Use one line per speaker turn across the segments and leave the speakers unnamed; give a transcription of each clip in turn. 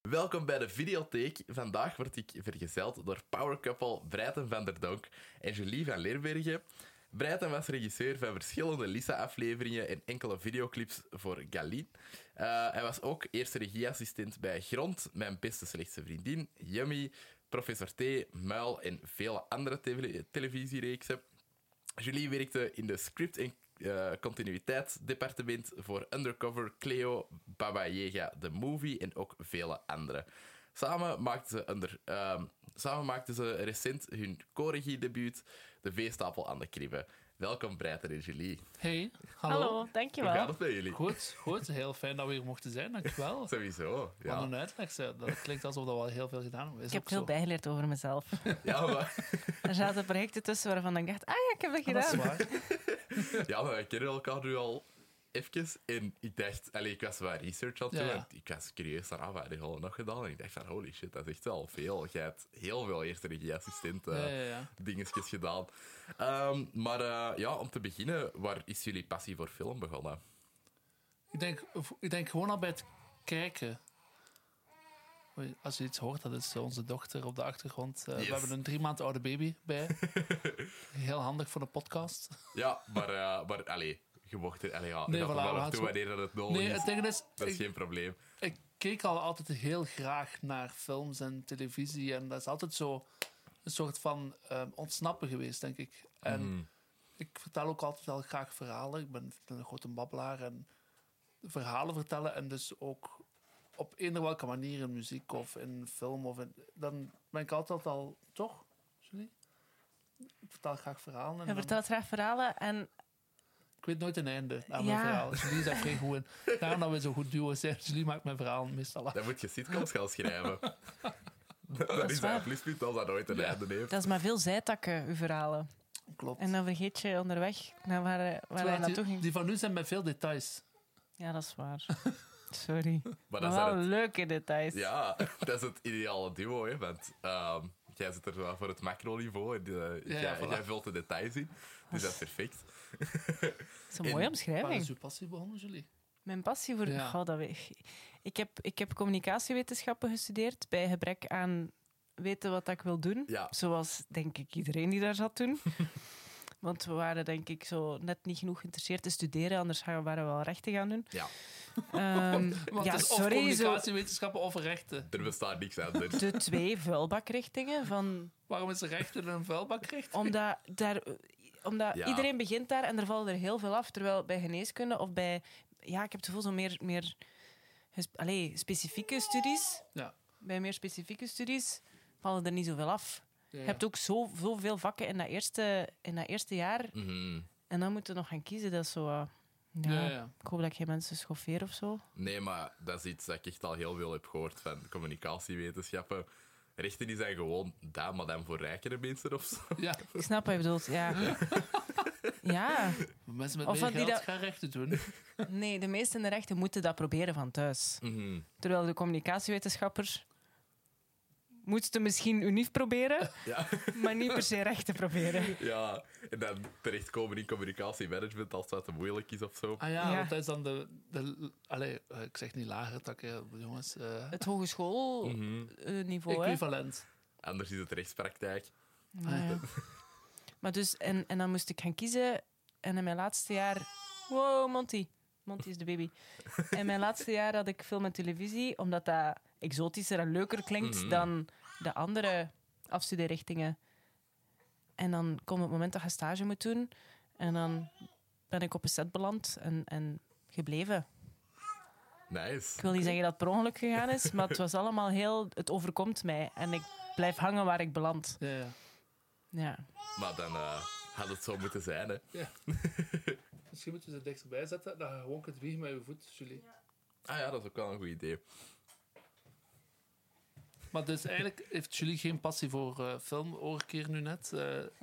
Welkom bij de videotheek. Vandaag word ik vergezeld door powercouple Breiten van der Donk en Julie van Leerbergen. Breiten was regisseur van verschillende Lisa-afleveringen en enkele videoclips voor Galien. Eh, hij was ook eerste regieassistent bij Grond, Mijn Beste Slechtste Vriendin, Yummy, Professor T, Muil en vele andere tele- televisiereeksen. Julie werkte in de script- en eh, continuïteitsdepartement voor Undercover, Cleo, Baba Yaga, The Movie en ook vele andere. Samen maakten ze, under, ehm, samen maakten ze recent hun co-regie-debuut, De Veestapel aan de Kribbe. Welkom, Breiter en Julie.
Hey, hallo.
Hallo, dankjewel.
Hoe gaat het met jullie?
Goed, goed. Heel fijn dat we hier mochten zijn, dankjewel.
Sowieso.
Wat
Ja,
een uitleg, zeg. dat klinkt alsof dat we al heel veel gedaan hebben. Is
Ik heb
ook
veel
zo.
bijgeleerd over mezelf.
ja, maar,
Er zaten projecten tussen waarvan ik dacht, ah ja, ik heb dat
Dat is
gedaan.
waar.
ja, maar we kennen elkaar nu al eventjes. En ik dacht, allee, ik was wat research aan het
Ja,
doen.
ja.
en Ik was curieus naar ah, wat heb je al nog gedaan? En ik dacht van, holy shit, dat is echt wel veel. Jij hebt heel veel eerste regieassistent eh,
Ja, ja, ja.
dingetjes gedaan. Ehm, maar eh, ja, om te beginnen, waar is jullie passie voor film begonnen?
Ik denk, ik denk gewoon al bij het kijken. Oei, Als je iets hoort, dat is onze dochter op de achtergrond. Eh,
Yes.
We hebben een drie maand oude baby bij. heel handig voor de podcast.
Ja, maar, eh maar allee, je mocht er... Allee, ja,
Nee,
nee,
voilà, we
maar
gaan
op toe
zo-
wanneer dat het nodig
Nee,
is.
het ding is,
Oh, Dat is
ik-
geen probleem.
ik keek al altijd heel graag naar films en televisie. En dat is altijd zo een soort van ehm, ontsnappen geweest, denk ik.
Mhm.
En
Hmm.
ik vertel ook altijd wel graag verhalen. Ik ben, ik ben een grote babbelaar. En verhalen vertellen en dus ook op eender welke manier in muziek of in film of in, dan ben ik altijd al toch Julie? ik vertel graag verhalen en
Je
dan-
vertelt graag verhalen en
ik weet nooit een einde aan mijn
Ja.
verhaal Julie is daar geen goed in daarom dat we zo goed duo zijn Julie maakt mijn verhaal meestal af
Dan moet je sitcoms gaan schrijven. dat,
is
is
waar.
een pluspunt als dat nooit een einde heeft.
dat is maar veel zijtakken, uw verhalen.
klopt
En dan vergeet je onderweg naar waar, eh, waar hij
Terwijl
naartoe
die,
ging.
die van nu zijn met veel details.
Ja, dat is waar. Sorry.
Maar
Maar,
dat is
wel
dat het-
leuke details.
Ja, dat is het ideale duo, hè, want ehm, jij zit er wel voor het macro-niveau en eh,
Ja, ja,
jij,
voilà.
jij vult de details in. Dus dat is perfect.
Dat is een mooie
Waar
omschrijving.
is uw passie begonnen, Julie?
Mijn passie voor...
Ja.
Goh, dat weet ik. Ik heb, ik heb communicatiewetenschappen gestudeerd bij gebrek aan weten wat dat ik wil doen.
Ja.
Zoals, denk ik, iedereen die daar zat toen. Want we waren, denk ik, zo net niet genoeg geïnteresseerd te studeren. Anders gaan- waren we wel rechten gaan doen.
Ja,
Ehm,
Want
ja,
het is of
sorry. Zo
communicatiewetenschappen of rechten.
er bestaat niks anders.
de twee vuilbakrichtingen van
Waarom is rechten een vuilbakrecht?
Omdat, daar, omdat
Ja.
iedereen begint daar en er vallen er heel veel af. Terwijl bij geneeskunde of bij... Ja, ik heb het gevoel zo meer... meer ges- allee, specifieke studies.
Ja.
Bij meer specifieke studies vallen er niet zoveel af.
Ja,
Je
ja.
hebt ook zo- zoveel vakken in dat eerste, in dat eerste jaar.
Mhm.
En dan moeten we nog gaan kiezen. Dat is zo... eh, ja,
Ja, ja.
Ik hoop dat ik geen mensen schoffeer of zo.
Nee, maar dat is iets dat ik echt al heel veel heb gehoord van communicatiewetenschappen. Rechten die zijn gewoon dat, maar dan voor rijkere mensen of zo.
Ja,
Ik snap wat je bedoelt, ja. Ja,
mensen met
Of
meer
van die
geld
dat-
gaan rechten doen.
nee, de meesten in de rechten moeten dat proberen van thuis.
Mhm.
Terwijl de communicatiewetenschappers moesten misschien unief proberen,
Ja.
maar niet per se recht te proberen.
ja, en dan terechtkomen in communicatiemanagement als dat te moeilijk is of zo.
Ah ja,
Ja.
want dat is dan de... de allee, eh, ik zeg niet lagere takken, jongens. eh,
Het hogeschoolniveau, hè?
equivalent.
Mhm. Anders is het rechtspraktijk.
Ah, ja.
Maar dus, en, en dan moest ik gaan kiezen. En in mijn laatste jaar... Wow, Monty. Monty is de baby. In mijn laatste jaar had ik film en televisie, omdat dat exotischer en leuker klinkt
Mhm.
dan de andere afstudeerrichtingen. En dan komt het moment dat je stage moet doen. En dan ben ik op een set beland en, en gebleven.
Nice.
Ik wil niet zeggen dat het per ongeluk gegaan is, maar het was allemaal heel... Het overkomt mij en ik blijf hangen waar ik beland.
Ja, ja.
Ja.
Maar dan eh, had het zo moeten zijn, hè.
ja. Misschien moet je ze dichterbij zetten, dan je gewoon kunt wiegen met je voet, Julie.
Ah ja, dat is ook wel een goed idee.
Maar dus eigenlijk heeft Julie geen passie voor eh, film, hoor ik hier nu net. Eh,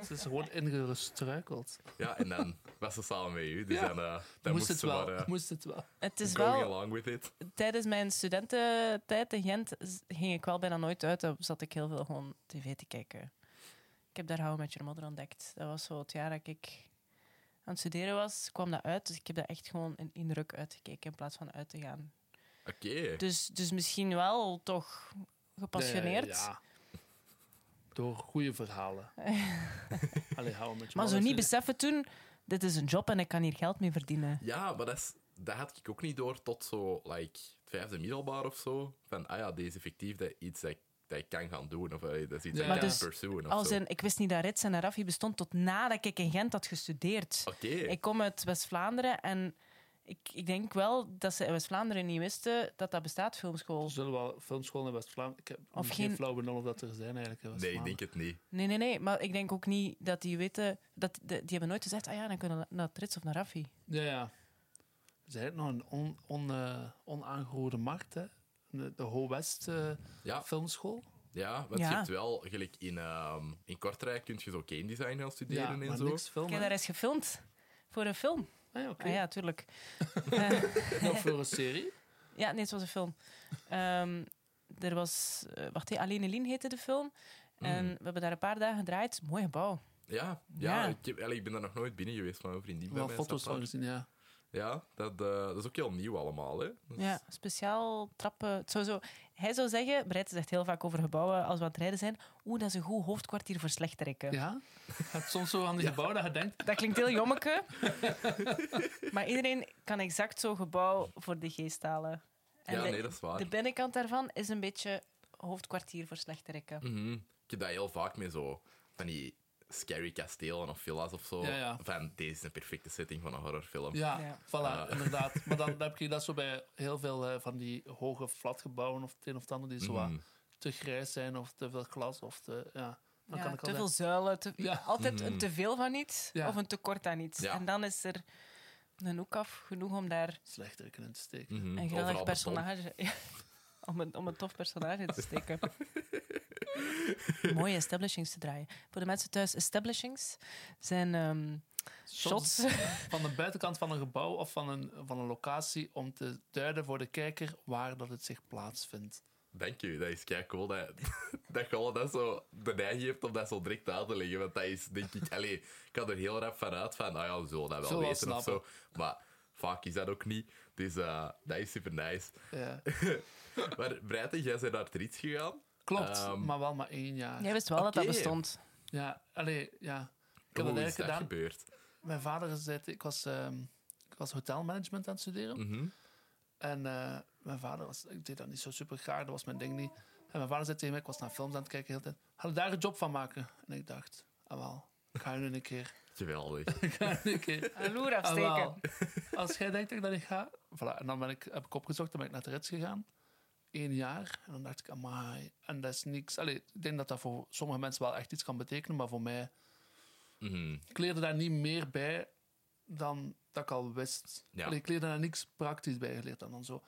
ze is gewoon ingestruikeld.
Ja, en dan was ze samen met u. Dus
Ja.
dan, eh, dan
moest, het
ze
wel,
maar eh,
moest het wel.
Het is
going
wel...
along with it.
Tijdens mijn studententijd in Gent z- ging ik wel bijna nooit uit. Dan zat ik heel veel gewoon tv te kijken. Ik heb daar Hou met je moeder ontdekt. Dat was zo het jaar dat ik aan het studeren was, kwam dat uit. Dus ik heb dat echt gewoon een indruk uitgekeken in plaats van uit te gaan.
Oké.
Dus, dus misschien wel toch gepassioneerd.
Nee, ja. Door goede verhalen. Allee, hou met je
Maar zo
mond.
niet beseffen toen, dit is een job en ik kan hier geld mee verdienen.
Ja, maar dat, is, dat had ik ook niet door tot zo, like, het vijfde middelbaar of zo. Van, ah ja, deze effectief dat iets dat ik, dat ik kan gaan doen. Of eh, dat is iets dat
Ja. Maar
ik kan
dus
pursuen of
Als
zo.
in, ik wist niet dat Rits en Rafi bestond tot nadat ik in Gent had gestudeerd.
Oké.
Ik kom uit West-Vlaanderen en ik, ik denk wel dat ze in West-Vlaanderen niet wisten dat dat bestaat, filmschool.
Er zullen wel filmscholen in West-Vlaanderen... Ik heb
Of
geen,
geen-
flauw benul of dat er zijn eigenlijk in
Nee, ik
West-Vlaanderen.
denk het niet.
Nee, nee, nee. Maar ik denk ook niet dat die weten... Dat, de- die hebben nooit gezegd, ah ja, dan kunnen we naar Rits of naar Raffi.
Ja, ja. Ze hebben nog een on, on, eh, onaangeroerde markt, hè. De, de Ho West eh,
Ja,
filmschool.
ja want je
Ja.
hebt wel, gelijk in, ehm, in Kortrijk kun je zo game design gaan
Ja,
studeren en
maar
zo.
niks
Ik
filmen.
heb daar eens gefilmd. Voor een film.
Ah, ja, oké.
Ah ja, tuurlijk. Eh,
Of voor een serie.
ja, nee, het was een film. Ehm, er was... eh, wacht, hè, Alleen Eline heette de film. En we hebben daar een paar dagen gedraaid. Mooi gebouw.
Ja, ja,
Ja.
Ik, heb, eigenlijk, ik ben daar nog nooit binnen geweest, maar mijn vriendin bij
Wel
mij
foto's
zat
van
daar.
gezien, ja.
Ja, dat, eh, dat is ook heel nieuw allemaal, hè. Dat is-
Ja, speciaal trappen. Het zou zo, hij zou zeggen, Breit zegt heel vaak over gebouwen als we aan het rijden zijn. Oeh, dat is een goed hoofdkwartier voor slechterikken.
Ja? Het is soms zo aan die gebouwen dat je denkt...
Dat klinkt heel jommeke. maar iedereen kan exact zo'n gebouw voor de geest halen. En
Ja,
de,
nee, dat is waar.
de binnenkant daarvan is een beetje hoofdkwartier voor slechterikken.
Mhm. Ik heb dat heel vaak met zo van die scary kastelen of villa's of zo.
Ja, ja.
Van deze is een perfecte setting van een horrorfilm.
Ja,
Ja.
Ah.
voilà, inderdaad. Maar dan, dan heb je dat zo bij heel veel eh, van die hoge flatgebouwen of het een of het ander die zo wat
Mhm.
te grijs zijn of te veel glas of te... Ja, dan
Ja,
kan ik
te
al
veel zuilen, te-
Ja.
altijd een teveel van iets
Ja.
of een tekort aan iets.
Ja.
En dan is er een hoek af genoeg om daar
slechter in te steken.
Mhm.
een
Overal
geweldig
beton.
personage. Ja, om, een, om een tof personage in te steken. Mooie establishings te draaien. Voor de mensen thuis, establishings zijn ehm, shots.
van de buitenkant van een gebouw of van een, van een locatie om te duiden voor de kijker waar dat het zich plaatsvindt.
Dank je, dat is kei cool dat, dat je al dat zo de neiging hebt om dat zo direct aan te leggen. Want dat is, denk ik, allee, ik had er heel rap van uit van, ah ja, we zullen dat wel
Zullen we wel
weten of zo.
snappen.
Maar vaak is dat ook niet. Dus eh, dat is super nice.
Ja.
Maar Breiten, jij bent naar Trits gegaan.
Klopt,
Ehm.
maar wel maar één jaar.
Jij wist wel dat dat
Oké.
bestond.
Ja, allee, ja. Ik heb dat
Hoe
eigenlijk
Oh, is dat
gedaan.
gebeurd?
Mijn vader zei, ik was, ehm, ik was hotelmanagement aan het studeren.
Mhm.
En eh, mijn vader was, ik deed dat niet zo super graag, dat was mijn ding niet. En mijn vader zei tegen mij, ik was naar films aan het kijken de hele tijd. Ga je daar een job van maken? En ik dacht, ah wel, ik ga nu een keer.
Geweldig.
Ik ga nu een keer.
Een loer
Ah,
afsteken.
wel. Als jij denkt dat ik dat niet ga... Voilà, en dan ben ik, heb ik opgezocht, dan ben ik naar de Rits gegaan. Eén jaar. En dan dacht ik, amai. En dat is niks... Allee, ik denk dat dat voor sommige mensen wel echt iets kan betekenen, maar voor mij...
Mhm.
Ik leerde daar niet meer bij dan dat ik al wist.
Ja.
Allee, ik leerde daar niks praktisch bij geleerd. En dan zo...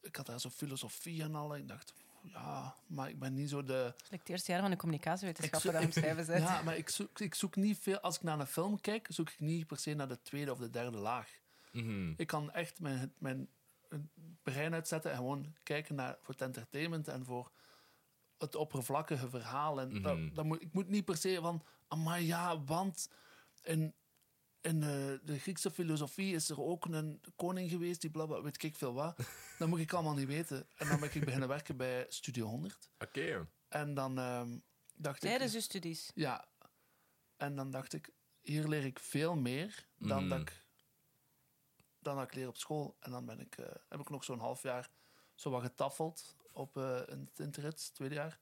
Ik had daar zo filosofie en al. en Ik dacht, ja, maar ik ben niet zo de...
Het is het eerste jaar van de communicatiewetenschappen
Ik-
dat hem schrijven zit.
Ja, maar ik zoek, ik zoek niet veel... Als ik naar een film kijk, zoek ik niet per se naar de tweede of de derde laag.
Mhm.
Ik kan echt mijn, mijn brein uitzetten en gewoon kijken naar voor het entertainment en voor het oppervlakkige verhaal. En dat-
Mhm.
dat moet, ik moet niet per se van, maar ja, want in, in eh, de Griekse filosofie is er ook een koning geweest die blablabla, weet ik veel wat. dat moet ik allemaal niet weten. En dan ben ik beginnen werken bij Studio 100.
Oké.
En dan ehm, dacht ik...
Tijdens uw dus studies.
Ja. En dan dacht ik, hier leer ik veel meer dan,
Mhm.
dat, ik, dan dat ik leer op school. En dan ben ik, eh, heb ik nog zo'n half jaar zo wat getaffeld op eh een internet, tweede jaar.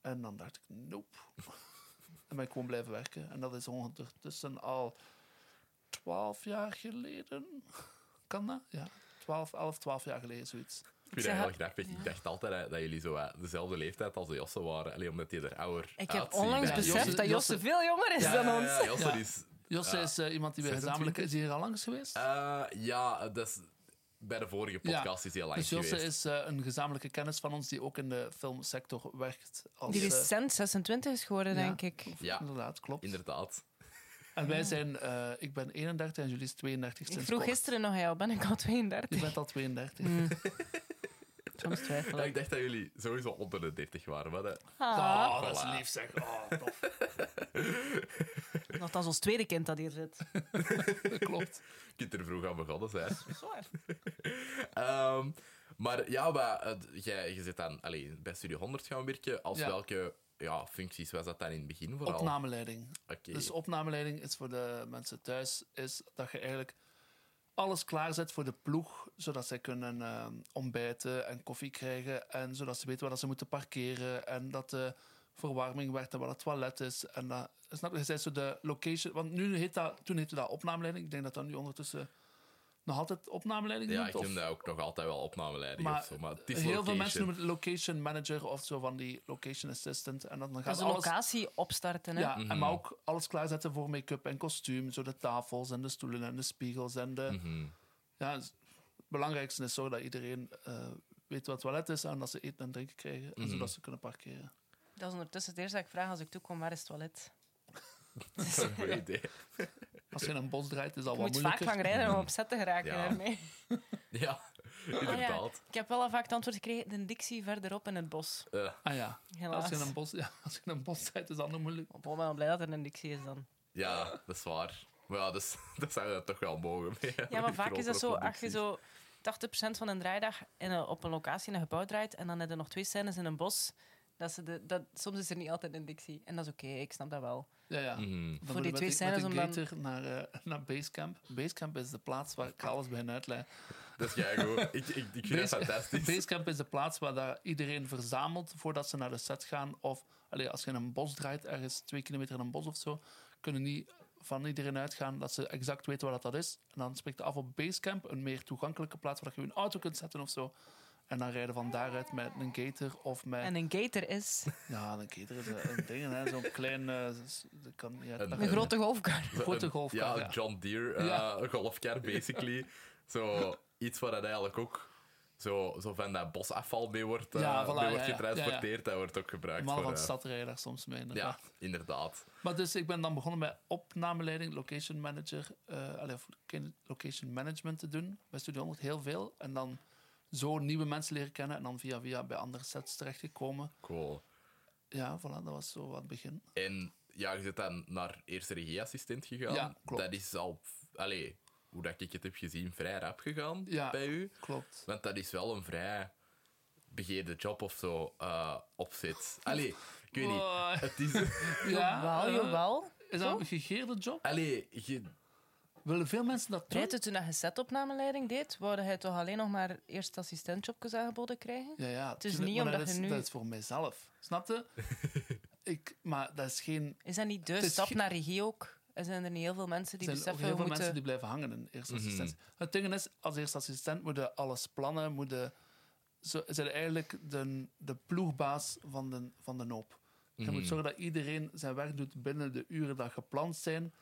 En dan dacht ik, nope. en ben ik gewoon blijven werken. En dat is ondertussen al twaalf jaar geleden. Kan dat? Ja. 12, 11, 12 jaar geleden, zoiets.
Ik vind
Ik
dat
zeg-
heel grappig. Ik dacht altijd hè, dat jullie zo eh, dezelfde leeftijd als de Josse waren. Alleen omdat die er ouder
Ik heb
uitzien.
onlangs
Ja,
beseft
Josse-
dat Josse
Josse-
veel jonger is
Ja,
dan
ja,
ons.
ja, Josse
Ja.
is...
Josse
Ja.
is eh, iemand die we
26?
gezamenlijk... Is hier al langs geweest?
eh, ja, dat is... Bij de vorige podcast is hij al lang
Dus Josse
geweest.
is eh, een gezamenlijke kennis van ons die ook in de filmsector werkt. Als,
Die
eh,
recent 26 is geworden,
ja.
denk ik.
Ja.
Inderdaad, klopt.
Inderdaad.
En wij zijn, eh, ik ben 31 en jullie is 32
Ik
sinds
vroeg Mm.
kort.
gisteren nog aan jou, ben ik al
Je
32?
bent al 32.
Soms twijfel
Ja,
ik.
ik dacht dat jullie sowieso onder de 30 waren. Maar dat...
Ah.
Oh, dat is
Voilà.
lief zeg. Oh, tof.
Nogthans ons tweede kind dat hier zit.
Dat klopt.
Je kunt er vroeg aan begonnen zijn.
Zwaar.
Ehm, maar ja, maar, eh, jij, je zit dan allee, bij Studio 100 gaan werken. Als
Ja.
welke ja, functies was dat dan in het begin vooral?
Opnameleiding.
Oké.
Dus opnameleiding is voor de mensen thuis, is dat je eigenlijk alles klaarzet voor de ploeg, zodat zij kunnen ehm, ontbijten en koffie krijgen en zodat ze weten waar dat ze moeten parkeren en dat de verwarming werkt en waar het toilet is. En dat, snap je, je, zei zo de location, want nu heet dat, toen heette dat opnameleiding, ik denk dat dat nu ondertussen nog altijd opnameleiding
Ja,
noemt,
ik
of-
noem dat ook nog altijd wel opnameleiding
Maar
of zo. Maar het is
Heel veel
location.
mensen noemen het location manager of zo van die location assistant. En dan, dan gaat
Dus een
alles...
locatie opstarten. Hè?
Ja,
Mhm.
en maar ook alles klaarzetten voor make-up en kostuum. Zo de tafels en de stoelen en de spiegels. En de,
Mhm.
ja, het belangrijkste is zorgen dat iedereen eh, weet wat het toilet is en dat ze eten en drinken krijgen. En
Mhm.
zodat ze kunnen parkeren.
Dat is ondertussen het eerste dat ik vraag als ik toekom, waar is het toilet?
Dat is een goed idee.
Als je in een bos draait, is dat
Je
wat
moet vaak
moeilijker.
gaan rijden om op set te geraken.
Ja.
daarmee.
Ja,
Ah ja,
inderdaad.
Ik heb wel al vaak het antwoord gekregen, de dictie verderop in het bos.
Eh,
Ah ja, als
Helaas.
je, in een bos, ja, als je in een bos draait, is dat nog moeilijk.
Op ik ben blij dat er een dictie is dan.
ja, dat is waar. Maar ja, dus, dat zou je toch wel mogen. mee, hè,
Ja, maar
met
vaak is dat zo,
grotere
als je
producties.
zo 80% van een draaidag in een- op een locatie in een gebouw draait en dan heb je nog twee scènes in een bos, dat ze de, dat, soms is er niet altijd een dictie. En dat is oké, ik snap dat wel.
Ja, ja.
Mhm.
Dan
Voor
moet je
die twee
met met
scènes om dan-
gator naar, eh, naar Basecamp. Basecamp is de plaats waar ik alles begin uitleg.
Dat is jij Ik, ik, ik vind dat
Base-
fantastisch.
Basecamp is de plaats waar daar iedereen verzamelt voordat ze naar de set gaan. Of allee, als je in een bos draait, ergens twee kilometer in een bos of zo, kunnen niet van iedereen uitgaan dat ze exact weten waar dat, dat is. En dan spreekt je af op Basecamp, een meer toegankelijke plaats waar je een auto kunt zetten of zo. En dan rijden van daaruit met een gator of met...
En een gator is
Ja, een gator is een, een ding, hè. Zo'n klein... eh, s- dat kan niet uit-
Een-
dat-
een grote golfkar.
Zo
grote
een-
golfkar,
Ja,
ja.
een John Deere eh,
Ja.
een golfkar, basically. zo iets waar dat eigenlijk ook zo, zo van dat bosafval mee wordt, eh,
Ja, voilà,
mee wordt
ja, ja.
getransporteerd.
Ja,
Dat wordt ook gebruikt
Mannen
voor...
van de
eh,
stad rijden daar soms mee, inderdaad.
ja, inderdaad.
Maar dus ik ben dan begonnen bij opnameleiding, location manager, eh, allee, of ken- location management te doen. Bij Studio 100 heel veel. En dan zo nieuwe mensen leren kennen en dan via via bij andere sets terechtgekomen.
Cool.
Ja, voilà, dat was zo wat het begin.
En ja, je bent dan naar eerste regieassistent gegaan.
Ja, klopt.
Dat is al... Allee, hoe dat ik het heb gezien, vrij rap gegaan
Ja.
bij u.
Klopt.
Want dat is wel een vrij begeerde job of zo eh opzet. Allee, ik weet niet.
Oh,
Het is...
ja,
Jawel,
eh,
jawel.
Is dat een gegeerde job?
Allee, je...
Willen veel mensen dat doen?
Rijdt toen dat je setopnameleiding deed, wou hij toch alleen nog maar eerst assistentjobjes aangeboden krijgen?
Ja, ja. Het
is niet omdat
dat
je
is,
nu-
Dat is voor mijzelf. Snap je? ik, maar dat is geen...
Is dat niet de
Het is
stap
ge-
naar regie ook? Er zijn er niet heel veel mensen die
Er zijn ook
beseffen,
heel
we
veel mensen
moeten...
die blijven hangen in eerste assistentie. Het ding is, als eerste assistent moet je alles plannen, moet je... Ze zijn eigenlijk de, de ploegbaas van de, van de hoop. Je moet zorgen dat iedereen zijn werk doet binnen de uren dat gepland zijn.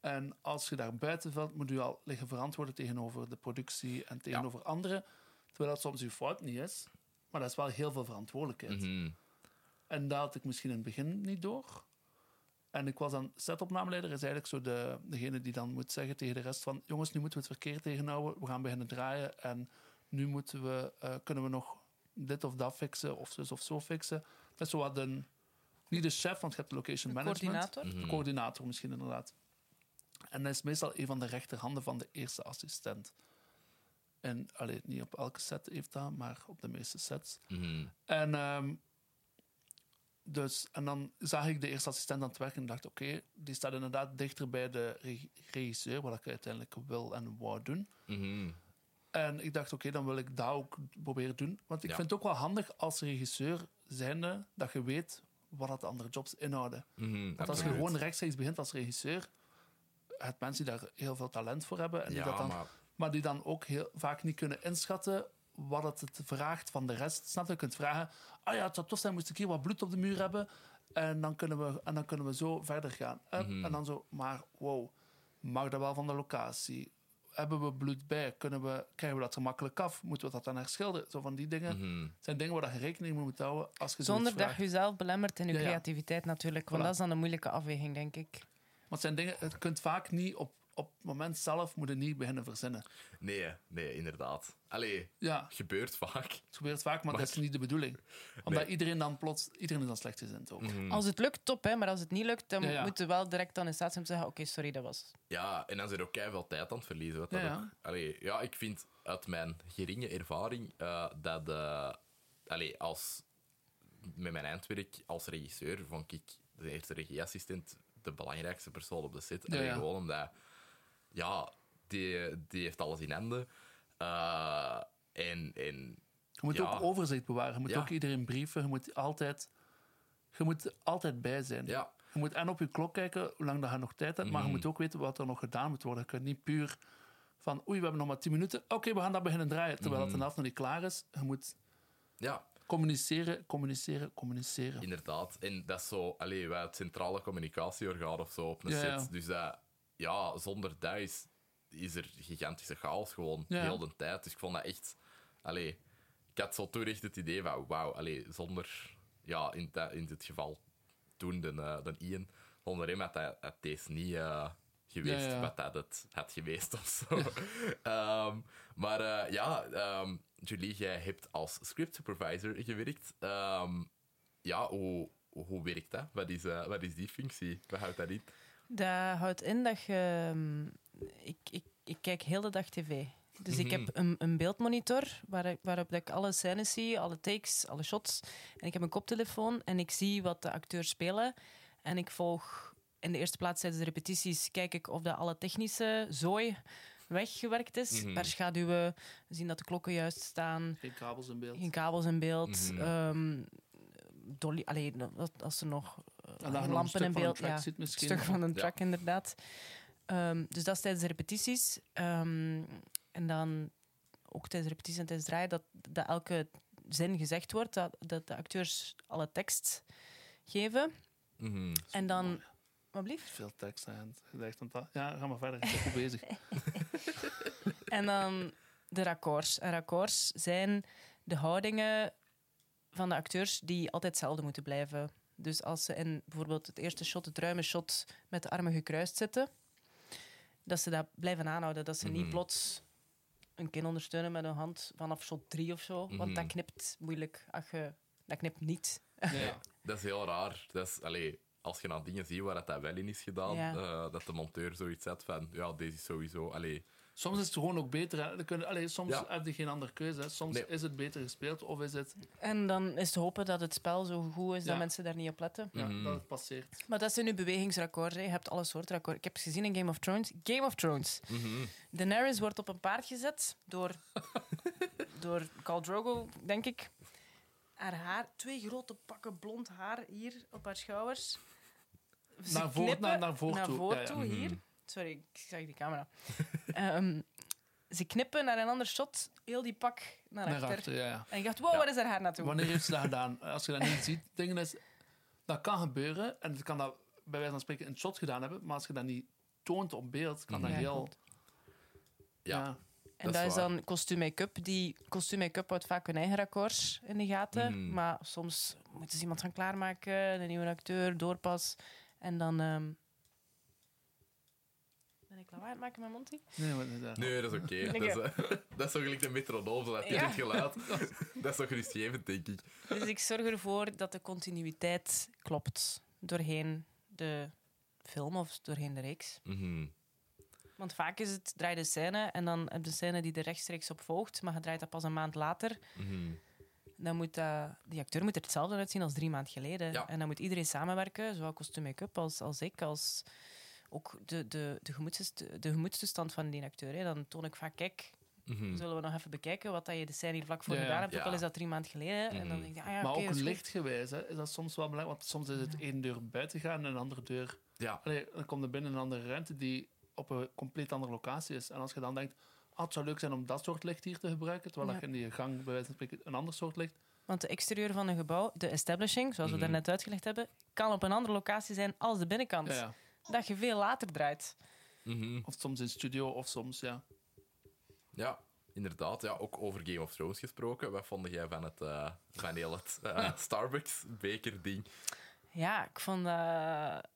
En als je daar buiten valt, moet je al liggen verantwoorden tegenover de productie en tegenover anderen. Terwijl dat soms je fout niet is. Maar dat is wel heel veel verantwoordelijkheid.
Mhm.
En dat had ik misschien in het begin niet door. En ik was dan setopnameleider, is eigenlijk zo de, degene die dan moet zeggen tegen de rest van... Jongens, nu moeten we het verkeer tegenhouden, we gaan beginnen draaien. En nu moeten we, eh, kunnen we nog dit of dat fixen, of zus of zo fixen. Dat is zo wat een... Niet de chef, want je hebt de location management.
coördinator?
De coördinator misschien, inderdaad. En dat is meestal een van de rechterhanden van de eerste assistent. En, alleen niet op elke set heeft dat, maar op de meeste sets.
Mhm.
En, ehm, dus, en dan zag ik de eerste assistent aan het werk en dacht: oké, die staat inderdaad dichter bij de reg- regisseur, wat ik uiteindelijk wil en wou doen.
Mhm.
En ik dacht: oké, dan wil ik dat ook proberen doen. Want ik
Ja.
vind het ook wel handig als regisseur zijnde dat je weet wat dat de andere jobs inhouden.
Mhm,
Want als je
absoluut.
gewoon rechtstreeks begint als regisseur, het mensen die daar heel veel talent voor hebben en die
Ja,
dat dan
maar
maar die dan ook heel vaak niet kunnen inschatten wat het, het vraagt van de rest. Snap je? Je kunt vragen, ah ja, het zou tof zijn moest ik hier wat bloed op de muur hebben en dan kunnen we, en dan kunnen we zo verder gaan. En,
Mhm.
en dan zo, maar wow, mag dat wel van de locatie? Hebben we bloed bij? Kunnen we, krijgen we dat er makkelijk af? Moeten we dat dan herschilderen? Zo van die dingen.
Mhm.
Het zijn dingen waar je rekening mee moet houden als je zoiets
Zonder dat
vraagt.
je jezelf belemmert in je
Ja, ja.
creativiteit natuurlijk. Want
Voilà.
dat is dan een moeilijke afweging, denk ik.
Want het zijn dingen, het kunt vaak niet op, op het moment zelf moet je niet beginnen verzinnen.
Nee, nee, inderdaad. Allee,
Ja,
gebeurt vaak.
het gebeurt vaak, maar,
Maar-
dat is niet de bedoelling. Omdat
Nee. Mhm.
iedereen dan plots, iedereen is dan slecht gezind ook.
Als het lukt, top, hè, maar als het niet lukt, dan
Ja, ja.
moeten we wel direct dan in staat zijn om te zeggen: Oké, sorry, dat was.
Ja, en dan zijn er ook keihard veel tijd aan het verliezen. Wat dat
Ja, ja.
ook- Allee, ja, ik vind uit mijn geringe ervaring eh, dat eh, allee, als, met mijn eindwerk als regisseur vond ik de eerste regieassistent de belangrijkste persoon op de set.
Ja,
Allee,
ja.
Gewoon omdat, ja, die, die heeft alles in handen. Eh, en, en
Je moet
Ja.
ook overzicht bewaren. Je moet
Ja.
ook iedereen brieven. Je moet altijd, je moet er altijd bij zijn.
ja, Mhm.
Je moet en op je klok kijken hoe lang dat je nog tijd hebt, maar je moet ook weten wat er nog gedaan moet worden. Je kunt niet puur van oei, we hebben nog maar 10 minuten. Oké, we gaan dat beginnen draaien. Terwijl
Mhm.
het de helft nog niet klaar is. Je moet
ja,
communiceren, communiceren, communiceren.
Inderdaad. En dat is zo, allee, wij het centrale communicatieorgaan of zo op een
Ja,
set.
ja.
Dus dat, ja, zonder dat is, is er gigantische chaos gewoon
Ja.
heel de tijd. Dus ik vond dat echt, allee, ik had zo toen echt het idee van, wauw, allee, zonder, ja, in, dat- in dit geval toen, de, eh, de Ian, zonder hem had dat had deze niet eh, geweest
Ja, ja.
wat dat het had geweest of zo. Ehm, maar eh, ja, ehm, Julie, jij hebt als script supervisor gewerkt. Ehm, ja, hoe, hoe werkt dat? Wat is, eh, wat is die functie? Wat houdt dat in?
Dat houdt in dat je. ehm, ik, ik, ik kijk heel de dag tv. Dus ik
Mhm.
heb een, een beeldmonitor waar, ik- waarop dat ik alle scènes zie, alle takes, alle shots. En ik heb een koptelefoon en ik zie wat de acteurs spelen. En ik volg in de eerste plaats tijdens de repetities, kijk ik of dat alle technische zooi weggewerkt is.
Mhm.
Per schaduwen, zien dat de klokken juist staan.
Geen kabels in beeld.
Geen kabels in beeld.
Mhm.
ehm, dolly, allee, dat- als er nog eh,
En dan Ah, een
lampen
stuk
in
van een
beeld.
track
Ja,
zit misschien.
stuk van een
Ja.
track, inderdaad. Ehm, dus dat is tijdens de repetities. Ehm, en dan ook tijdens repetities en tijdens draaien, dat, dat elke zin gezegd wordt, dat, dat de acteurs alle tekst geven.
Mhm,
En dan... Wat blieft?
Veel tekst aan het echt aan het- Ja, ga maar verder. Ik ben goed bezig.
En dan de raccords. En raccords zijn de houdingen van de acteurs die altijd hetzelfde moeten blijven. Dus als ze in bijvoorbeeld het eerste shot, het ruime shot, met de armen gekruist zitten, dat ze dat blijven aanhouden. Dat ze niet
Mhm.
plots een kin ondersteunen met een hand vanaf shot 3 of zo. Want dat
Mhm.
knipt moeilijk. Ach, je, dat knipt niet.
Ja.
Dat is heel raar. Dat is, allee, als je naar dingen ziet waar dat, dat wel in is gedaan,
Ja.
eh, dat de monteur zoiets zet van, ja, deze is sowieso, allee,
Soms is het gewoon ook beter. hè. Dan kun je- allee, soms
Ja.
heb je geen andere keuze. hè. Soms
Nee.
is het beter gespeeld of is het
En dan is te hopen dat het spel zo goed is dat
Ja.
mensen daar niet op letten.
ja,
Mhm.
dat het passeert.
Maar dat zijn nu bewegingsrecords. hè. Je hebt alle soorten records. Ik heb ze gezien in Game of Thrones. Game of Thrones. Daenerys wordt op een paard gezet door, door Khal Drogo, denk ik. Haar haar, twee grote pakken blond haar hier op haar schouders. Ze
Naar voor-
knippen
naar- naar voor toe. Ja, ja.
Mhm.
toe, hier. Sorry, ik zag die camera. Ehm, ze knippen naar een ander shot, heel die pak naar,
Naar
achter.
achter, ja, ja.
En ik dacht, wow,
Ja.
waar is haar haar naartoe?
Wanneer heeft ze dat gedaan? Als je dat niet ziet, dingen is, dat kan gebeuren en het kan dat bij wijze van spreken in het shot gedaan hebben, maar als je dat niet toont op beeld, kan dat
Ja,
heel.
klopt.
ja.
Ja.
En
Dat is
dat is
waar.
dan kostuum make-up. Die kostuum make-up houdt vaak hun eigen records in de gaten.
Mhm.
Maar soms moeten ze iemand gaan klaarmaken, een nieuwe acteur, doorpas. En dan... ehm, Ben ik lawaai aan het maken met Monty?
Nee, maar dat-
Nee, dat is oké.
Lekker.
Dat, is, eh, dat is zo gelijk de metronoom, zo dat dit
Ja.
het geluid. Dat is zo gerustgevend, denk ik.
Dus ik zorg ervoor dat de continuïteit klopt doorheen de film of doorheen de reeks.
Mhm.
Want vaak is het, draai de scène en dan heb je de scène die er rechtstreeks op volgt, maar je draait dat pas een maand later.
Mhm.
dan moet dat, die acteur moet er hetzelfde uitzien als drie maanden geleden.
Ja.
En dan moet iedereen samenwerken, zowel kostuum make-up als, als ik, als ook de, de, de, gemoedsst- de gemoedstoestand van die acteur. Hè. Dan toon ik vaak, kijk,
Mhm.
zullen we nog even bekijken wat dat je de scène hier vlak voor
Mm. Ja, ja.
gedaan hebt, ook
Ja.
al is dat drie maanden geleden. En dan
Mhm.
denk je, ah ja,
Maar
oké,
ook
dat is goed.
lichtgewijs hè, is dat soms wel belangrijk, want soms is het één deur buiten gaan en een andere deur.
Ja.
Allee, dan komt er binnen een andere ruimte die op een compleet andere locatie is. En als je dan denkt, ah, het zou leuk zijn om dat soort licht hier te gebruiken, terwijl
Ja.
je in die gang bij wijze van spreken een ander soort licht.
Want de exterieur van een gebouw, de establishing, zoals we
Mm-hmm.
Mhm.
daarnet uitgelegd hebben, kan op een andere locatie zijn als de binnenkant.
Ja, ja.
Dat je veel later draait.
Mhm.
Of soms in studio of soms, ja.
Ja, inderdaad. Ja, ook over Game of Thrones gesproken. Wat vond jij van het, eh, van heel het eh, Starbucks beker ding?
Ja, ik vond dat... Ik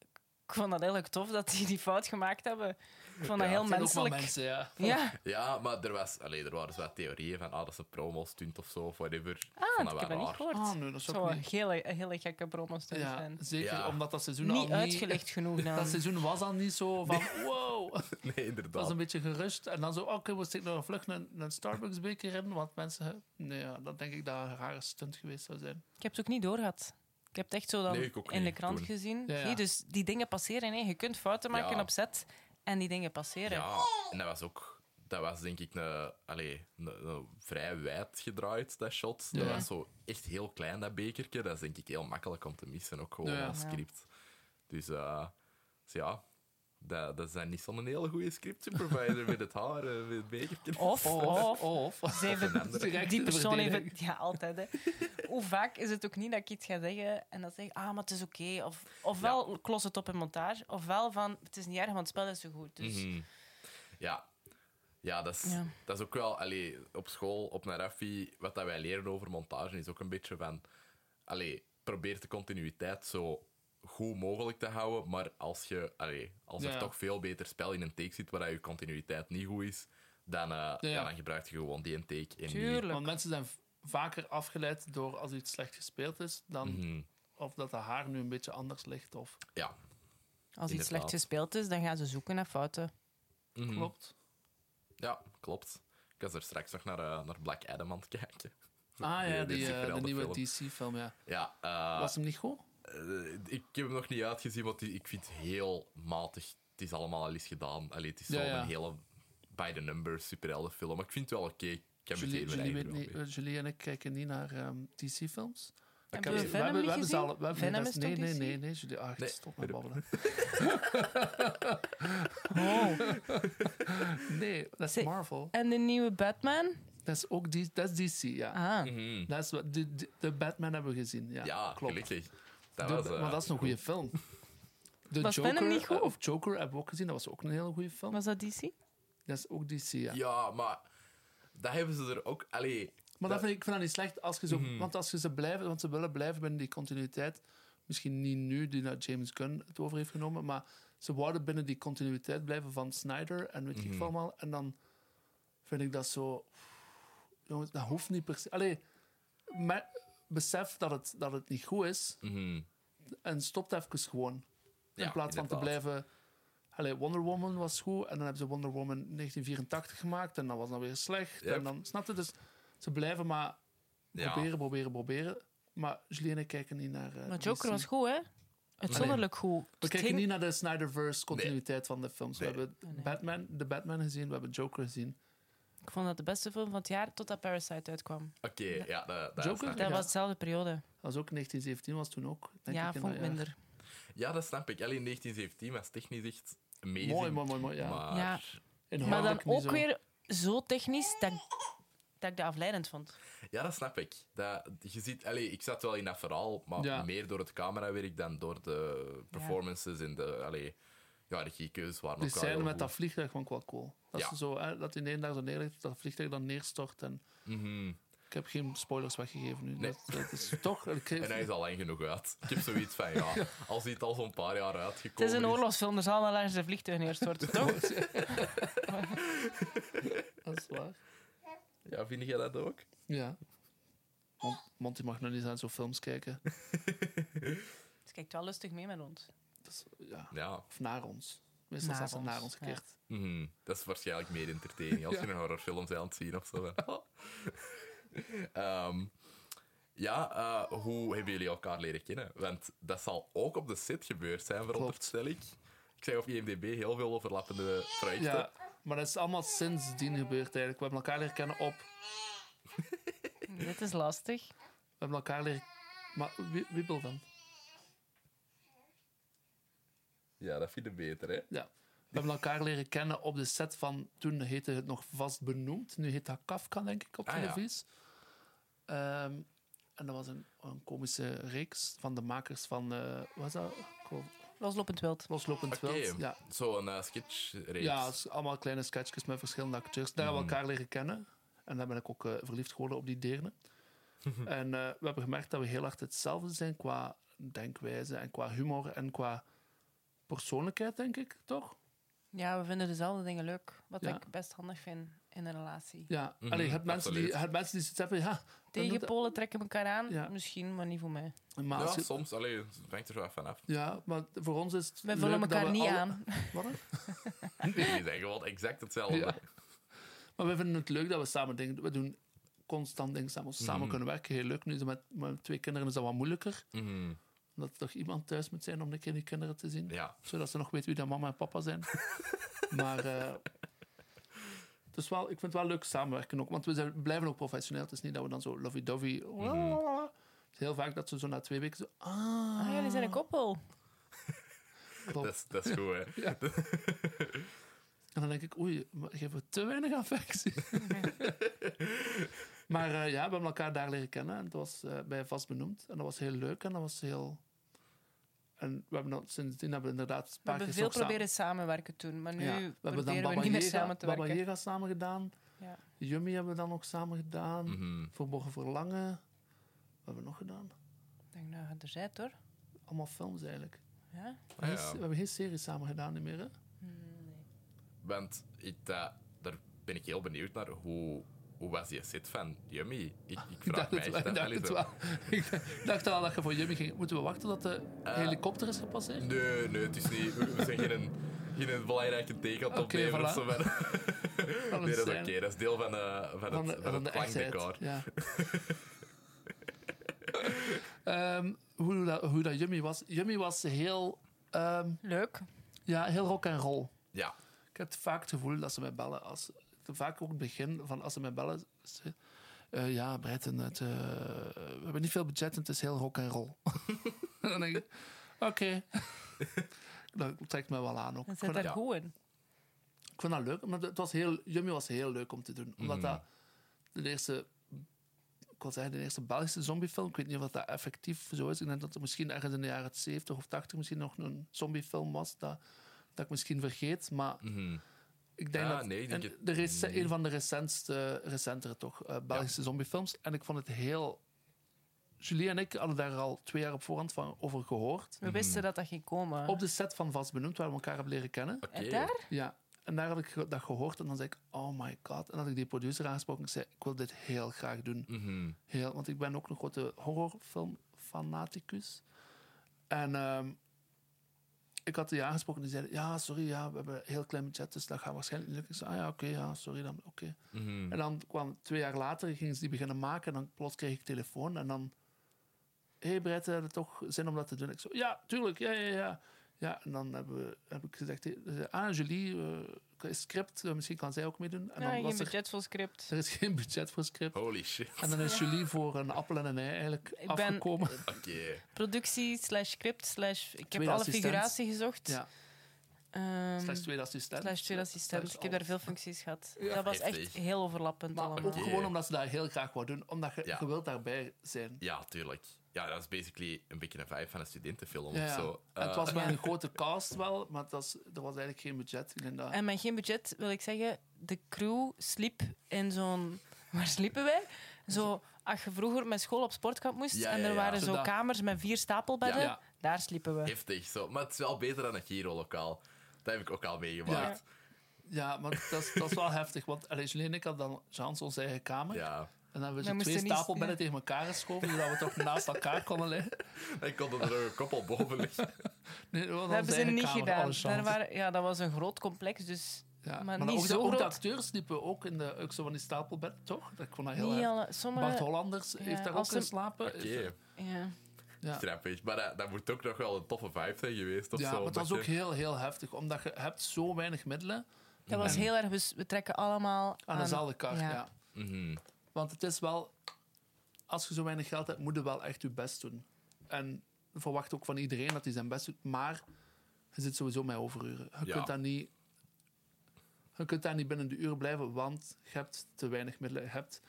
ik vond dat heel erg tof dat die die fout gemaakt hebben. Ik vond dat
Ja,
heel
Het zijn ook wel
menselijk. Ah,
mensen, ja.
Ja,
Ja, maar er, was, allee, er waren dus wat theorieën van ah, dat ze promo's stunt of zo, of whatever.
ah,
Vond
ik
wel
heb dat niet
raar.
gehoord.
Oh, nee, dat is
Zou
ook
een
niet...
hele, een hele gekke promo's te
Ja,
zijn.
zeker,
Ja.
omdat dat seizoen al
Niet
niet...
uitgelegd genoeg dan.
Dat seizoen was al niet zo van, wow. Het
Nee,
was
inderdaad.
een beetje gerust. En dan zo, oké, we steken nog vlug een, een Starbucks-beker in, want mensen... Nee, ja, dat denk ik dat een rare stunt geweest zou zijn.
Ik heb het ook niet doorgehad. Ik heb het echt zo dan
Nee, ik ook
in de
niet,
krant
toen.
gezien.
Ja, ja.
Nee, dus die dingen passeren. Nee. Je kunt fouten maken
Ja.
op set en die dingen passeren.
Ja, en dat was ook... Dat was denk ik een, allee, een, een vrij wijd gedraaid, dat shot. Dat
Ja.
was zo echt heel klein, dat bekertje. Dat is denk ik heel makkelijk om te missen, ook gewoon
Ja.
als
Ja.
script. Dus, eh, dus ja, dat, dat zijn niet zo'n hele goede script supervisor met het haar, eh, met het bekertje.
Of,
Of...
of,
Of...
ze hebben-
andere.
Direct
die
de
persoon even...
verdediging.
Ja, altijd. Hè. Hoe vaak is het ook niet dat ik iets ga zeggen en dan zeg ik, ah, maar het is oké. Of, ofwel klos het op in montage, ofwel van, het is niet erg, want het spel is zo goed. Dus
Mhm. Ja. Ja, dat is,
Ja.
dat is ook wel... Allee, op school, op Narafi, wat dat wij leren over montage is ook een beetje van... Allee, probeer de continuïteit zo goed mogelijk te houden, maar als, je, allee, als er
Ja.
toch veel beter spel in een take zit waar dat je continuïteit niet goed is, dan, eh, ja. dan gebruik je gewoon die een take en niet...
tuurlijk.
Want mensen zijn v- vaker afgeleid door als iets slecht gespeeld is, dan
Mhm.
of dat de haar nu een beetje anders ligt. Of
Ja.
Als iets slecht
inderdaad.
gespeeld is, dan gaan ze zoeken naar fouten.
Mhm.
klopt.
Ja, klopt. Ik was er straks nog naar, eh, naar Black Adam aan het kijken.
Ah ja,
dit
die,
is
eh, de
verhaalde
nieuwe Ah.
film.
DC-film, ja.
Ja, eh,
Was hem niet goed?
Eh, ik heb hem nog niet uitgezien, want ik vind het heel matig. Het is allemaal al eens gedaan. Allee, het is
Ja,
wel
ja.
een hele by the numbers superheldenfilm. Maar ik vind het wel oké. Ik heb het
Julie,
even
Julie, weet
eigenlijk
niet,
wel
eh, Julie en ik kijken niet naar ehm, DC-films.
Hebben we Venom niet gezien? Venom is
nee,
toch
nee,
DC?
nee, nee, Julie.
ah,
Ach,
Nee.
stop met babbelen.
Oh.
Nee, dat is
Zeg-
Marvel.
En de nieuwe Batman?
Dat is ook die, dat is DC, ja.
Ah,
Mhm.
Dat is wat, de, de, de Batman hebben we gezien, ja.
Ja,
klopt.
gelukkig. Dat
De-
was, eh,
maar dat is een goede film. De
Was Venom
Joker,
niet goed?
eh, Of Joker hebben we ook gezien, dat was ook een hele goede film.
was dat DC?
Eh, Dat is ook DC, ja.
Ja, maar dat hebben ze er ook. Allee,
Maar
dat-
dat vind ik, ik vind dat niet slecht. Als je zo,
Mhm.
Want als je ze blijven, want ze willen blijven binnen die continuïteit. Misschien niet nu, die dat James Gunn het over heeft genomen. Maar ze wouden binnen die continuïteit blijven van Snyder en
Mhm.
weet ik veel allemaal. En dan vind ik dat zo. Jongens, dat hoeft niet per se. Allee, me- besef dat het, dat het niet goed is.
mhm.
En stop het even gewoon. In
Ja,
plaats van te
inderdaad.
blijven. Allee, Wonder Woman was goed en dan hebben ze Wonder Woman 1984 gemaakt en dat was dan weer slecht.
Yep.
En dan, snap je? Dus ze blijven maar
Ja.
proberen, proberen, proberen. Maar Julie en ik kijken niet naar. eh,
Maar
DC.
Joker was goed, hè? Uitzonderlijk goed.
We
Het
kijken
ging-
niet naar de Snyderverse continuïteit van de films.
Nee.
We hebben
Nee.
Batman, de Batman gezien, we hebben Joker gezien.
Ik vond dat de beste film van het jaar totdat Parasite uitkwam.
Oké, ja, dat, dat
Joker?
snap ik.
Dat
Ja.
was dezelfde periode.
Dat was ook 1917, was toen ook. Denk
ja,
ik, in
vond ik
dat jaar.
minder.
Ja, dat snap ik. Alleen 1917 was technisch echt amazing.
Mooi, mooi, mooi, mooi. Ah, Ja.
Maar
Ja. Maar
Inhoudelijk
dan ook
niet zo.
weer zo technisch dat, ik- dat ik dat afleidend vond.
Ja, dat snap ik. Dat, je ziet, allee, ik zat wel in dat verhaal, maar
Ja.
meer door het camerawerk dan door de performances en de allee, ja, regiekeuzes waren
Die
ook wel
scène
heel
met
goed.
dat vliegtuig vond ik wel cool. Dat
Ja.
ze zo, hè, dat in één dag zo neerlegt, dat vliegtuig dan neerstort en...
Mhm.
Ik heb geen spoilers weggegeven nu.
Nee.
Dat, dat is toch... ik geef-
En hij is al lang genoeg uit. Ik heb zoiets van, ja, als hij het al zo'n paar jaar
Het is
uitgekomen
een oorlogsfilm, er zal wel ergens een vliegtuig neerstorten, toch?
Dat is waar.
Ja, vind jij dat ook?
Ja. Mon Monty mag nog niet aan zo'n films kijken.
Het kijkt wel lustig mee met ons.
Dat is, ja.
Ja.
Of naar ons. Meestal
Naar
staat ze naar
ons,
ons gekeerd.
Mhm. Dat is waarschijnlijk meer entertaining als je een horrorfilm bent aan het zien of zo.
Oh.
Ehm, ja, eh, hoe hebben jullie elkaar leren kennen? Want dat zal ook op de set gebeurd zijn, veronderstel ik. Ik zei op IMDb heel veel overlappende projecten.
Ja. Maar dat is allemaal sindsdien gebeurd eigenlijk. We hebben elkaar leren kennen op...
Dit is lastig.
We hebben elkaar leren... Maar wie, wie wil dan?
Ja, dat vind ik beter, hè?
Ja. We hebben elkaar leren kennen op de set van... Toen heette het nog Vast Benoemd. Nu heet dat Kafka, denk ik, op
Ah, ja.
televisie. Ehm, en dat was een, een komische reeks van de makers van... eh wat was dat? Ik geloof-
Loslopend wild.
Loslopend
Oké,
wild. Ja,
zo'n eh, Nou, sketchreeks.
ja het is allemaal kleine sketchjes met verschillende acteurs. Daar
Mm.
hebben we elkaar leren kennen. En daar ben ik ook eh, verliefd geworden op die deerne.
Mhm.
en eh, we hebben gemerkt dat we heel hard hetzelfde zijn qua denkwijze en qua humor en qua persoonlijkheid, denk ik, toch?
Ja, we vinden dezelfde dingen leuk. Wat
Ja.
ik best handig vind in een relatie.
Ja.
Mhm,
Allee, je hebt mensen, die,
absoluut.
je hebt mensen die zoiets hebben, ja... dan doet-
Tegenpolen trekken elkaar aan.
Ja.
Misschien, maar niet voor mij.
maar
ja,
als je-
soms. Allee, het hangt er wel van af.
ja, maar voor ons is het
We
leuk
vullen
dat
elkaar
we
niet
alle-
aan.
Wat?
Nee, die zijn gewoon exact hetzelfde.
Ja. Maar we vinden het leuk dat we samen dingen... We doen constant dingen samen. Als we samen
Mhm.
kunnen werken, heel leuk. Nu is het met, met twee kinderen is dat wat moeilijker.
Mhm,
Omdat er toch iemand thuis moet zijn om de keer die kinderen te zien.
ja.
Zodat ze nog weten wie dat mama en papa zijn. maar... eh, het is wel, ik vind het wel leuk samenwerken ook. Want we zijn, blijven ook professioneel. Het is niet dat we dan zo lovey-dovey... Het is heel vaak dat ze zo na twee weken zo... Ah,
Ah, jullie zijn een koppel.
klopt.
Dat, is, dat is goed, hè.
Ja. en dan denk ik, oei, maar geven we te weinig affectie. maar eh, ja, we hebben elkaar daar leren kennen. En dat was eh, bij vast benoemd. En dat was heel leuk en dat was heel... En we hebben dan, sindsdien hebben we inderdaad een
We
paar
hebben
keer
veel
nog samen-
proberen samenwerken toen. Maar nu
Ja, we hebben dan
proberen we
Baba
niet meer
Yaga-
samen te
Baba
werken.
Yaga samen gedaan.
Ja.
Yummy hebben we dan ook samen gedaan.
Mhm.
Verborgen Verlangen. Wat hebben we nog gedaan?
Ik denk, nou, je er zijt hoor.
Allemaal films eigenlijk.
Ja?
Ah,
We
ja.
hebben geen series samen gedaan niet meer, hè?
Want ik, eh, daar ben ik heel benieuwd naar. Hoe, hoe was die set van Yummy? Ik, ik
Ik
vraag
dacht,
mij
het,
echt
wel, ik
af.
dacht
Allee,
het
zo-
wel. Ik dacht al dat je voor Jimmy ging. Moeten we wachten tot de
Eh.
helikopter is gepasseerd?
Nee, nee, het is niet. We we zijn geen, geen belangrijke take aan het
Oké,
opnemen
voilà.
of zo. maar-
Van een
Nee, dat is
scène.
oké. Dat is deel van, eh, van,
Van
het,
de,
van
van
het
de echtheid.
klankdecor.
Ja. Ehm, hoe, dat, hoe dat Jimmy was. Jimmy was heel, ehm,
Leuk.
ja, heel rock en roll.
Ja.
Ik heb vaak het gevoel dat ze mij bellen. Als, vaak ook het begin van als ze mij bellen. Ze, eh, ja, Bretten, het, eh, we hebben niet veel budget en het is heel rock en roll. dan denk ik, oké. dat trekt me wel aan ook.
Dan
Ik
zit daar
Ja.
goed in.
Ik vond dat leuk, maar het was heel, Yummy was heel leuk om te doen. Omdat
Mhm.
dat de eerste, ik wil zeggen, de eerste Belgische zombiefilm, ik weet niet of dat effectief zo is. Ik denk dat er misschien ergens in de jaren 70 of 80 misschien nog een zombiefilm was, dat, dat ik misschien vergeet. Maar
Mhm.
ik denk
Ah,
dat
nee, mm-hmm. ik denk
en
het
de rece-
niet.
een van de recentste, recentere toch, eh, Belgische zombiefilms. En ik vond het heel... Julie en ik hadden daar al twee jaar op voorhand van over gehoord.
Mm.
We wisten dat dat ging komen.
Op de set van Vast Benoemd, waar we elkaar hebben leren kennen.
Oké.
En daar?
Ja, en daar had ik ge- dat gehoord en dan zei ik, oh my god. En had ik die producer aangesproken en ik zei, ik wil dit heel graag doen.
Mhm.
Heel, want ik ben ook een grote horrorfilmfanaticus. En ehm, ik had die aangesproken en die zeiden, ja, sorry, ja, we hebben een heel klein budget, dus dat gaat waarschijnlijk niet lukken. Ik zei, ah ja, oké, ja, sorry, dan oké.
Mhm.
En dan kwam twee jaar later, gingen ze die beginnen maken. En dan plots kreeg ik telefoon. En dan... Hé hey Brett, heb je toch zin om dat te doen? Ik zo, ja, tuurlijk, ja, ja, ja. Ja, en dan hebben we, heb ik gezegd... eh, Ah, Julie, eh, is script, eh, misschien kan zij ook meedoen. En
Ja,
dan
geen
was er,
budget voor script.
er is geen budget voor script.
Holy shit.
En dan is Julie voor een appel en een ei eigenlijk
Ik ben-
afgekomen.
Oké.
Productie slash script slash... Ik heb
Tweede
alle
assistent.
figuratie gezocht.
Ja.
Ehm,
Slechts tweede assistent.
slash tweede assistent. dus
Slash
Ik heb daar
alles.
veel functies gehad. Dat was echt
Heftig.
heel overlappend
Maar
allemaal.
ook gewoon omdat ze dat heel graag wou doen. Omdat je,
Ja.
je wilt daarbij zijn.
Ja, tuurlijk. Ja, dat is basically een beetje een vibe van een studentenfilm
Ja,
of
ja.
zo.
En het
Eh,
was wel een grote cast wel, maar het was, er was eigenlijk geen budget. Ik denk dat-
En met geen budget wil ik zeggen, de crew sliep in zo'n. Waar sliepen wij? Zo, als je vroeger met school op sportkamp moest
Ja,
en
ja,
er
ja.
waren
Zo
zo
dat.
kamers met vier stapelbedden,
Ja.
daar sliepen we.
Heftig zo. Maar het is wel beter dan een Giro-lokaal. Dat heb ik ook al meegemaakt.
Ja, maar dat is, dat is wel heftig. Want allee, Julie en ik hadden dan chance onze eigen kamer.
Ja.
En dan hebben we
Dan
zo twee
moest je niet-
stapelbedden
ja.
tegen elkaar geschoven, zodat we toch naast elkaar konden liggen.
Ik kon er nog een koppel boven liggen.
Nee, dat
Dat hebben ze niet gedaan. Daar waren, ja, dat was een groot complex, dus
ja.
maar niet
ook, de-
zo
ook de
groot.
acteurs liepen ook in de ook zo van die stapelbedden, toch? Dat kon dat heel
niet
erg.
alle,
Bart
sommige.
Hollanders heeft daar ook
eh, als ze-
geslapen.
Oké,
Ja.
Ja.
grappig. Maar dat, dat moet ook nog wel een toffe vibe zijn geweest of
Ja,
zo.
maar het was
dat
ook
je-
heel, heel heftig, omdat je hebt zo weinig middelen
Dat was heel erg, Dus we, we trekken allemaal
aan dezelfde kar.
ja.
Ja.
Mhm.
Want het is wel, als je zo weinig geld hebt, moet je wel echt je best doen. En verwacht ook van iedereen dat hij zijn best doet, maar je zit sowieso met overuren. Je,
Ja.
kunt, daar niet, je kunt daar niet binnen de uur blijven, want je hebt te weinig middelen. Je hebt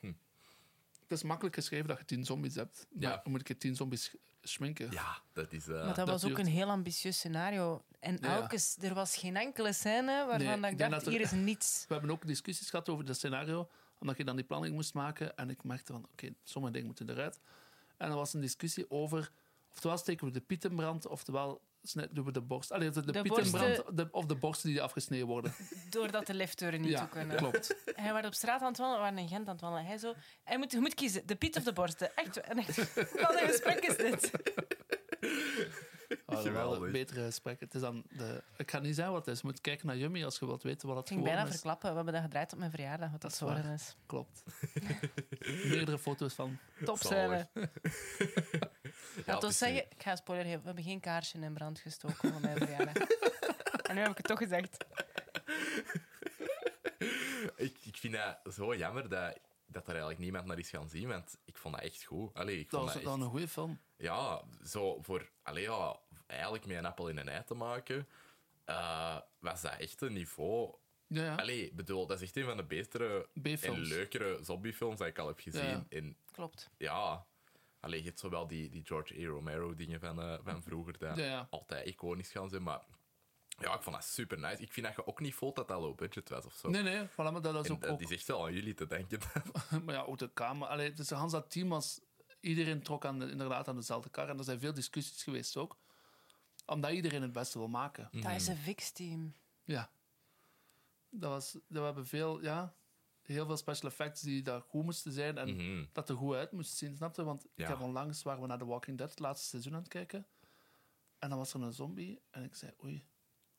het is makkelijk geschreven dat je tien zombies hebt, maar
Ja.
dan moet ik je tien zombies sch- schminken?
Ja, dat is... eh,
Maar dat,
dat
was ook
duurt.
een heel ambitieus scenario. En
Ja.
elke, s- er was geen enkele scène waarvan
Nee,
dat
ik
ik
denk
dacht,
dat er-
hier is niets.
We hebben ook discussies gehad over dat scenario, omdat je dan die planning moest maken. En ik merkte van, oké, sommige dingen moeten eruit. En er was een discussie over, oftewel steken we de piet in brand, oftewel snijden- doen we de borst. Allee, de, de,
De
piet in
borsten-
brand, de- of de borsten die afgesneden worden.
Doordat de liftdeuren niet
ja,
toe kunnen.
klopt.
Hij was op straat aan het wandelen, we waren in Gent aan het wandelen. Hij zo, hij moet, je moet kiezen, de Piet of de borsten. Echt, en echt wat een gesprek is dit?
Ah, wel
Geweldig.
een betere gesprek. Het is dan de, ik ga niet zeggen wat het is. Je moet kijken naar Yummy als je wilt weten wat het
Ik ging
gewoon
bijna
is.
verklappen, we hebben dat gedraaid op mijn verjaardag, wat dat
is
zo
waar.
is.
Klopt. Meerdere foto's van.
Top
Zalig.
scène.
Ja,
Laat
het
ons
is
zeggen, ik ga een spoiler geven, we hebben geen kaarsje in brand gestoken op mijn verjaardag. en nu heb ik het toch gezegd.
Ik, ik vind dat zo jammer dat, dat er eigenlijk niemand naar is gaan zien, want ik vond dat echt goed. Allee, ik
Dat
vond
was
dat echt,
dan een goede film.
Ja, zo voor allee, ja, eigenlijk met een appel in een ei te maken, eh, was dat echt een niveau.
Ja, ja.
Allee, bedoel, dat is echt een van de betere en
B-films.
leukere zombiefilms dat ik al heb gezien.
Ja.
En
Klopt.
ja, allee, je hebt zowel die, die George A. Romero dingen van, eh, van vroeger, dat
Ja, ja.
altijd iconisch gaan zijn, maar ja, ik vond dat super nice. Ik vind dat je ook niet voelt dat dat low budget was of zo.
Nee, nee, voilà, maar dat is
En
ook...
dat
ook
is echt wel aan jullie te denken.
maar ja, ook de kamer. Allee, dus Hans dat team was... Iedereen trok aan de- inderdaad aan dezelfde kar. En er zijn veel discussies geweest ook. Omdat iedereen het beste wil maken.
Dat is een fix-team.
Ja. Dat was... Dat we hebben veel... Ja, heel veel special effects die daar goed moesten zijn. En
Mhm.
dat er goed uit moest zien, snap je? Want
Ja.
ik heb onlangs, waren we naar The Walking Dead, het laatste seizoen aan het kijken. En dan was er een zombie. En ik zei, oei,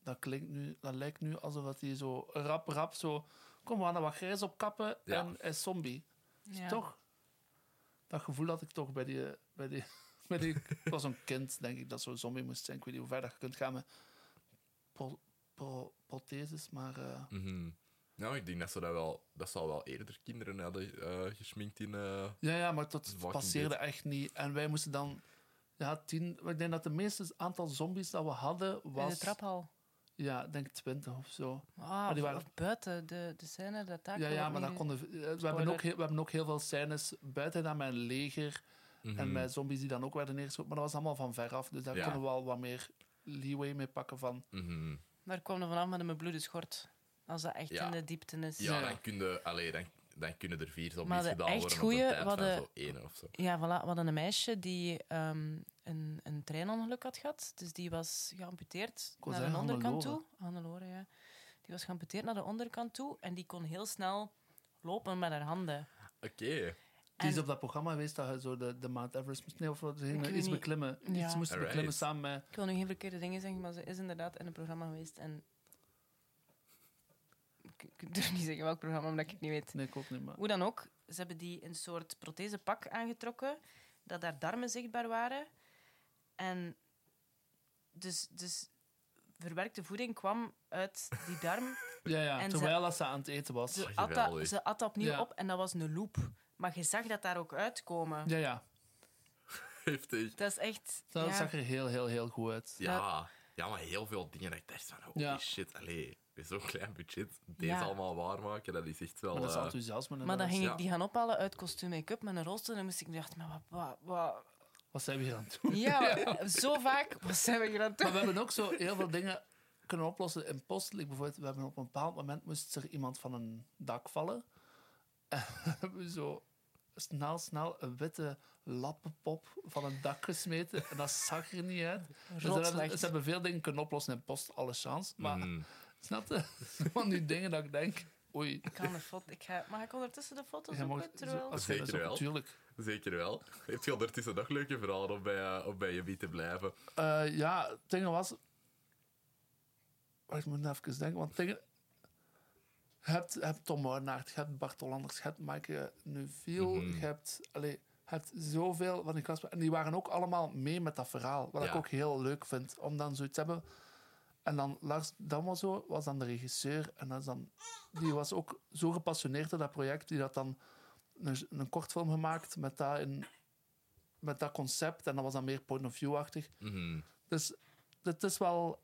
dat, klinkt nu, dat lijkt nu alsof dat hij zo rap, rap zo... Kom, we gaan er wat grijs op kappen
Ja.
en hij is zombie.
Ja.
Toch? Dat gevoel had ik toch bij die... Bij die, bij die ik was een kind, denk ik, dat zo'n zombie moest zijn. Ik weet niet hoe ver dat je kunt gaan met pro- pro- protheses, maar... eh,
Mhm. Nou, ik denk dat ze dat wel... Dat zal wel eerder kinderen hadden eh, gesminkt in... eh,
Ja, ja, maar dat
Walking
passeerde echt niet. En wij moesten dan... Ja, tien... maar Ik denk dat de meeste aantal zombies dat we hadden
In
was...
de traphal.
Ja, ik denk twintig of zo.
Ah,
die
of-
waren-
of buiten de, de scène, dat daar
ja,
kon
ja,
ik
maar dat
niet-
konden... eh, We hebben,
Spoiler.
ook heel, we hebben ook heel veel scènes buiten dan mijn leger. En met zombies die dan ook werden neergeschoten. Maar dat was allemaal van veraf. Dus daar
Mhm. Ja.
konden we al wat meer leeway mee pakken van...
mhm.
Daar kwam er vanaf met mijn bloede schort. Als dat echt
Ja.
in de diepte is.
Ja,
Ja.
dan kunnen, allee, dan, dan kunnen er vier
Maar
zombies
de
gedaan
echt
worden op
goeie
een tijd van
hadden-
zo één of zo.
Ja, voilà. We hadden een meisje die ehm, een, een treinongeluk had gehad. Dus die was geamputeerd
wou
naar de
zeggen
onderkant toe.
Hannelore.
Hannelore, ja. Die was geamputeerd naar de onderkant toe. En die kon heel snel lopen met haar handen.
Oké.
Het is
En-
op dat programma geweest dat je zo de, de Mount Everest moest... Nee, of wat,
Ik weet
iets
niet.
beklimmen.
Ja.
Iets moesten
Alright.
beklimmen samen met...
Ik wil nu geen verkeerde dingen zeggen, maar ze is inderdaad in een programma geweest. En ik, ik durf niet zeggen welk programma, omdat ik het niet weet.
Nee, ik ook niet, maar...
Hoe dan ook, ze hebben die een soort prothesepak aangetrokken, dat daar darmen zichtbaar waren. En dus, dus verwerkte voeding kwam uit die darm.
Ja, ja,
En ze-
terwijl dat ze aan het eten was.
Ze
Ah,
at
geweldig.
dat, ze at dat opnieuw
Ja.
op en dat was een loop. Maar je zag dat daar ook uitkomen.
Ja, ja.
Heftig.
Dat is echt...
Dat
ja.
zag er heel, heel, heel goed uit.
Ja. ja, maar heel veel dingen dat ik dacht van, holy
Ja.
shit, allee, met zo'n klein budget, deze
Ja.
allemaal waarmaken, dat is echt wel...
Maar dat is
eh,
enthousiasme.
Maar dan
inderdaad.
ging
Ja.
ik die gaan ophalen uit kostuum make-up met een rolstoel. En moest ik dacht, maar wat, wat, wat,
Wat zijn we hier aan het doen?
Ja, zo vaak. Wat zijn we hier aan het
Maar
doen?
we hebben ook zo heel veel dingen kunnen oplossen in post. Like bijvoorbeeld, we hebben op een bepaald moment moest er iemand van een dak vallen. En we hebben zo snel, snel een witte lappenpop van een dak gesmeten. En dat zag er niet uit. Dus dat hebben-
Rotslecht.
ze hebben veel dingen kunnen oplossen in post, alle chance. Maar
mhm.
snap je? Van die dingen dat ik denk, oei.
Ik ga een foto. Ik ga, mag ik ondertussen de foto's
jij mag-
zoeken? Terwijl...
als jij dat
Zeker
zo-
wel.
Tuurlijk.
Zeker wel. Heeft je ondertussen nog leuke verhalen om bij, eh, om bij je biet te blijven?
Eh, ja, het ding was. Wacht, ik moet nou even denken. Want dingen. Je hebt, je hebt Tom Moornaert, je hebt Bart Hollanders, je hebt Maaike Nuviel, je, hebt, allee, je hebt zoveel van die gasten. En die waren ook allemaal mee met dat verhaal. Wat ik
Ja.
ook heel leuk vind, om dan zoiets te hebben. En dan Lars Damazo was dan de regisseur. En dat is dan, die was ook zo gepassioneerd door dat project, die had dan een, een kortfilm gemaakt met dat, in, met dat concept. En dat was dan meer point-of-view-achtig.
Mhm.
Dus dat is wel.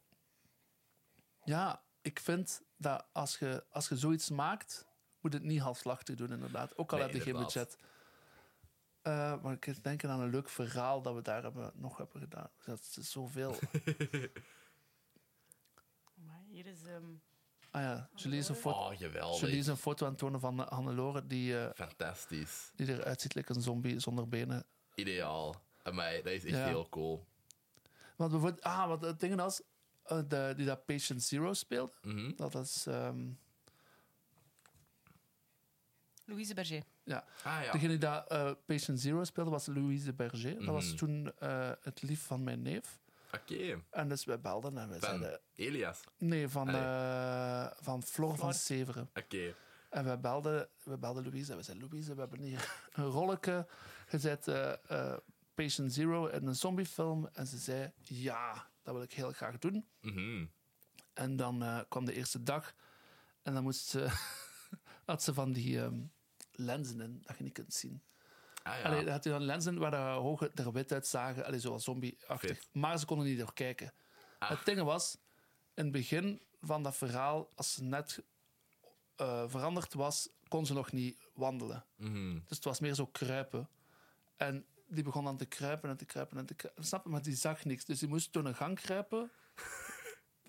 Ja, ik vind dat als je, als je zoiets maakt, moet het niet halfslachtig doen, inderdaad. Ook al
Nee,
heb je geen
inderdaad.
budget. Eh, maar ik denk denken aan een leuk verhaal dat we daar hebben, nog hebben gedaan. Dat is zoveel.
Maar Oh hier is... ehm,
ah ja, Julie is een foto,
Oh, geweldig.
Julie is een foto aan het tonen van eh, Hannelore die, eh,
Fantastisch.
die eruit ziet als een zombie zonder benen.
Ideaal. Amai, dat is echt
Ja.
heel cool.
Want bijvoorbeeld, ah, wat het ding was, eh, de, die dat Patient Zero speelde,
Mhm.
dat is, ehm,
Louise Berger.
ja.
Ah ja.
Degene die dat eh, Patient Zero speelde was Louise Berger. Dat was
Mhm.
toen eh, het lief van mijn neef.
Oké.
En dus wij belden en wij
Ben.
zeiden...
Elias.
Nee, van,
Allee.
eh, van Flor van
Flor.
Severen.
Oké.
En wij belden, wij belden Louise en we zeiden... Louise, we hebben hier een rolletje gezet. eh, eh, Patient Zero in een zombiefilm. En ze zei, ja, dat wil ik heel graag doen.
Mhm.
En dan eh, kwam de eerste dag. En dan moest ze, had ze van die ehm, lenzen in, dat je niet kunt zien.
Ah ja.
Allee, dan had hij dan lenzen waar de hoge er wit uitzagen. Allee, zoals zombie-achtig.
Vet. Ah.
Maar ze konden niet door kijken. Het ding was, in het begin van dat verhaal, als ze net eh, veranderd was, kon ze nog niet wandelen.
Mhm.
Dus het was meer zo kruipen. En die begon dan te kruipen en te kruipen en te kruipen. Snap je? Maar die zag niks. Dus die moest door een gang kruipen,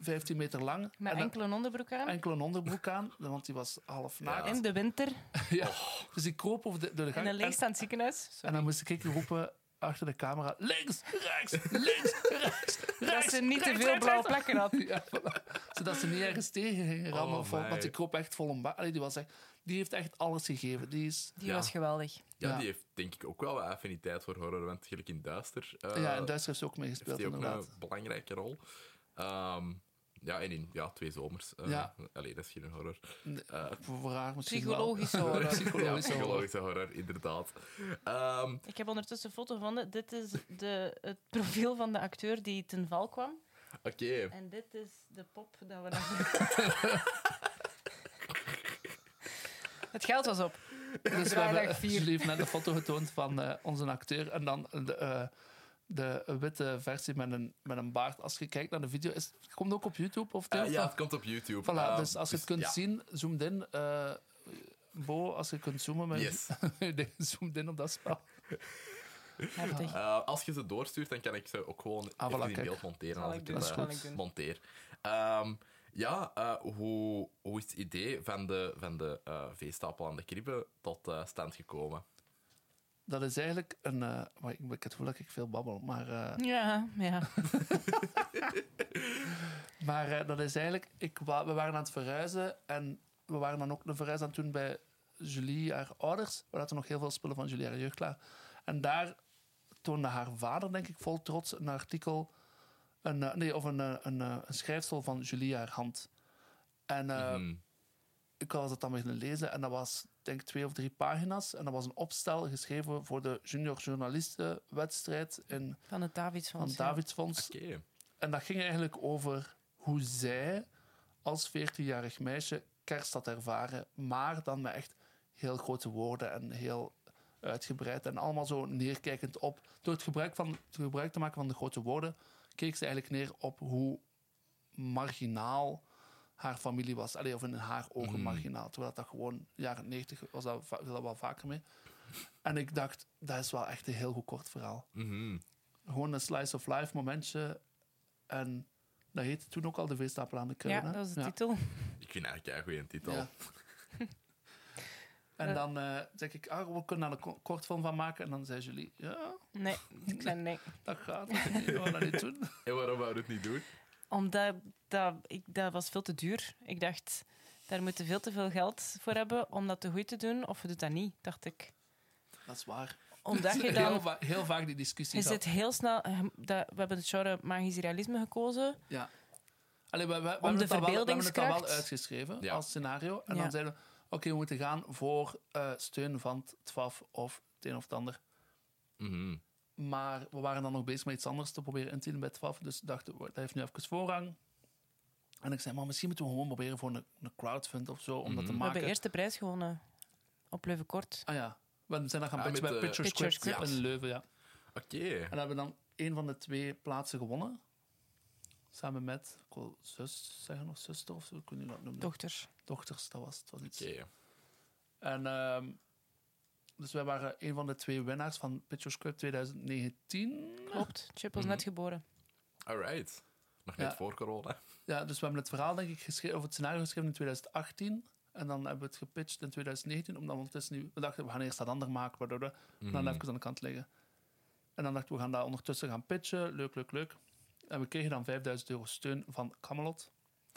15 meter lang.
Met
en dan
enkel een onderbroek aan.
enkel een onderbroek aan, want die was half naakt.
In de winter.
Ja. Dus die kroop over de, door de
In
gang.
een
En-
leegstaand ziekenhuis. Zo.
en dan moest ik roepen achter de camera: links, rechts, links, rechts, rechts.
Dat ze niet te
rechts,
veel
rechts,
blauwe
rechts."
plekken had.
Ja, voilà. Zodat ze niet ergens tegen gingen rammen.
Oh,
of wat,
my.
want die kroop echt vol een bak. Allee, Die, was echt, die heeft echt alles gegeven. Die is,
Die
Ja.
was geweldig.
Ja,
Ja.
die heeft denk ik ook wel wat affiniteit voor horror, want gelijk in Duister eh,
ja, en Duits heeft ze ook
heeft
meegespeeld,
die ook
inderdaad.
een belangrijke rol. Ehm, ja, en in ja, Twee Zomers. eh,
Ja.
Allee, dat is geen horror.
Nee,
Eh,
Voor voor haar misschien
Psychologisch
wel.
hoor.
Psychologische horror.
psychologische horror, inderdaad. Ehm,
Ik heb ondertussen een foto gevonden. Dit is de, het profiel van de acteur die ten val kwam.
Oké, Eh,
En dit is de pop dat we dan... Het geld was op.
Dus we
Vrijdag
hebben
vier.
jullie heeft net een foto getoond van eh, onze acteur. En dan de, eh, de witte versie met een, met een baard. Als je kijkt naar de video, is, komt ook op YouTube of
Eh,
deel
ja,
van?
het komt op YouTube.
Voilà,
Ehm,
dus als je het kunt
ja.
zien, zoomt in. eh, Bo, als je kunt zoomen met
Yes.
je zoomt in op dat spel.
Heftig.
Eh, als je ze doorstuurt, dan kan ik ze ook gewoon
Ah, voilà,
even in
kijk.
beeld monteren.
Zal
Als
ik
ik
doen,
het
zal
eh,
ik doen.
monteer. Ehm, ja, eh, hoe, hoe is het idee van de, van de eh, veestapel aan de kribben tot eh, stand gekomen?
Dat is eigenlijk een... eh, maar ik, ik heb het gevoel dat ik veel babbel, maar... eh,
Ja, ja.
Maar eh, dat is eigenlijk, ik wa- we waren aan het verhuizen en we waren dan ook een verhuis aan het doen bij Julie, haar ouders. We hadden nog heel veel spullen van Julie, haar jeugdklaar. En daar toonde haar vader, denk ik, vol trots een artikel, een, eh, nee, of een, eh, een, eh, een schrijfsel van Julie, haar hand. En eh,
Mhm.
ik was dat dan beginnen lezen en dat was, denk ik, twee of drie pagina's. En dat was een opstel geschreven voor de junior journalistenwedstrijd in,
Van het
van
Davidsfonds.
het
ja.
Davidsfonds.
Oké.
En dat ging eigenlijk over hoe zij als 14-jarig meisje kerst had ervaren, maar dan met echt heel grote woorden en heel uitgebreid en allemaal zo neerkijkend op. Door het gebruik, van, het gebruik te maken van de grote woorden keek ze eigenlijk neer op hoe marginaal haar familie was. Allee, of in haar ogen marginaal. Terwijl dat gewoon, jaren 90 was dat, va- viel dat wel vaker mee. En ik dacht, dat is wel echt een heel goed kort verhaal
Mhm.
gewoon een slice of life momentje. En dat heette toen ook al de veestapel aan de
Ja,
kruin. hè?
dat was de
Ja.
titel.
Ik vind eigenlijk een goede titel.
Ja. en dan eh, zeg ik, ah, we kunnen daar een ko- kortfilm van maken. En dan zei jullie, ja,
Nee, ik zei nee.
dat gaat. Dat niet, we gaan dat niet doen.
En waarom wou je het niet doen?
Omdat dat, ik, dat was veel te duur. Ik dacht, daar moeten we veel te veel geld voor hebben om dat te goed te doen. Of we doen dat niet, dacht ik.
Dat is waar. Dus
Omdat je
heel,
dan...
va- heel vaak die discussie
Je zit
gehad.
heel snel... eh, dat- We hebben het genre magisch realisme gekozen.
Ja. Allee, we, we, we,
de
hebben het al wel, we hebben het al wel
verbeeldingskracht.
uitgeschreven
Ja.
als scenario. En
Ja.
dan zeiden we, oké, we moeten gaan voor eh, steun van het TFAF of het een of het ander.
Mhm.
Maar we waren dan nog bezig met iets anders te proberen in te dienen bij 12. Dus dachten we, dat heeft nu even voorrang. En ik zei, maar misschien moeten we gewoon proberen voor een, een crowdfund of zo, om dat te
Mhm. We
maken.
hebben eerst de prijs gewonnen. Op Leuvenkort.
Ah ja, we zijn dan gaan
Ah,
pitchen
met
bij
de-
Picture
Picture
Script,
Script.
in Leuven, ja.
Oké.
En hebben we dan één van de twee plaatsen gewonnen. Samen met, ik wil zus zeggen, of zuster of zo, ik weet niet hoe dat noemen.
Dochters.
Dochters, dat was het. Was iets.
Oké.
En ehm, dus wij waren een van de twee winnaars van Picture Script 2019.
Klopt. Chip was
Mhm.
net geboren.
Alright. Nog
Ja.
net voor corona.
Ja, dus we hebben het verhaal, denk ik, geschreven, of het scenario geschreven in 2018. En dan hebben we het gepitcht in 2019, omdat we ondertussen nu... We dachten, we gaan eerst dat ander maken, waardoor
Mhm.
we dan even aan de kant liggen. En dan dachten we, we gaan dat ondertussen gaan pitchen. Leuk, leuk, leuk. En we kregen dan 5000 euro steun van Camelot.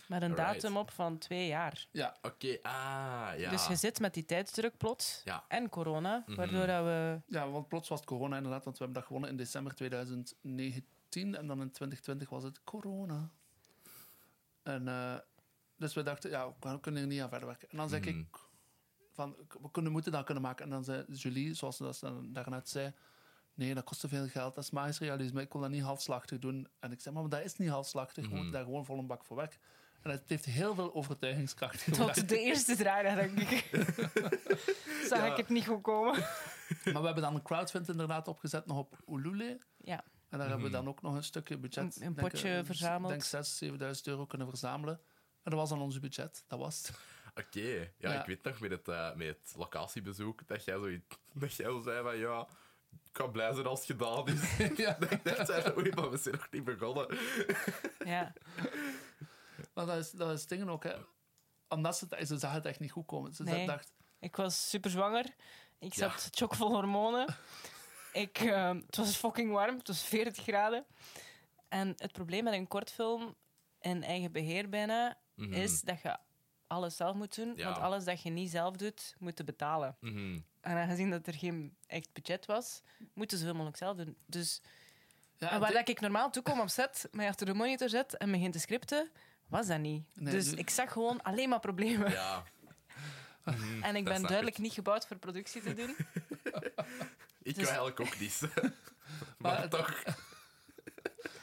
Met een
Alright.
datum op van twee jaar.
Ja,
Oké, ah, ja.
Dus je zit met die tijdsdruk plots.
Ja.
En corona.
Mhm.
Waardoor dat we...
ja, want plots was het corona inderdaad, want we hebben dat gewonnen in december 2019 en dan in 2020 was het corona. En eh, dus we dachten, ja, we kunnen er niet aan verder werken. En dan zeg
Mhm.
ik, van, we kunnen, moeten dat kunnen maken. En dan zei Julie, zoals ze dat dan daarnet zei, nee, dat kost te veel geld, dat is magisch realisme, ik kon dat niet halfslachtig doen. En ik zei, maar dat is niet halfslachtig, we moeten daar gewoon vol een bak voor werken. En het heeft heel veel overtuigingskracht gebracht.
Tot de eerste draai, denk ik. Zag ik het niet goed komen.
Maar we hebben dan een crowdfund inderdaad opgezet, nog op Ulule.
Ja.
En daar hebben we
Mhm.
dan ook nog een stukje budget.
Een- een
denk,
potje
eh, dus
verzameld.
Ik denk 6.000, 7.000 euro kunnen verzamelen. En dat was dan ons budget. Dat was het.
Oké, ja,
Ja.
ik weet nog met het, eh, met het locatiebezoek dat jij, zo, dat jij zo zei van ja, ik kan blij zijn als het gedaan is.
ja.
ik dacht, zei van, oei, maar we zijn nog niet begonnen.
Ja.
Maar dat is, dat is dingen ook, hè. Omdat ze, het- ze zagen het echt niet goed komen. Ze
Nee.
dacht,
Ik was super zwanger. Ik
Ja.
zat chockvol hormonen. ik, ehm, het was fucking warm, het was 40 graden. En het probleem met een kortfilm in eigen beheer bijna
Mhm,
is dat je alles zelf moet doen.
Ja.
Want alles dat je niet zelf doet, moet je betalen.
mhm.
En aangezien dat er geen echt budget was, moeten ze helemaal ook zelf doen. Dus
ja,
en waar
dit-
dat ik normaal toe kom op set, mij achter de monitor zet en begin te scripten, was dat niet.
Nee,
dus
dus-
ik zag gewoon alleen maar problemen.
Ja. Mhm,
En
dat
ik
snap
ben duidelijk
Ik,
niet gebouwd voor productie te doen.
ik
dus-
wou eigenlijk ook niet. maar
Maar het-
toch.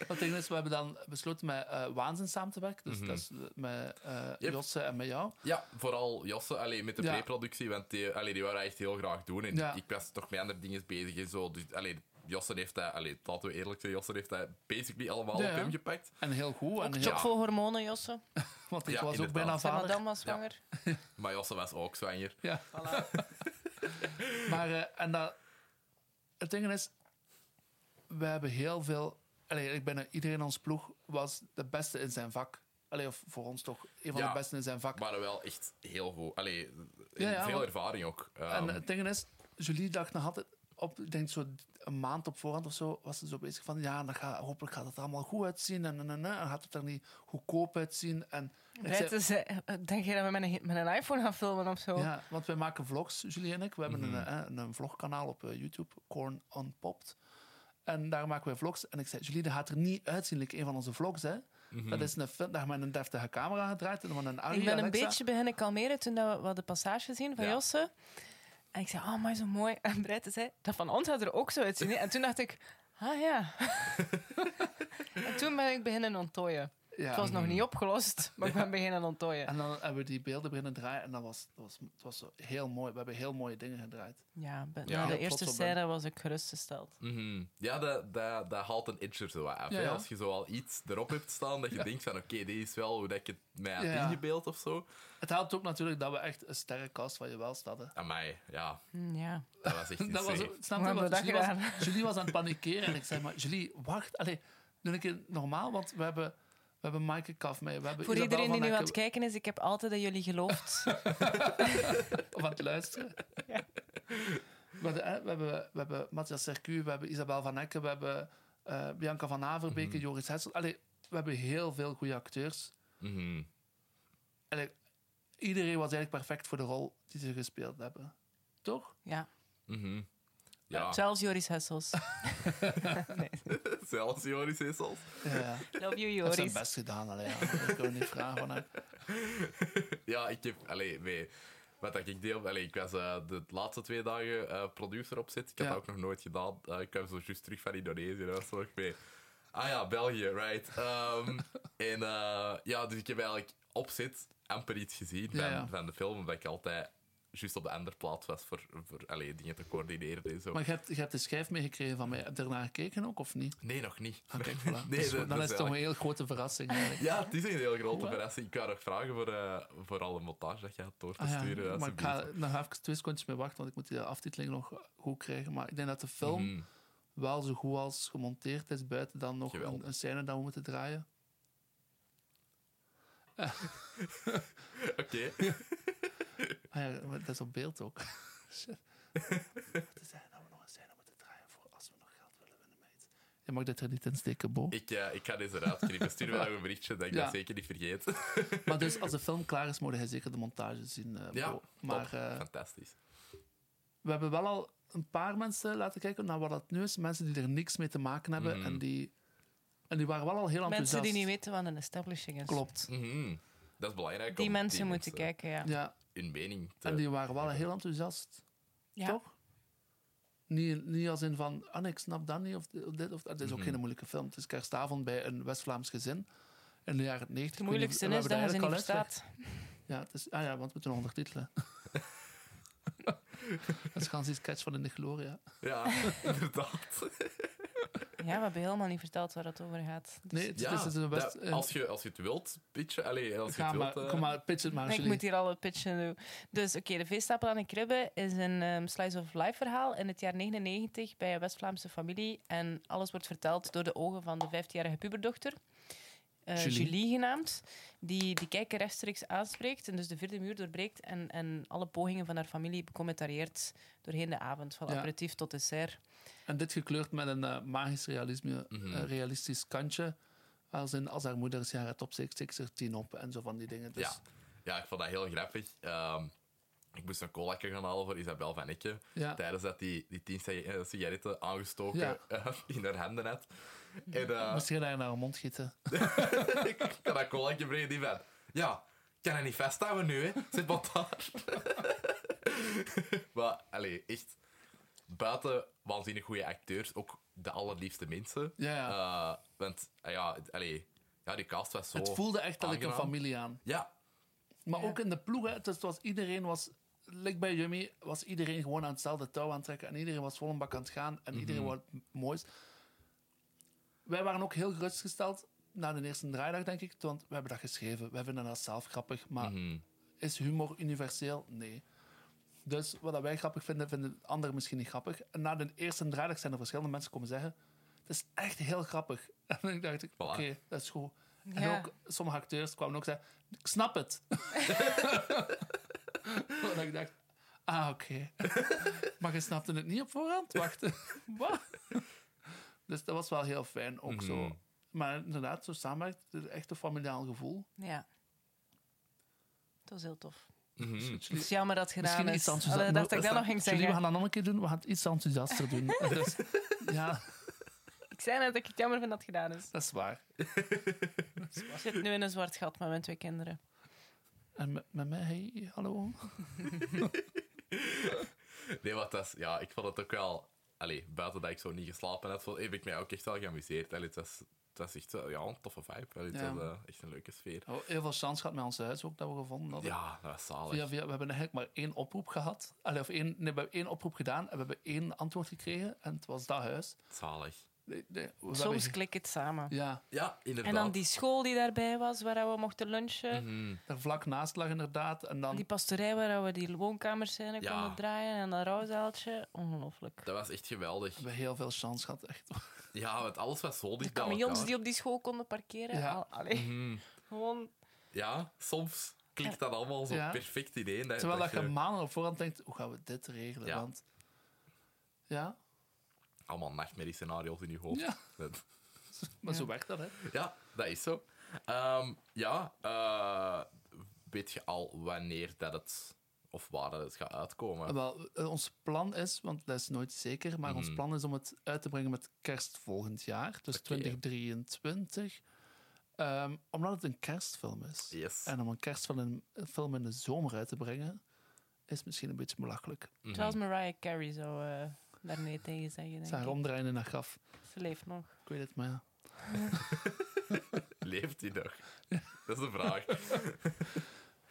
wat dingen is, we hebben dan besloten met eh Waanzin samen te werken. Dus
Mhm.
dat is met eh,
Yep.
Josse en met jou.
Ja, vooral Josse, allee, met de
Ja.
preproductie, want die, allee, die waren echt heel graag doen. En
Ja.
ik was toch met andere dingen bezig en zo. Dus, allee, Josse heeft dat, allee, laten we eerlijk zijn, Josse heeft dat basically allemaal
Ja,
op
ja.
hem gepakt.
En heel goed. En
Ook
heel,
chockvol hormonen, Josse.
want ik
Ja,
was ook
inderdaad.
bijna
Zijn
vader.
madame was
Ja.
zwanger.
Maar Josse was ook zwanger.
Ja.
Voilà.
Maar eh, en dat, het ding is, we hebben heel veel. Allee, ik ben iedereen in ons ploeg was de beste in zijn vak. Allee, of voor ons toch een van
Ja.
de beste in zijn vak.
Maar wel echt heel goed. Allee,
Ja, ja,
veel
want-
ervaring ook.
en
Ehm,
het ding is, Julie dacht nog altijd op, ik denk zo een maand op voorhand of zo, was ze zo bezig van ja, dan ga, hopelijk gaat het er allemaal goed uitzien en, en, en, en, en gaat het er niet goedkoop uitzien. En ik zei-
Brett, is, eh, denk je dat we met een, met een iPhone gaan filmen of zo?
Ja, want wij maken vlogs, Julie en ik. We hebben een, eh, een, een vlogkanaal op eh, YouTube, Corn Unpopped. En daar maken wij vlogs. En ik zei, Julie, dat gaat er niet uitzien, like een van onze vlogs, hè. Dat is een film, daar hebben we een deftige camera gedraaid. En dan een Arri
Ik ben een
Alexa.
beetje beginnen kalmeren toen dat we, we hadden passage zien van
Ja.
Josse. En ik zei, oh, maar zo mooi. En Brett zei, dat van ons had er ook zo uitzien. hè. En toen dacht ik, ah ja. en toen ben ik beginnen onttooien.
Ja.
Het was
Mm.
nog niet opgelost, maar ik ben beginnen onttooien.
En dan hebben we die beelden beginnen draaien. En dat was, dat was, het was zo heel mooi. We hebben heel mooie dingen gedraaid.
Ja, be-
Ja. Heel
na de
trots
eerste
op hem.
scène was ik gerustgesteld.
mhm. Ja, dat, dat, dat haalt een edge er zo wat af.
Ja,
hè.
ja.
Als je zo al iets erop hebt staan, dat je denkt van oké, dit is wel hoe dat ik het mij had
Ja.
ingebeeld of zo.
Het helpt ook natuurlijk dat we echt een sterrenkast van je welst hadden.
Amai, ja,
Hm, ja.
dat was echt
Dat was,
insane.
ook- snap je
Hoe
wat
hebben we
Julie
dat
was, Julie was aan het panikeren en ik zei maar, Julie, wacht. Allee, doe een keer normaal, want we hebben, we hebben Maaike Kaf mee. We hebben
Voor
Isabel
iedereen die
van
nu aan het
Ecke-
kijken is, ik heb altijd dat jullie geloofd.
Of aan het luisteren.
Ja.
We, hebben, eh, we, hebben, we hebben Matthias Sercu, we hebben Isabel van Ecken, we hebben eh, Bianca van Averbeke, Joris Hessel. Allee, we hebben heel veel goede acteurs.
Mhm.
Allee, iedereen was eigenlijk perfect voor de rol die ze gespeeld hebben. Toch?
ja.
mhm. Ja,
Zelfs Joris Hessels. nee.
zelfs Joris Hessels.
Ja.
Love you,
Ze heeft zijn
Joris.
best gedaan. Allee, ja. Dat kunnen we niet vragen van haar.
Ja, ik heb... Allee, nee. Wat dat ik deel... Allee, ik was eh, de laatste twee dagen eh, producer op zit. Ik had
Ja.
dat ook nog nooit gedaan. Eh, ik kwam zo juist terug van Indonesië. Dat was zo nog mee. Ah ja, België, right. Ehm, en eh, ja, dus ik heb eigenlijk op zit amper iets gezien van,
Ja, ja.
van de film. Omdat ik altijd juist op de andere plaats was voor, voor allee, dingen te coördineren en zo.
Maar je hebt, je hebt de schijf meegekregen van mij. Heb je ernaar gekeken ook, of niet?
Nee, nog niet.
Ah, kijk, voilà.
Nee,
Dus
dat- dat
dan is
is
het toch
eigenlijk-
een heel grote verrassing. Eigenlijk.
Ja, het is een heel grote
Goed, hè?
verrassing. Ik wou nog vragen voor, eh, voor alle montage dat je gaat door te
Ah ja,
sturen.
maar ik ga
alsjeblieft.
er nog even twee secondjes mee wachten, want ik moet die aftiteling nog goed krijgen. Maar ik denk dat de film
Mhm.
wel zo goed als gemonteerd is, buiten dan nog
Geweldig.
een, een scène dat we moeten draaien.
Oké.
Ah ja, maar dat is op beeld ook. Shit. We moeten zeggen dat we nog een scène moeten draaien voor als we nog geld willen winnen, meid. Je mag dit er niet in steken, Bo.
Ik, eh, ik ga deze eruit knippen. Stuur me dan een berichtje dat ik
Ja.
dat zeker niet vergeet.
Maar dus als de film klaar is, moet hij zeker de montage zien. eh,
Ja,
Bo. Maar
Top.
eh,
Fantastisch.
we hebben wel al een paar mensen laten kijken naar wat dat nu is. Mensen die er niks mee te maken hebben.
Mhm.
En, die, en die waren wel al heel enthousiast.
Mensen die niet weten wat een establishing is.
Klopt.
Mhm. Dat is belangrijk.
Die
om
mensen moeten kijken, ja.
Ja,
Hun mening te...
en die waren wel al heel enthousiast.
Ja.
Toch? Niet, niet als in van, ah nee, ik snap dat niet, of dit of dit. Of, dat. het is ook
Mhm.
geen moeilijke film. Het is kerstavond bij een West-Vlaams gezin in de jaren 90.
Het moeilijkste
Ik weet
is
niet of- we
dat je ze
hebben
niet
eigenlijk al uitgelegd.
verstaat.
Ja, het is, ah ja, want we moeten nog ondertitelen. dat is gewoon die sketch van In de Gloria.
Ja, inderdaad.
Dus
Ja, we hebben helemaal niet verteld waar het over gaat. Dus
Nee, het,
Ja,
is, het is een West...
dat-
eh,
als, je, als je het wilt, pitchen. Allee, als je
ga
het
maar,
wilt... eh,
kom maar, pitch het maar,
ik
Julie.
moet hier al een pitchen doen. Dus oké, De Veestapel aan de Kribbe is een ehm, slice of life verhaal in het jaar 99 bij een West-Vlaamse familie. En alles wordt verteld door de ogen van de 15-jarige puberdochter. eh,
Julie.
Julie. genaamd, die die kijker rechtstreeks aanspreekt en dus de vierde muur doorbreekt en, en alle pogingen van haar familie becommentarieert doorheen de avond, van
Ja.
aperitief tot dessert.
En dit gekleurd met een eh, magisch realisme,
Mhm.
eh, realistisch kantje. Als, in, als haar moeder is, ja, het op zich, ik er tien op en zo van die dingen. Dus,
Ja. ja, ik vond dat heel grappig. Ehm, ik moest een colaatje gaan halen voor Isabel van Ikke.
ja.
Tijdens dat die, die tien sig- eh, sigaretten aangestoken
Ja.
eh, in haar handen had. En eh,
Misschien haar naar haar mond gieten.
ik kan dat colaatje brengen die van... Ja, ik kan dat niet vasthouden nu, hè. Zit wat daar. maar, allee, echt... Buiten waanzinnig goede acteurs, ook de allerliefste mensen.
Ja, ja.
Eh, want, eh, ja, het- allee, ja, die cast was zo...
het voelde echt dat ik een
aangenaam.
familie aan.
Ja,
Maar
Ja.
ook in de ploeg, hè, dus het was, iedereen was... Like bij Jummy was iedereen gewoon aan hetzelfde touw aan het trekken. En iedereen was vol een bak aan het gaan. En iedereen wou het m- moois. Wij waren ook heel gerustgesteld na de eerste draaidag, denk ik. Want we hebben dat geschreven. Wij vinden dat zelf grappig. Maar
mhm.
Is humor universeel? Nee. Dus wat dat wij grappig vinden, vinden anderen misschien niet grappig. En na de eerste draaidag zijn er verschillende mensen komen zeggen... Het is echt heel grappig. En dan dacht ik,
Voilà.
oké, dat is goed. En
Ja.
ook sommige acteurs kwamen ook zeggen... Ik snap het. en ik dacht... Ah, oké. maar je snapte het niet op voorhand? Wacht. Wat? Dus dat was wel heel fijn, ook
Mhm.
zo. Maar inderdaad, zo samenwerkt, het is echt een familiaal gevoel.
Ja. Dat was heel tof.
Mhm.
Het is jammer dat het gedaan
Misschien
is.
iets enthousiast-
Allee, dacht
Nou,
ik dat nog ging
Jullie, we
zeggen.
gaan dat nog een keer doen. We gaan het iets enthousiaster doen. Dus, ja,
Ik zei net dat ik het jammer vind dat het gedaan is.
dat is waar.
Ik zit nu in een zwart gat met mijn twee kinderen.
En met, met mij, hey, hallo.
Nee, wat dat is, ja, ik vond het ook wel. Allee, buiten dat ik zo niet geslapen had, vond- heb ik mij ook echt wel geamuseerd. Allee, het, was, het was echt wel, ja, een toffe vibe. Allee, het
Ja.
was eh, echt een leuke sfeer.
Oh, heel veel chance gehad met ons huis ook, dat we gevonden hadden.
Ja, dat was zalig.
Via, via, we hebben eigenlijk maar één oproep gehad. Allee, of één, nee, we hebben één oproep gedaan en we hebben één antwoord gekregen. En het was dat huis.
Zalig.
Nee, nee, we hebben
Soms
ge-
klikt het samen.
Ja,
Ja, inderdaad.
En dan die school die daarbij was, waar we mochten lunchen.
Mhm.
daar vlak naast lag inderdaad. En dan,
Die pastoorij waar we die woonkamers zijn
Ja.
konden draaien. En dat rouwzaaltje. Ongelooflijk.
Dat was echt geweldig.
hebben we heel veel chance gehad, echt.
Ja, want alles was zo dicht bij
Camions
elkaar.
die op die school konden parkeren.
Ja.
Al, allee,
Mhm.
gewoon...
Ja, soms klikt dat allemaal zo
Ja.
perfect idee. Dat,
Terwijl dat je
je
maanden op voorhand denkt, hoe gaan we dit regelen?
Ja.
Want, ja,
allemaal nachtmerriescenario's in je hoofd.
Ja.
Dat-
maar
Ja.
zo werkt dat, hè.
Ja, dat is zo. Ehm, ja, eh, weet je al wanneer dat het of waar dat het gaat uitkomen?
Wel, eh, ons plan is, want dat is nooit zeker, maar ons
Mhm.
plan is om het uit te brengen met kerst volgend jaar, dus
Oké.
2023. Ehm, omdat het een kerstfilm is.
Yes.
En om een kerstfilm in, een film in de zomer uit te brengen, is misschien een beetje belachelijk.
Mhm.
Zoals Mariah Carey zou eh daar nee tegen zeggen, denk
Ze haar
ik.
omdraaien in haar graf.
Ze leeft nog.
Ik weet het, maar ja.
Leeft hij nog? Dat is de vraag.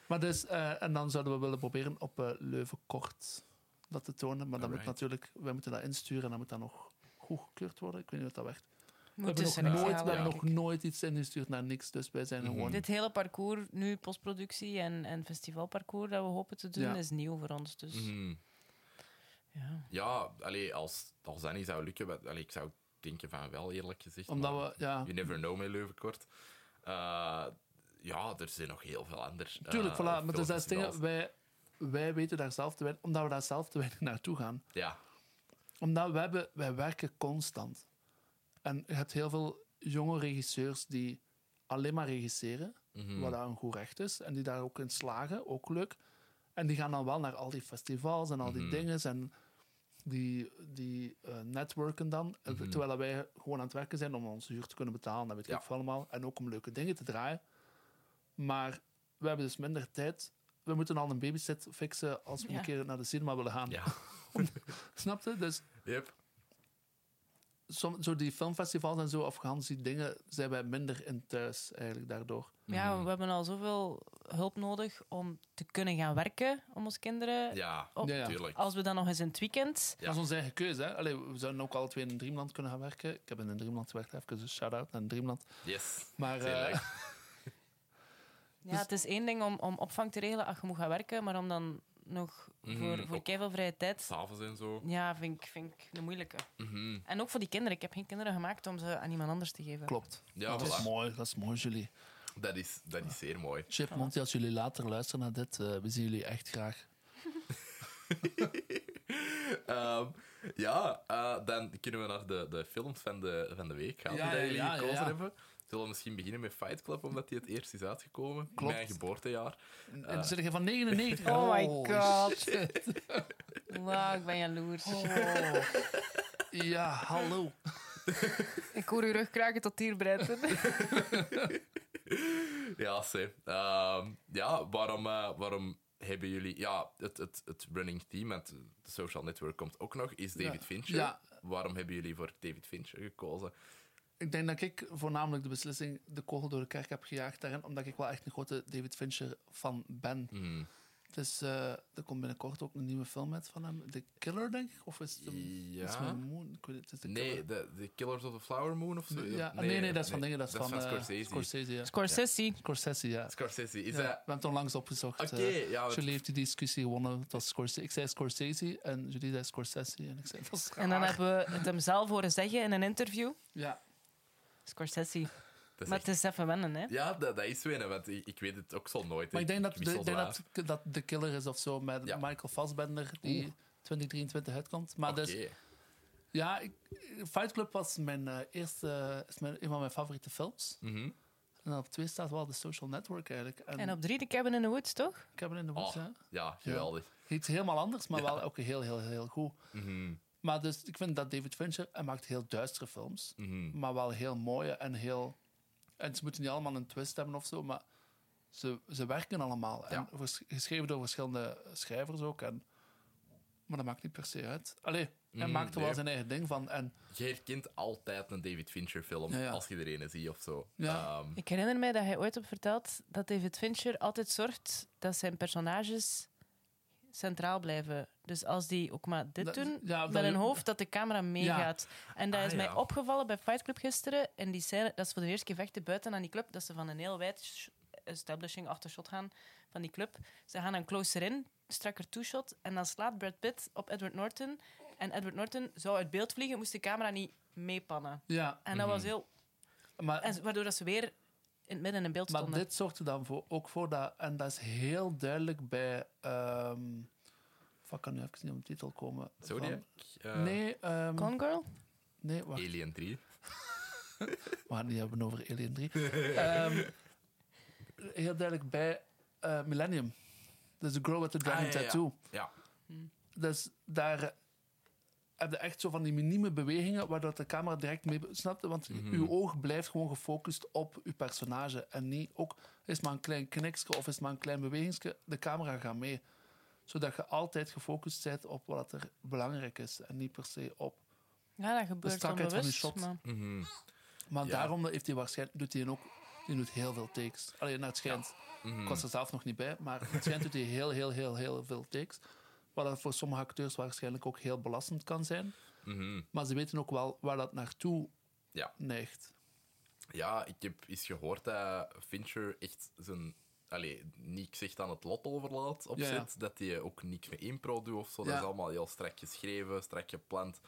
Maar dus, eh, en dan zouden we willen proberen op eh, Leuven kort dat te tonen. Maar dat moet
Alright.
natuurlijk, wij moeten dat insturen en dat moet dan nog goedgekeurd worden. Ik weet niet of dat werkt. We
Moet
hebben,
dus
nog
een
nooit,
examen,
we hebben
denk
nog
ik.
nooit iets ingestuurd naar niks, dus wij zijn
Mhm.
gewoon...
Dit hele parcours, nu postproductie en, en festivalparcours dat we hopen te doen,
Ja.
is nieuw voor ons. Dus
Mhm.
ja.
Ja, allee, als, als dat niet zou lukken, wat- allee, ik zou denken van wel, eerlijk gezegd.
Omdat
maar
we, ja,
You never know met Leuvenkort. Eh, ja, er zijn nog heel veel anders. eh,
Tuurlijk, voilà. Maar dus dat is het
dingen.
ding, wij, wij weten daar zelf te weinig, omdat we daar zelf te weinig naartoe gaan.
Ja,
Omdat we hebben, wij werken constant. En je hebt heel veel jonge regisseurs die alleen maar regisseren,
Mhm.
wat
Mm.
daar een goed recht is, en die daar ook in slagen, ook leuk. En die gaan dan wel naar al die festivals en al
Mhm.
die dingen en die, die eh, netwerken dan. En Terwijl dat wij gewoon aan het werken zijn om onze huur te kunnen betalen, dat weet
Mhm. Ja.
ik veel allemaal. En ook om leuke dingen te draaien. Maar we hebben dus minder tijd. We moeten al een babysit fixen als we
Ja.
een keer naar de cinema willen gaan.
Ja.
Snap je? Dus
Yep.
som, zo die filmfestivals en zo, of gans die dingen, zijn wij minder in thuis eigenlijk daardoor.
Mhm.
Ja, we hebben al zoveel hulp nodig om te kunnen gaan werken om onze kinderen.
Ja,
Op-
Ja, ja. Ah.
tuurlijk.
Als we dan nog eens in het weekend.
Ja.
Dat is onze eigen keuze. Hè? Allee, we zouden ook alle twee in Dreamland kunnen gaan werken. Ik heb in Dreamland gewerkt, even een shout-out naar Dreamland.
Yes.
Maar
Zeer
eh,
leuk.
Ja,
Dus-
het is één ding om, om opvang te regelen als je moet gaan werken, maar om dan nog
Mhm,
voor, voor
ook-
keiveel vrije tijd.
S'avonds en zo.
Ja, vind ik, vind ik een moeilijke.
Mhm.
En ook voor die kinderen. Ik heb geen kinderen gemaakt om ze aan iemand anders te geven.
klopt.
Ja,
dat is
voilà.
mooi, dat is mooi, jullie.
dat is, dat is zeer mooi.
Chip, Monty, als jullie later luisteren naar dit, eh, we zien jullie echt graag.
Ehm, ja, eh, dan kunnen we naar de, de films van de, van de week gaan.
Ja,
die
ja,
jullie
ja, ja,
gekozen
ja.
hebben. Zullen we misschien beginnen met Fight Club, omdat die het eerst is uitgekomen.
Klopt.
Mijn geboortejaar.
En
Eh.
dan zit je van 99.
Oh my
Holy
God.
shit.
Wauw, ik ben jaloers.
Oh. Ja, hallo.
Ik hoor uw rug kraken tot hier, Bretten.
Ja, ze. Ehm, ja, waarom, eh, waarom hebben jullie... Ja, het, het, het running theme, want de social network komt ook nog, is David
Ja.
Fincher.
Ja.
Waarom hebben jullie voor David Fincher gekozen?
Ik denk dat ik voornamelijk de beslissing de kogel door de kerk heb gejaagd daarin, omdat ik wel echt een grote David Fincher fan ben.
Mhm.
Dus eh, er komt binnenkort ook een nieuwe film uit van hem. The Killer, denk ik? Of is het een,
Ja.
is het een Moon? Ik weet het, het is The
Nee,
Killer.
de, de Killers of the Flower Moon of zo?
Nee, ja, nee, nee, dat is van dingen. Dat is van, eh,
Scorsese.
Scorsese, ja.
Scorsese.
Scorsese, ja.
Scorsese, is
Ja, we
dat...
hebben het onlangs opgezocht.
Oké,
eh.
ja, want-
Jullie heeft die discussie gewonnen. Het was Scorsese. Ik zei Scorsese en jullie zei Scorsese. En ik zei, dat is
En dan
raar.
hebben we het hem zelf horen zeggen in een interview.
Ja,
Scorsese.
dat is
Maar
echt-
het is even wennen, hè.
Ja, dat, dat is winnen, want ik, ik weet het ook zo nooit.
maar ik denk dat de,
wissel
denk
daar.
dat, dat de killer is of zo met
Ja.
Michael Fassbender, die 2023 uitkomt. Maar
Oké.
dus, ja, ik, Fight Club was mijn eh, eerste, is mijn, een van mijn favoriete films.
Mhm.
En dan op twee staat wel de Social Network eigenlijk. En,
En op drie, de Cabin in the Woods, toch?
Cabin in the Woods,
Oh,
hè?
ja, geweldig.
Iets helemaal anders, maar wel ook heel, heel, heel goed.
Mhm,
Maar dus, ik vind dat David Fincher, hij maakt heel duistere films.
mhm.
maar wel heel mooie en heel. En ze moeten niet allemaal een twist hebben of zo, maar ze, ze werken allemaal.
Ja.
En vers- geschreven door verschillende schrijvers ook. En, maar dat maakt niet per se uit. Allee, hij
Mm,
maakt er
nee.
wel zijn eigen ding van. En
Je herkent altijd een David Fincher film,
Ja, ja.
als je er een ziet of zo.
Ja.
Ehm,
Ik herinner mij dat hij ooit hebt verteld dat David Fincher altijd zorgt dat zijn personages centraal blijven. Dus als die ook maar dit
Dat-
doen,
ja,
met
dat-
een hoofd dat de camera meegaat. En dat
Ah,
is mij
ja.
opgevallen bij Fight Club gisteren. En die scène, dat is voor de eerste keer vechten buiten aan die club, dat ze van een heel wijd sh- establishing achtershot gaan van die club. Ze gaan een closer in, strakker two-shot. En dan slaat Brad Pitt op Edward Norton. En Edward Norton zou uit beeld vliegen, moest de camera niet meepannen.
ja,
En dat was heel
maar,
en, waardoor dat ze weer in het midden in beeld
maar
stonden.
dit zorgt er dan voor, ook voor dat. En dat is heel duidelijk bij. ehm fuck, ik kan nu even niet op de titel komen.
Zodiac?
Van-
eh,
nee, ehm,
Gone Girl?
nee, wacht.
Alien 3.
We gaan het niet hebben over Alien 3. Ehm, heel duidelijk bij eh, Millennium. Dus The Girl with the Dragon
Ah, ja, ja.
Tattoo.
Ja.
Dus daar heb je echt zo van die minieme bewegingen, waardoor de camera direct mee... be- Snap je? Want
Mhm.
uw oog blijft gewoon gefocust op uw personage. En niet ook, is maar een klein knikske of is maar een klein bewegingsje, de camera gaat mee. Zodat je altijd gefocust bent op wat er belangrijk is. En niet per se op...
Ja, dat gebeurt
strakheid van die
onbewust.
shot.
maar-
Mhm.
Maar
Ja.
daarom heeft hij waarschijnlijk doet hij ook die doet heel veel takes. Alleen naar het schijnt.
Mhm.
Ik was er zelf nog niet bij, maar het schijnt doet hij heel, heel, heel, heel veel takes. Wat dat voor sommige acteurs waarschijnlijk ook heel belastend kan zijn.
mhm.
Maar ze weten ook wel waar dat naartoe
Ja.
neigt.
Ja, ik heb eens gehoord dat Fincher echt zijn... Allee, niks echt aan het lot overlaat op
Ja, ja.
zet. Dat hij ook niks met impro doet of zo.
Ja.
Dat is allemaal heel strak geschreven, strak gepland.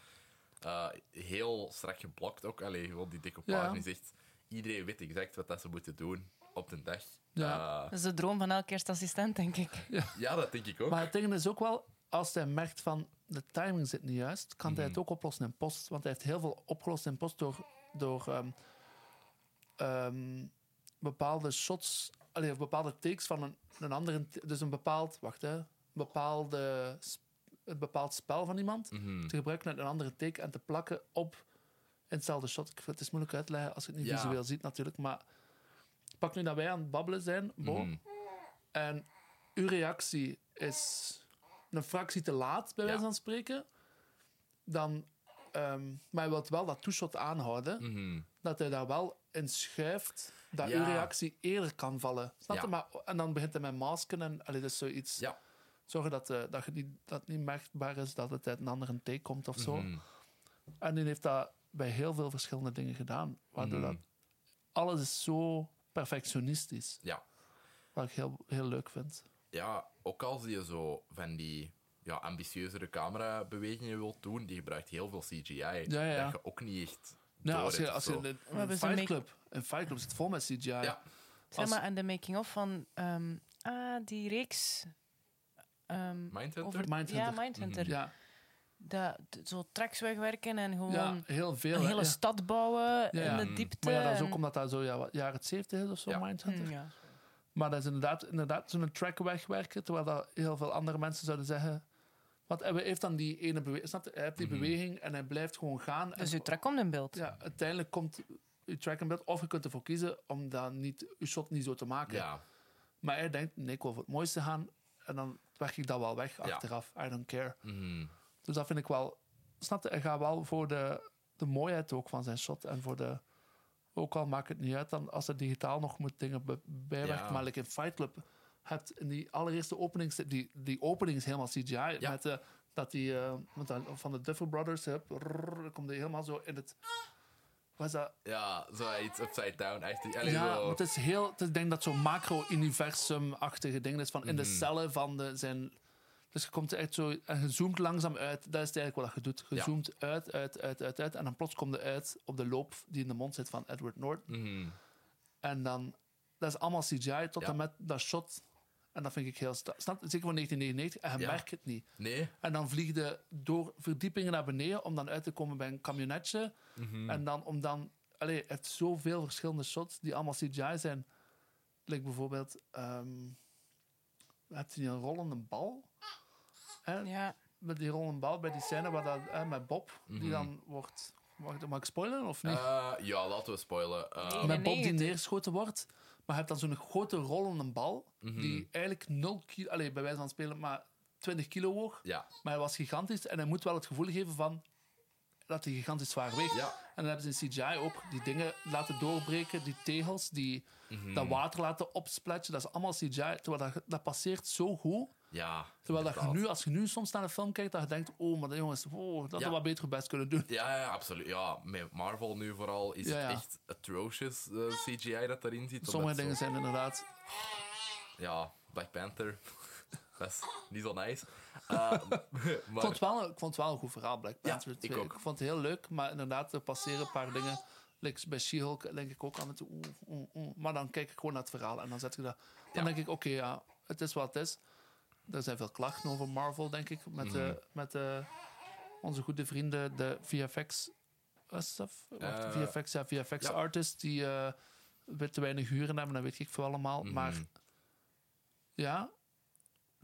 eh, heel strak geblokt ook. Allee, gewoon die decoupage
Ja.
is echt... Iedereen weet exact wat dat ze moeten doen op de dag.
Ja.
Eh,
Dat is de droom van elke assistent, denk ik.
ja, dat denk ik ook.
Maar het ding is ook wel, als hij
Mhm.
merkt van de timing zit niet juist, kan hij het ook oplossen in post. Want hij heeft heel veel opgelost in post door door ehm, ehm, bepaalde shots, allee, of bepaalde takes van een, een andere. t- Dus een bepaald, wacht hè, een bepaalde, sp- een bepaald spel van iemand
Mhm.
te gebruiken met een andere take en te plakken op hetzelfde shot. Ik vind- Het is moeilijk uit te leggen als je het niet
Ja.
visueel ziet natuurlijk, maar pak nu dat wij aan het babbelen zijn, Bo,
Mhm.
en uw reactie is een fractie te laat, bij
Ja.
wijze van spreken, dan, ehm, maar je wilt wel dat toeshot aanhouden,
Mhm.
dat hij daar wel in schuift, dat
Ja.
uw reactie eerder kan vallen. Snap je?
Ja.
Maar, en dan begint hij met masken en allee, dat is zoiets.
Ja.
Zorgen dat, eh, dat, je niet, dat het niet merkbaar is dat het uit een andere take komt of zo.
Mhm.
En die heeft dat bij heel veel verschillende dingen gedaan, waardoor
Mhm.
dat alles is zo perfectionistisch,
Ja.
wat ik heel, heel leuk vind.
ja, ook als je zo van die ja, ambitieuzere camerabewegingen wilt doen, die gebruikt heel veel CGI.
ja.
Dat je ook niet echt.
Ja,
door
Nou, als
hebt
je,
of
als je
zo.
een,
hebben
een
zo'n
Fight
make-
Club... Een Fight Club zit vol met CGI.
Ja.
Zeg
Als-
maar, en de making-of van... ehm, ah, die reeks... ehm,
Mindhunter?
over-
Mindhunter. Mhm,
Ja, Mindhunter.
Ja,
Dat, d- zo tracks wegwerken en gewoon
ja, heel veel.
een
hè.
hele
Ja.
stad bouwen
ja. Mhm.
in de
Mm.
diepte.
Maar ja, dat is
en-
ook omdat dat zo ja, wat- jaren 70 is of zo,
Ja.
Mindhunter.
Mm, ja.
Maar dat is inderdaad, inderdaad zo'n track wegwerken, terwijl dat heel veel andere mensen zouden zeggen... Want hij heeft dan die ene beweging, snap je? Hij heeft die
Mhm.
beweging en hij blijft gewoon gaan.
Dus
en,
uw track komt in beeld.
ja, uiteindelijk komt je track in beeld. Of je kunt ervoor kiezen om dat niet, je shot niet zo te maken.
Ja,
Maar hij denkt, nee, ik wil voor het mooiste gaan. En dan weg ik dat wel weg achteraf. I don't care.
mhm.
Dus dat vind ik wel. Snap je? Hij gaat wel voor de, de mooiheid ook van zijn shot. En voor de. Ook al maakt het niet uit dan als er digitaal nog moet dingen be- bijwerken.
Ja.
Maar like in Fight Club hebt in die allereerste opening. Die, die opening is helemaal CGI. Met, eh, dat die, eh, met dat- van de Duffer Brothers. Heb, rrrr, komt die helemaal zo in het. Wat is dat?
ja zo iets upside down. Echt, die- allee,
Ja,
zo-
maar het is heel. Het is, ik denk dat zo'n macro-universum-achtige ding is. Van in de
Mhm.
cellen van de, zijn. Dus je komt er echt zo. En je zoomt langzaam uit. Dat is het eigenlijk wat je doet. Je
Ja.
zoomt uit, uit, uit, uit, uit. En dan plots komt er uit op de loop die in de mond zit van Edward Norton.
Mhm.
En dan. Dat is allemaal CGI tot
Ja.
en met dat shot. En dat vind ik heel. sta- Snap, je? zeker van 1999. En je
Ja.
merkt het niet.
Nee,
En dan vlieg je door verdiepingen naar beneden om dan uit te komen bij een kamionetje.
Mhm.
En dan om dan... Allee, hij heeft zoveel verschillende shots die allemaal CGI zijn. Like bijvoorbeeld... ehm heb je een rollende bal? Hè?
Ja.
Met die rollende bal bij die scène waar dat, hè, met Bob,
Mhm.
die dan wordt... Mag, mag ik spoilen of niet?
Eh, ja, laten we spoilen. Eh,
Nee.
Ah. met Bob die
91.
neergeschoten wordt. Maar je hebt dan zo'n grote rollende bal
Mhm.
die eigenlijk 0 kilo... Allee, bij wijze van spelen maar 20 kilo woog.
Ja,
Maar hij was gigantisch en hij moet wel het gevoel geven van dat hij gigantisch zwaar weegt.
Ja.
En dan hebben ze in CGI ook die dingen laten doorbreken, die tegels, die
Mhm.
dat water laten opsplatsen. Dat is allemaal CGI. Terwijl dat, dat passeert zo goed.
ja.
Terwijl dat je
inderdaad.
nu, als je nu soms naar een film kijkt, dat je denkt, oh, maar jongens, wow, dat
Ja.
we wat beter hun best kunnen doen.
Ja, ja, absoluut. Ja, met Marvel nu vooral is
Ja, ja.
het echt atrocious eh, CGI dat erin zit.
Sommige
omdat
dingen
zo-
zijn inderdaad...
Ja, Black Panther. dat is niet zo nice. Eh, maar,
Ik vond, het wel, een- ik vond het wel een goed verhaal, Black
Ja,
Panther
ik
2.
ook.
Ik vond het heel leuk, maar inderdaad, er passeren een paar dingen. Like bij She-Hulk denk ik ook aan het... Oeh, oeh, oeh. Maar dan kijk ik gewoon naar het verhaal en dan zet ik dat... Dan
Ja.
denk ik, oké, ja, het is wat het is. Er zijn veel klachten over Marvel, denk ik. Met, eh,
Mhm.
met eh, onze goede vrienden, de VFX... eh, stuff? Wacht,
Eh,
VFX, ja, VFX
ja.
artists die eh, weer te weinig huren hebben. Dat weet ik veel allemaal.
Mhm.
Maar ja,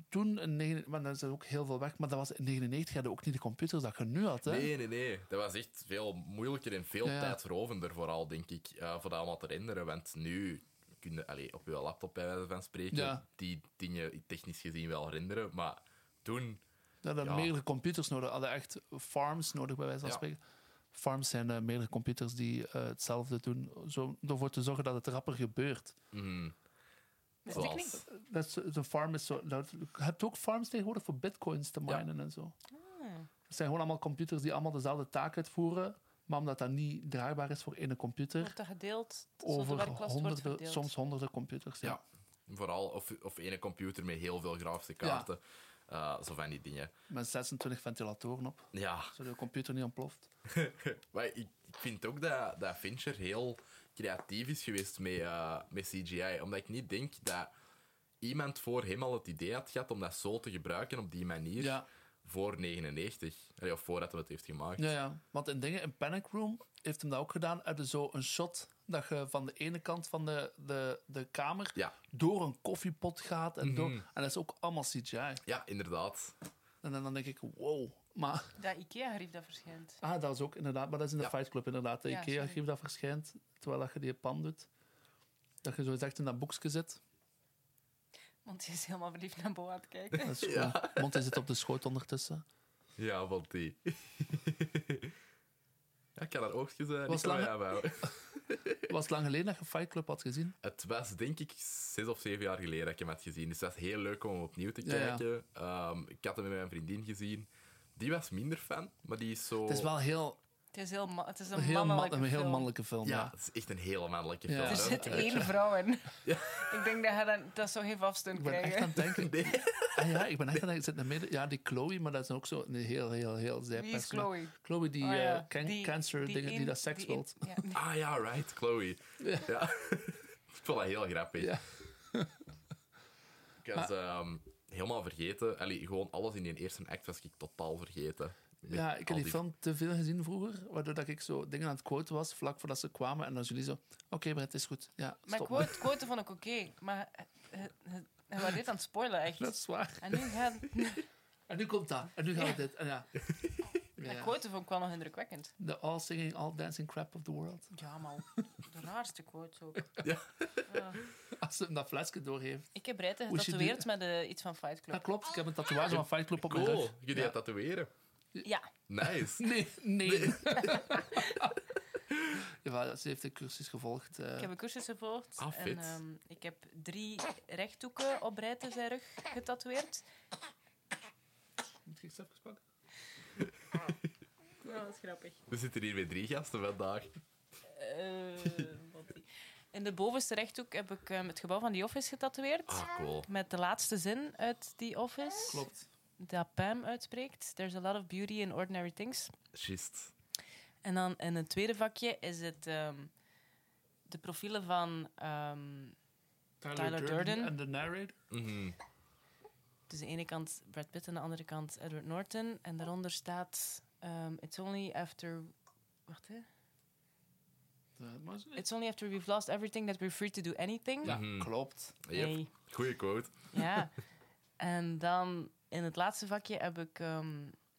toen in 99, maar dan zijn ook heel veel weg. Maar dat was in 99 hadden we ook niet de computers dat je nu had. Hè?
Nee, nee, nee. Dat was echt veel moeilijker en veel
Ja, ja.
tijdrovender vooral, denk ik, eh, voor dat allemaal te renderen. Want nu kun je allee, op je laptop, bij wijze van spreken,
Ja.
die dingen technisch gezien wel renderen. Maar toen...
Dat hadden
Ja.
meerdere computers nodig. Hadden echt farms nodig, bij wijze van
Ja.
spreken. Farms zijn eh, meerdere computers die eh, hetzelfde doen. Zo, om ervoor te zorgen dat het rapper gebeurt.
mhm,
Wist ik
zoals-
niet.
Dat is, de farm is zo. Dat, je hebt ook farms tegenwoordig voor bitcoins te
Ja.
minen en zo.
Ah.
Het zijn gewoon allemaal computers die allemaal dezelfde taak uitvoeren. Maar omdat dat niet draagbaar is voor ene computer,
Wordt dat gedeeld? Over
over
werklast wordt
honderden,
verdeeld.
soms honderden computers. Ja.
Ja. Vooral, of, of ene computer met heel veel grafische
Ja.
kaarten. eh, zo van die dingen.
Met 26 ventilatoren op,
Ja,
zodat je computer niet ontploft.
Maar ik, ik vind ook dat, dat Fincher heel creatief is geweest met, eh, met CGI. Omdat ik niet denk dat iemand voor hem al het idee had gehad om dat zo te gebruiken op die manier.
Ja.
voor 99. Allee, of voordat hij het heeft gemaakt.
Ja, ja. Want in dingen, in Panic Room heeft hem dat ook gedaan. Heb je zo een shot dat je van de ene kant van de, de, de kamer
Ja. Mhm.
door een koffiepot gaat. En, door, en dat is ook allemaal CGI. En,
Ja, inderdaad.
dan- dan denk ik, wow. Maar
Dat IKEA-gerief dat verschijnt.
ah, dat is ook inderdaad, maar dat is in de
Ja.
Fight Club inderdaad. De
Ja,
Ikea
sorry.
geeft dat verschijnt, terwijl dat je die pan doet. Dat je zo echt in dat boekje zit.
Want hij is helemaal verliefd naar Bo aan het kijken.
Dat is ja. Monty zit op de schoot ondertussen.
Ja, want die. ja, ik kan haar oogjes eh,
Was
niet van mij
langer-
afhouden.
Was het lang geleden dat je Fight Club had gezien?
Het was denk ik zes of zeven jaar geleden dat ik hem had gezien. Dus dat is heel leuk om hem opnieuw te
Ja, ja.
kijken. Ehm, ik had hem met mijn vriendin gezien. Die was minder fan, maar die is zo...
Het is wel heel,
Het is, heel ma- het is een
heel, man,
mannelijke
een heel
film.
mannelijke film.
Ja,
Ja.
het is echt een hele mannelijke
Ja.
film.
Er
hè.
zit
Eh,
één vrouw in. Ik denk dat hij dan, dat zou geen vaststand
Ik ben echt
krijgen.
aan het denken.
Nee.
Ah ja, ik ben echt aan het zit in het midden. Ja, die Chloe, maar dat is ook zo een heel, heel, heel zij
Wie is
personage.
Chloe?
Chloe die,
Oh ja,
eh, can- cancer, die, die,
in-
dat seks
die in-
wilt.
ja, nee.
Ah ja, right, Chloe. Ja.
Ja.
ik vond dat heel grappig.
Ja.
Ik was ehm, helemaal vergeten. Allee, gewoon alles in die eerste act was ik totaal vergeten. Met
Ja, ik
al
heb die film te veel gezien vroeger, waardoor dat ik zo dingen aan het quoten was, vlak voordat ze kwamen. En dan jullie zo, oké, maar het is goed. Ja,
Maar
stop.
quote, quote vond ik oké. Maar eh, eh, eh, hij was dit aan het spoilen, echt.
Dat is waar.
En nu gaan...
En nu komt dat. En nu gaat dit. En ja. Ja.
De quote vond ik wel nog indrukwekkend.
The all singing, all dancing crap of the world.
Ja, maar de raarste quote ook.
Ja.
Ah.
Als ze hem dat flesje doorgeeft.
ik heb Breiten
Moest je Ah,
getatoeëerd met eh, iets van Fight
Dat
Club.
klopt, ik heb een tatoeage van Fight Club op mijn
Cool,
rug.
je kunt die
Ja.
gaan tatoeëren.
Ja,
Nice.
Nee, nee. Jawel, ze heeft de cursus gevolgd. eh.
ik heb een cursus gevolgd.
Ah,
en,
vet.
ehm, ik heb drie rechthoeken op Breiten zijn rug getatoeëerd.
Moet ik iets even pakken?
Ja, dat is grappig.
We zitten hier met drie gasten vandaag.
Eh, wat die- In de bovenste rechthoek heb ik ehm, het gebouw van The Office getatoeëerd.
Ah, cool.
Met de laatste zin uit The Office.
Klopt.
Dat Pam uitspreekt. There's a lot of beauty in ordinary things.
Just.
En dan in het tweede vakje is het ehm, de profielen van... ehm, Tyler Durden.
En de narrator.
Mhm.
dus de ene kant Brad Pitt en de andere kant Edward Norton. En daaronder staat... ehm, it's only after... Wacht, hè.
Eh, maar ze-
It's only after we've lost everything that we're free to do anything.
Ja,
Mhm.
klopt.
Yep.
Hey.
Goeie quote.
Ja. En dan in het laatste vakje heb ik ehm,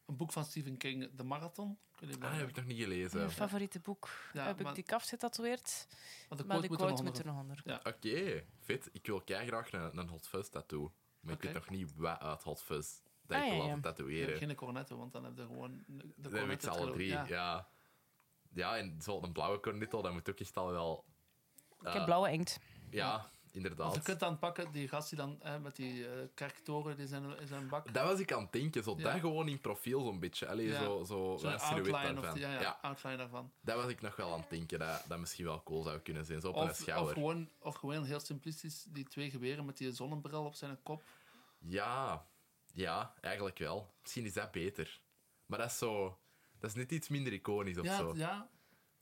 Een boek van Stephen King, De Marathon. Ik weet niet
Ah,
meer.
heb ik nog niet
mijn
gelezen.
favoriete boek.
Ja,
heb ik
maar-
die kaft getatoeëerd.
Want de
maar
quote moet
de
er nog
quote moet
onder.
er nog onder.
Oké, vet. Ik wil graag een, een Hot Fuzz tattoo. Maar ik
Oké.
weet nog niet wat uit Hot Fuzz dat
Ah,
ik wil
ja,
laten
ja.
tatoeëren.
Ja, geen cornetten, want dan heb je gewoon de
Dan heb ik
cornetto
ze alle
trilog.
drie, ja.
Ja.
ja. en zo een blauwe cornetto, dat moet ook echt al wel...
Ik
eh,
heb blauwe inkt.
Ja,
Want je
inderdaad.
kunt dan pakken, die gast die dan eh, met die eh, kerktoren die zijn in zijn bak.
Dat was ik aan het denken, zo
Ja.
dat gewoon in profiel zo'n beetje. Allee,
Ja.
zo, zo,
Zo'n
een silhouet
outline,
daarvan.
of, ja, ja,
Ja,
outline daarvan.
dat was ik nog wel aan het denken, dat dat misschien wel cool zou kunnen zijn. Zo op een
Of, of,
schouder.
gewoon, of gewoon heel simplistisch die twee geweren met die zonnebril op zijn kop.
Ja, ja, eigenlijk wel. Misschien is dat beter. Maar dat is zo... Dat is net iets minder iconisch of
Ja,
zo.
ja.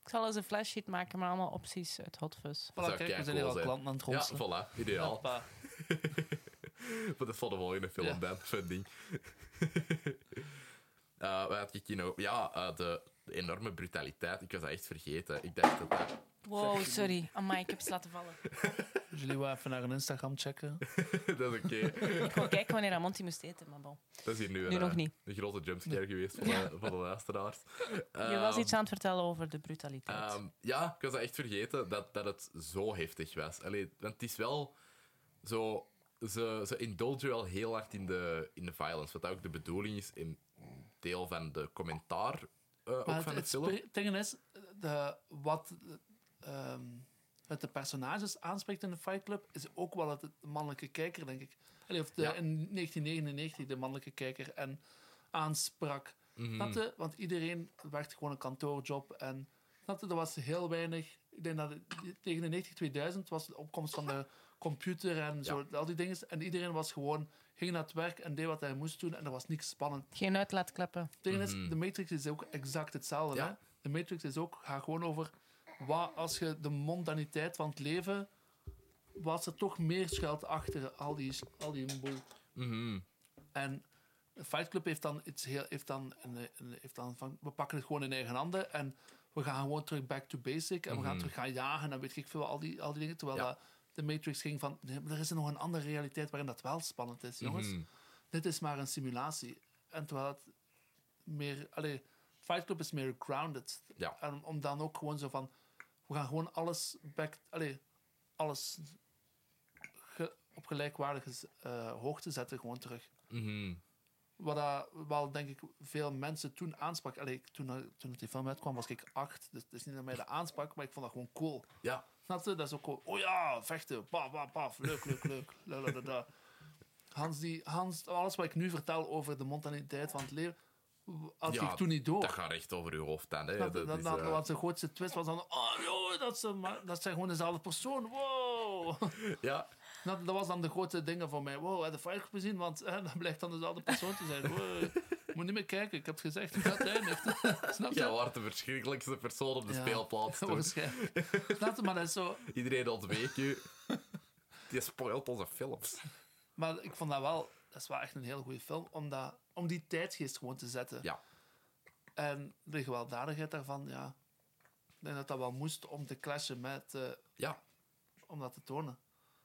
Ik zal eens een flashsheet maken met allemaal opties uit Hot Fuzz.
Voilà,
zou
kijk, we zijn
keicool
hier al
zijn.
klanten aan het
Ja,
ronselen.
voilà, ideaal.
Hoppa.
Maar dat is voor de volgende film
Ja.
dan, vind ik. Eh, wat had ik hier nog? Ja, eh, de, de enorme brutaliteit. Ik was dat echt vergeten. Ik dacht dat dat...
Wow, sorry. Amai, ik heb ze laten vallen.
Jullie wel even naar een Instagram checken.
dat is oké.
Ik wou kijken wanneer Ramonti moest eten, maar bon.
Dat is hier nu, een,
Nu nog
eh,
niet.
een grote jumpscare geweest voor de, voor de luisteraars.
Je was
Ehm,
iets aan het vertellen over de brutaliteit.
Ehm, ja, ik was dat echt vergeten dat, dat het zo heftig was. Allee, want het is wel zo. Ze, ze indulgen wel heel hard in de, in de violence. Wat ook de bedoeling is in deel van de commentaar eh,
Maar
ook
het,
van de
het
film.
spre- ding is, de, wat eh, ehm, het de personages aanspreekt in de Fight Club, is ook wel het, de mannelijke kijker, denk ik. Allee, of de,
Ja.
in 1999 de mannelijke kijker en aansprak.
Mhm.
Snap je? Want iedereen werd gewoon een kantoorjob en snap je, er was heel weinig. Ik denk dat het- die- tegen de 90, 2000 was de opkomst van de computer en zo, al die dingen. En iedereen was gewoon, ging naar het werk en deed wat hij moest doen en er was niks spannend.
Geen uitlaatkleppen.
Het ding is, de Matrix is ook exact hetzelfde.
Mhm. Ja.
Hè? De Matrix is ook, gaat gewoon over wat als je de mondaniteit van het leven, wat er toch meer schuilt achter al die, al die boel.
Mhm.
En Fight Club heeft dan, iets heel, heeft dan, een, een- heeft dan van, we pakken het gewoon in eigen handen en we gaan gewoon terug back to basic en we gaan terug gaan jagen en weet ik veel, al die, al die dingen. Terwijl
Mhm. Ja.
dat de Matrix ging van, nee, maar er is nog een andere realiteit waarin dat wel spannend is, jongens.
Mhm.
Dit is maar een simulatie. En terwijl het meer, allee, Fight Club is meer grounded.
Ja.
En om dan ook gewoon zo van, we gaan gewoon alles back, allee, alles ge- op gelijkwaardige z- eh, hoogte zetten gewoon terug.
Mhm.
Wat dat wel, denk ik, veel mensen toen aansprak. Allee, ik- toen, eh, toen het die film uitkwam, was ik acht. Dus het is niet dat mij dat aansprak, maar ik vond dat gewoon cool.
Ja.
Snap je? Dat is ook cool. Oh ja, vechten. Paf, paf, paf. Leuk, leuk, leuk. La, la, la, la. Hans, die, Hans, alles wat ik nu vertel over de montaniteit van het leven, had
Ja,
ik toen niet door.
Dat gaat echt over uw hoofd aan. Hè.
Snap
Dat,
je? Dat,
is,
dat,
eh,
wat zijn grootste twist was dan... Oh, joh, dat, zijn, maar- dat zijn gewoon dezelfde persoon. Wow.
ja.
Dat, dat was dan de grote dingen voor mij. Wow, heb je Fight Club gezien? Want eh, dat blijkt dan dezelfde persoon te zijn. Wow. Moet niet meer kijken, ik heb het gezegd. Dat eindigt. Snap je?
Jij was de verschrikkelijkste persoon op de
Ja,
speelplaats. toen.
waarschijnlijk. Snap je? Maar dat is zo...
Iedereen ontweek u. Die spoilt onze films.
Maar ik vond dat wel... Dat is wel echt een heel goede film. Om, dat, om die tijdgeest gewoon te zetten.
Ja.
En de gewelddadigheid daarvan, ja... Ik denk dat dat wel moest om te clashen met... eh,
Ja.
om dat te tonen.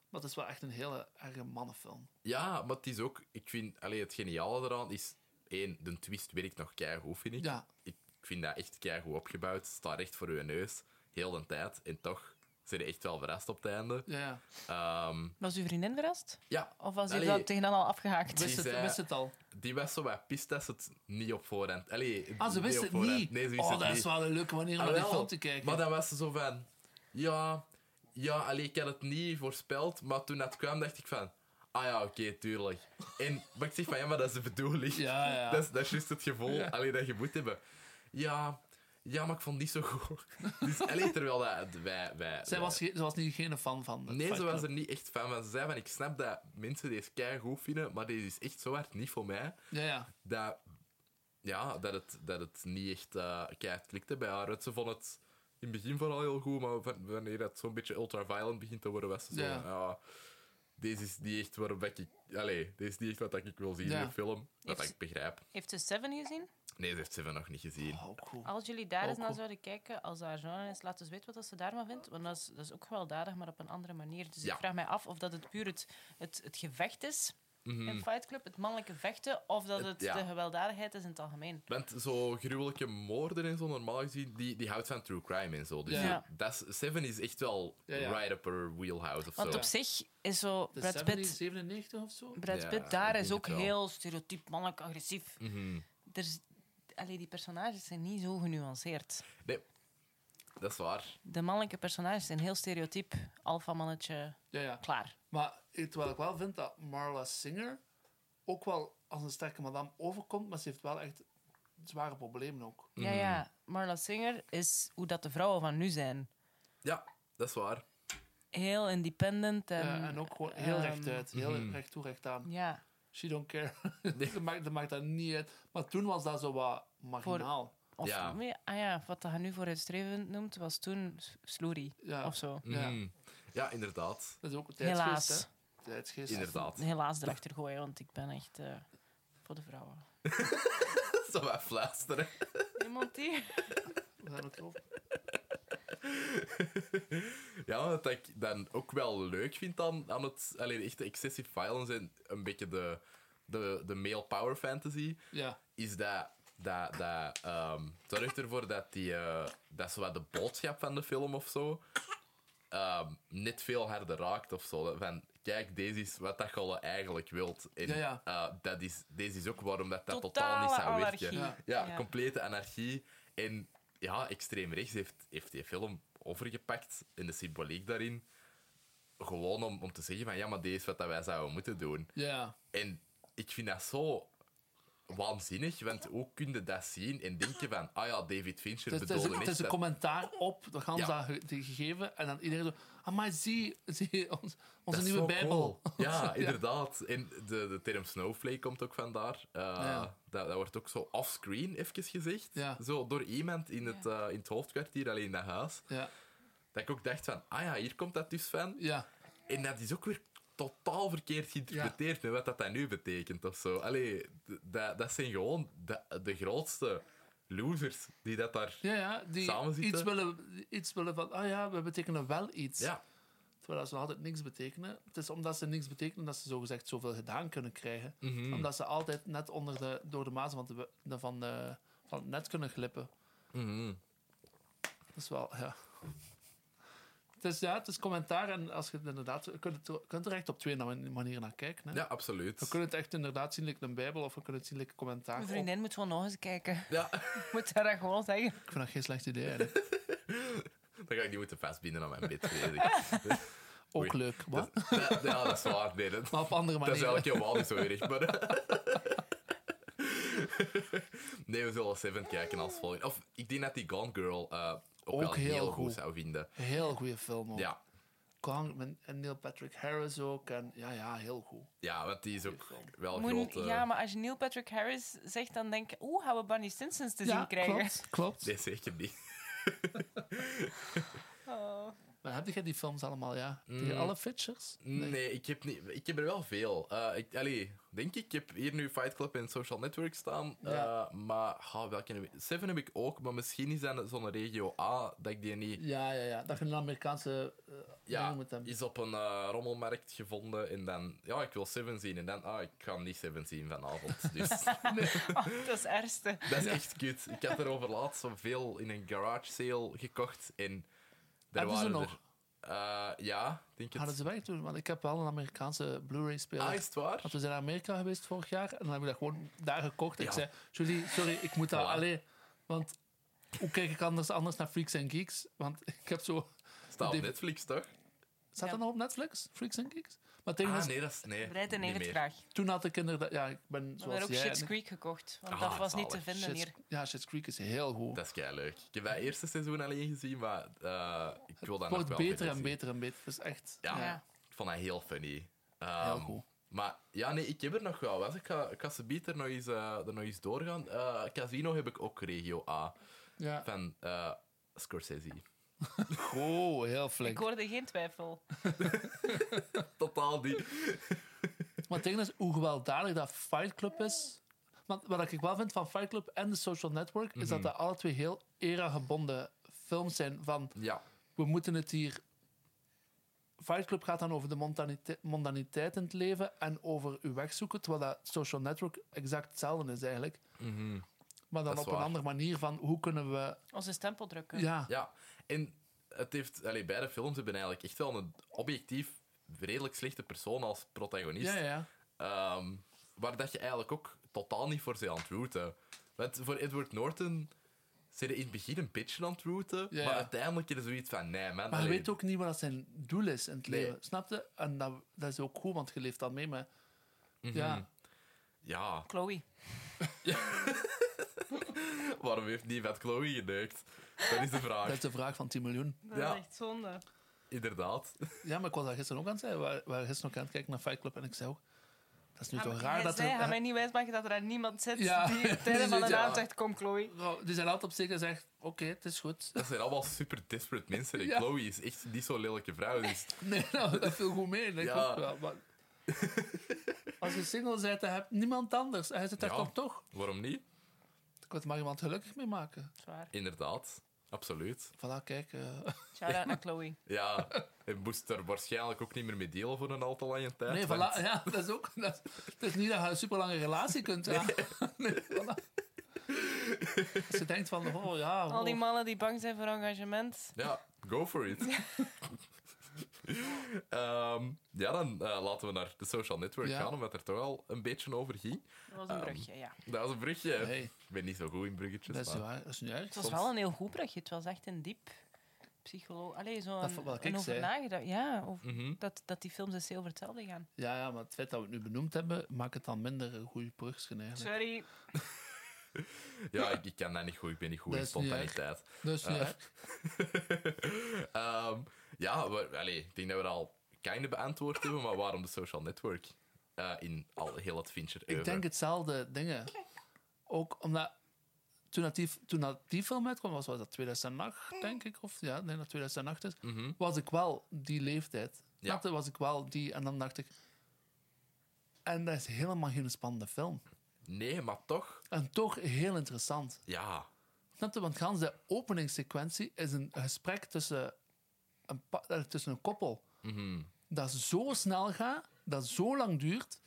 Maar het is wel echt een hele erge mannenfilm.
ja, maar het is ook... Ik vind... Allee, het geniale eraan is... één, de twist werkt nog keigoed, vind ik.
Ja.
Ik vind dat echt keigoed opgebouwd. Staat recht voor uw neus. Heel de tijd. En toch zijn je echt wel verrast op het einde.
Ja, ja.
Ehm,
Was uw vriendin verrast?
ja,
Of was u
Allee.
dat tegen dan al afgehaakt?
Die
Wist het,
zei-
wist het al.
die was zo wat pist dat ze het niet op voorhand... Allee,
Ah, ze
niet
wist
op
het
voorhand-
niet.
Nee, ze wist
oh,
het
dat
niet.
is wel een leuke manier om naar die
Ah, wel.
film te kijken.
Maar dan was ze zo van... Ja, ja allee, ik had het niet voorspeld, maar toen dat kwam, dacht ik van... Ah ja, oké, tuurlijk. En maar ik zeg van, ja, maar dat is de bedoeling.
Ja, ja.
Dat, is, dat is juist het gevoel
Ja.
allee, dat je moet hebben. Ja, ja, maar ik vond het niet zo goed. Dus, allee, terwijl dat, wij... wij
Zij
wij-
was, ge- ze was niet geen fan van. het
Nee,
Fight
ze was er
Club.
niet echt fan van. Ze zei van, ik snap dat mensen deze kei goed vinden, maar deze is echt zo hard niet voor mij.
Ja, ja.
Dat, ja, dat, het, dat het niet echt eh keihard klikte bij haar. Want Ze vond het in het begin vooral heel goed, maar van- wanneer dat zo'n beetje ultraviolent begint te worden, was ze zo
Ja.
van, ja, deze is niet echt waarop dat ik... Allee, deze is niet echt wat dat ik wil zien
Ja.
in een film. Wat dat
Heeft-
ik begrijp.
Heeft ze Seven gezien?
Nee, ze heeft Seven nog niet gezien.
Oh, cool.
Als jullie daar
Oh,
eens naar
cool.
zouden kijken, als daar genre is, laat ons weten wat dat ze daarvan vindt. Want dat is, dat is ook gewelddadig, maar op een andere manier. Dus
Ja.
ik vraag mij af of dat het puur het, het, het gevecht is in Fight Club, het mannelijke vechten, of dat
Mhm. Het-
het,
ja.
de gewelddadigheid is in het algemeen.
Want zo gruwelijke moorden en zo, normaal gezien, die, die houdt van true crime en zo. Dus
Ja.
Ja.
dat is- Seven is echt wel
Ja, ja.
right up her wheelhouse of
Want
zo.
op zich is zo
De
Brad Pitt...
97 of zo?
Brad
Ja,
Pitt
ik
daar
denk
is
het
ook
wel.
heel stereotyp mannelijk agressief.
Mhm.
Er is- allee, die personages zijn niet zo genuanceerd.
Nee, dat is waar.
De mannelijke personages zijn heel stereotyp. Alpha mannetje,
Ja, ja.
klaar.
Maar eh, terwijl ik wel vind dat Marla Singer ook wel als een sterke madame overkomt, maar ze heeft wel echt zware problemen ook.
Ja, ja. Marla Singer is hoe dat de vrouwen van nu zijn.
Ja, dat is waar.
heel independent en,
Ja, Eh, en ook gewoon heel
ehm,
rechtuit, heel
Mhm.
recht toe, recht aan.
ja,
She don't care. dat, maakt, dat maakt dat niet uit. Maar toen was dat zo wat marginaal.
of
Ja.
nee, ah ja, wat dat je nu vooruitstrevend noemt, was toen s- sloery
Ja.
of zo.
Ja.
Mhm. ja inderdaad.
Dat is ook een tijdsgeest,
Helaas,
hè? Tijdsgeest.
Inderdaad.
helaas erachter gooien, want ik ben echt eh, voor de vrouwen.
Zo wat fluisteren.
Iemand die?
We gaan het over.
Ja, wat ik dan ook wel leuk vind aan, aan het... Alleen echte excessive violence en een beetje de, de, de male power fantasy,
Ja.
is dat... Dat, dat, ehm zorgt ervoor dat, die, eh, dat zo wat de boodschap van de film of zo ehm, net veel harder raakt of zo. Van, kijk, deze is wat dat je eigenlijk wilt. En
Ja, ja.
eh, dat is, deze is ook waarom dat, dat totaal
Totale
niet zou
anarchie.
werken.
Ja.
Ja,
Ja.
complete anarchie. En ja, extreem rechts heeft, heeft die film overgepakt en de symboliek daarin. Gewoon om, om te zeggen van ja, maar deze is wat dat wij zouden moeten doen.
Ja.
En ik vind dat zo waanzinnig, want hoe kun je dat zien en denken van ah ja, David Fincher
Dus Het is, het is,
bedoelde
het is
echt
een
dat.
commentaar op de gans
Ja.
dat ge- die gegeven. En dan iedereen zo... Ah, maar zie, zie ons,
Dat
onze
is
nieuwe
zo
bijbel.
cool. Ja, inderdaad. En de, de term snowflake komt ook vandaar. Eh,
Ja.
dat, dat wordt ook zo offscreen even gezegd.
Ja.
Zo door iemand in het, eh, in het hoofdkwartier, alleen in dat huis.
Ja.
Dat ik ook dacht van, ah ja, hier komt dat dus van.
Ja.
En dat is ook weer totaal verkeerd geïnterpreteerd met wat dat, dat nu betekent of zo. Allee, d- dat, dat zijn gewoon de, de grootste losers die dat daar...
Ja, ja, die
Samen zitten.
iets willen, iets willen van, ah ja, we betekenen wel iets.
Ja,
Terwijl ze nog altijd niks betekenen. Het is omdat ze niks betekenen dat ze zogezegd zoveel gedaan kunnen krijgen.
Mhm.
Omdat ze altijd net onder de, door de mazen van, de, de- van, de, van het net kunnen glippen.
Mhm.
Dat is wel, ja. Het is, ja, het is commentaar en als je het inderdaad... Je kunt, het, je kunt er echt op twee man- manieren naar kijken. Hè.
ja
We
absoluut.
kunnen het echt inderdaad zien like een bijbel of we kunnen het zien like een commentaar.
Mijn
op-
vriendin moet wel nog eens kijken.
Ja,
Moet haar dat gewoon zeggen.
Oh, Ik vind dat geen slecht idee eigenlijk.
dan ga ik die moeten vastbinden aan mijn bed, vrees ik.
Ook
Oei.
leuk. Wat?
Dat- dat- ja, dat is waar. Nee, dat,
Maar op andere
dat is
manieren.
eigenlijk helemaal niet zo erg, maar... nee, we zullen Seven kijken als volgende. Of, ik denk dat die Gone Girl eh, ook,
Ook
wel heel,
heel
goed.
goed.
zou vinden.
Heel goede film ook.
Ja,
Kang met- en Neil Patrick Harris ook. En ja, ja, heel goed.
ja, want die is ook wel
Moet-
groot. eh,
Ja, maar als je Neil Patrick Harris zegt, dan denk ik... Oeh, gaan we Barney Simpsons te zien krijgen?
klopt. klopt.
Nee, zeker niet.
Oh.
Maar heb jij die films allemaal, ja? Die
Mm.
alle features?
Nee, ik, heb niet, ik heb er wel veel. Eh, ik, allee, denk ik, ik heb hier nu Fight Club en Social Network staan. eh,
Ja.
maar ha, welke heb ik? Seven heb ik ook, maar misschien is dat zo'n regio A dat ik die niet...
Ja, ja, ja. Dat je een Amerikaanse eh
Ja,
ding moet hebben.
is op een eh, rommelmarkt gevonden en dan... Ja, ik wil Seven zien en dan... Ah, ik ga niet Seven zien vanavond, dus...
Oh, dat is het ergste.
Dat is echt kut. Ik had er over laatst zoveel in een garage sale gekocht. En daar
Hebben ze
waren
nog?
er. Eh, ja, denk het.
Hadden ze weg doen, want ik heb wel een Amerikaanse Blu-ray-speler.
Ah, is het waar?
Want we zijn naar Amerika geweest vorig jaar en dan heb ik dat gewoon daar gekocht. Ik
Ja.
zei, Julie, sorry, ik moet dat
Voilà.
alleen. Want hoe kijk ik anders, anders naar Freaks and Geeks? Want ik heb zo.
Staat op
Die-
Netflix, toch?
Staat
Ja.
dat nog op Netflix? Freaks and Geeks? Maar tegen
Ah,
is-
nee, dat is... Nee,
Breid en
niet
eer het
meer.
graag.
toen had ik inderdaad. Ja, ik ben
We hebben
zoals
ook
jij.
Shit's
en-
Creek gekocht, want
Ah,
dat was niet te
zalig.
vinden
Shit's-
hier.
Ja, Shit's Creek is heel goed.
Dat is kei leuk. Ik heb dat eerste seizoen alleen gezien, maar eh, ik wil dat
Het
nog
wordt
wel
beter
verder
en
zien.
beter en beter. Dus echt.
Ja.
ja.
Ja.
Ik vond dat heel funny.
Heel
Ehm,
goed.
Maar ja, nee, ik heb er nog wel wat. Ik ga, ik ga subiet er nog eens, eh, er nog eens doorgaan. Eh, Casino heb ik ook regio A.
Ja.
Van eh, Scorsese.
Goh, heel
Ik
flink.
hoorde geen twijfel.
Totaal die...
Maar het ding is, hoe gewelddadig dat Fight Club is... Want wat ik wel vind van Fight Club en The Social Network... is
Mhm.
dat dat alle twee heel era-gebonden films zijn. Van,
Ja.
we moeten het hier... Fight Club gaat dan over de mondanite- mondaniteit in het leven... en over uw weg zoeken. Terwijl dat Social Network exact hetzelfde is, eigenlijk. Maar dan
Mhm. Dat
op
is waar.
een andere manier van, hoe kunnen we...
Onze stempel drukken.
Ja,
Ja, en het heeft, allee, beide films hebben eigenlijk echt wel een objectief redelijk slechte persoon als protagonist.
ja, ja.
Ehm, waar dat je eigenlijk ook totaal niet voor ze aan het rooten. Want voor Edward Norton ze in het begin een beetje aan het rooten,
Ja,
maar
ja.
uiteindelijk is er zoiets van, nee man.
Maar je
allee,
weet ook niet wat dat zijn doel is in het
Nee.
leven. Snap je? En dat, dat is ook goed, want je leeft dan mee. Maar
Mhm.
ja,
Ja,
Chloe.
waarom heeft niemand Chloe geneukt? Dat is de vraag.
dat is de vraag van 10 miljoen.
Dat
Ja.
is echt zonde.
Inderdaad.
Ja, maar ik was daar gisteren ook aan het zeggen. We waren- we waren gisteren ook aan het kijken naar Fight Club. En ik zei ook, dat
Ah,
is nu toch raar dat er...
Hij mij niet wijsmaken dat er daar niemand zit
Ja.
die het einde van de
Ja.
naam zegt, kom Chloe.
Vrouw, Die zijn altijd op zich en zegt, oké, het is goed.
Dat zijn allemaal super desperate mensen. En
Ja.
Chloe is echt niet zo'n lelijke vrouw. Dus
Nee, nou, dat viel goed mee. Dat
Ja.
klopt wel, maar... Als je single bent, dan heb je niemand anders. En hij zit daar
Ja.
dan toch.
waarom niet?
Ik wil er maar iemand gelukkig mee maken.
Zwaar.
Inderdaad. Absoluut.
Voilà, kijk. eh.
Shout-out naar Chloe.
Ja, hij moest er waarschijnlijk ook niet meer mee delen voor een al te lange tijd.
Nee,
want-
voilà, ja, dat is ook... Dat is, het is niet dat je een superlange relatie kunt ja. Nee, voilà. Als je denkt van, oh ja...
Al die
oh.
mannen die bang zijn voor engagement.
Ja, go for it. Ehm, ja, dan eh, laten we naar de social network
Ja.
gaan, omdat er toch al een beetje over ging.
Dat was
Ehm,
een brugje, ja.
Dat is een brugje.
Nee.
Ik ben niet zo goed in bruggetjes.
Dat is
maar-
niet waar, dat is niet erg.
Het was wel een heel goed brugje. Het was echt een diep psycholoog. Allee, zo'n
Dat vond wel
een
ik, zei.
over nagedacht. Ja, over-
Mhm.
dat, dat die films dus heel over hetzelfde gaan.
Ja, ja, maar het feit dat we het nu benoemd hebben, maakt het dan minder een goede brugschen eigenlijk.
Sorry.
Ja, ik, ik kan dat niet goed. Ik ben niet goed
Dat
in
is niet erg.
spontaniteit.
Dus ja,
Ehm, ja, we, allee, ik denk dat we dat al kinder beantwoord hebben, maar waarom de social network? Eh, in al heel het Fincher
ik denk hetzelfde dingen. Ook omdat toen, dat die, toen dat die film uitkwam, was, was dat 2008, denk ik, of ja, ik denk dat 2008 is, was ik wel die leeftijd. Snap je, was ik wel die. En dan dacht ik... En dat is helemaal geen spannende film.
Nee, maar toch.
En toch heel interessant.
Ja.
Snap je? Want gans de openingssequentie is een gesprek tussen een, pa- eh, tussen een koppel. Dat zo snel gaat, dat zo lang duurt.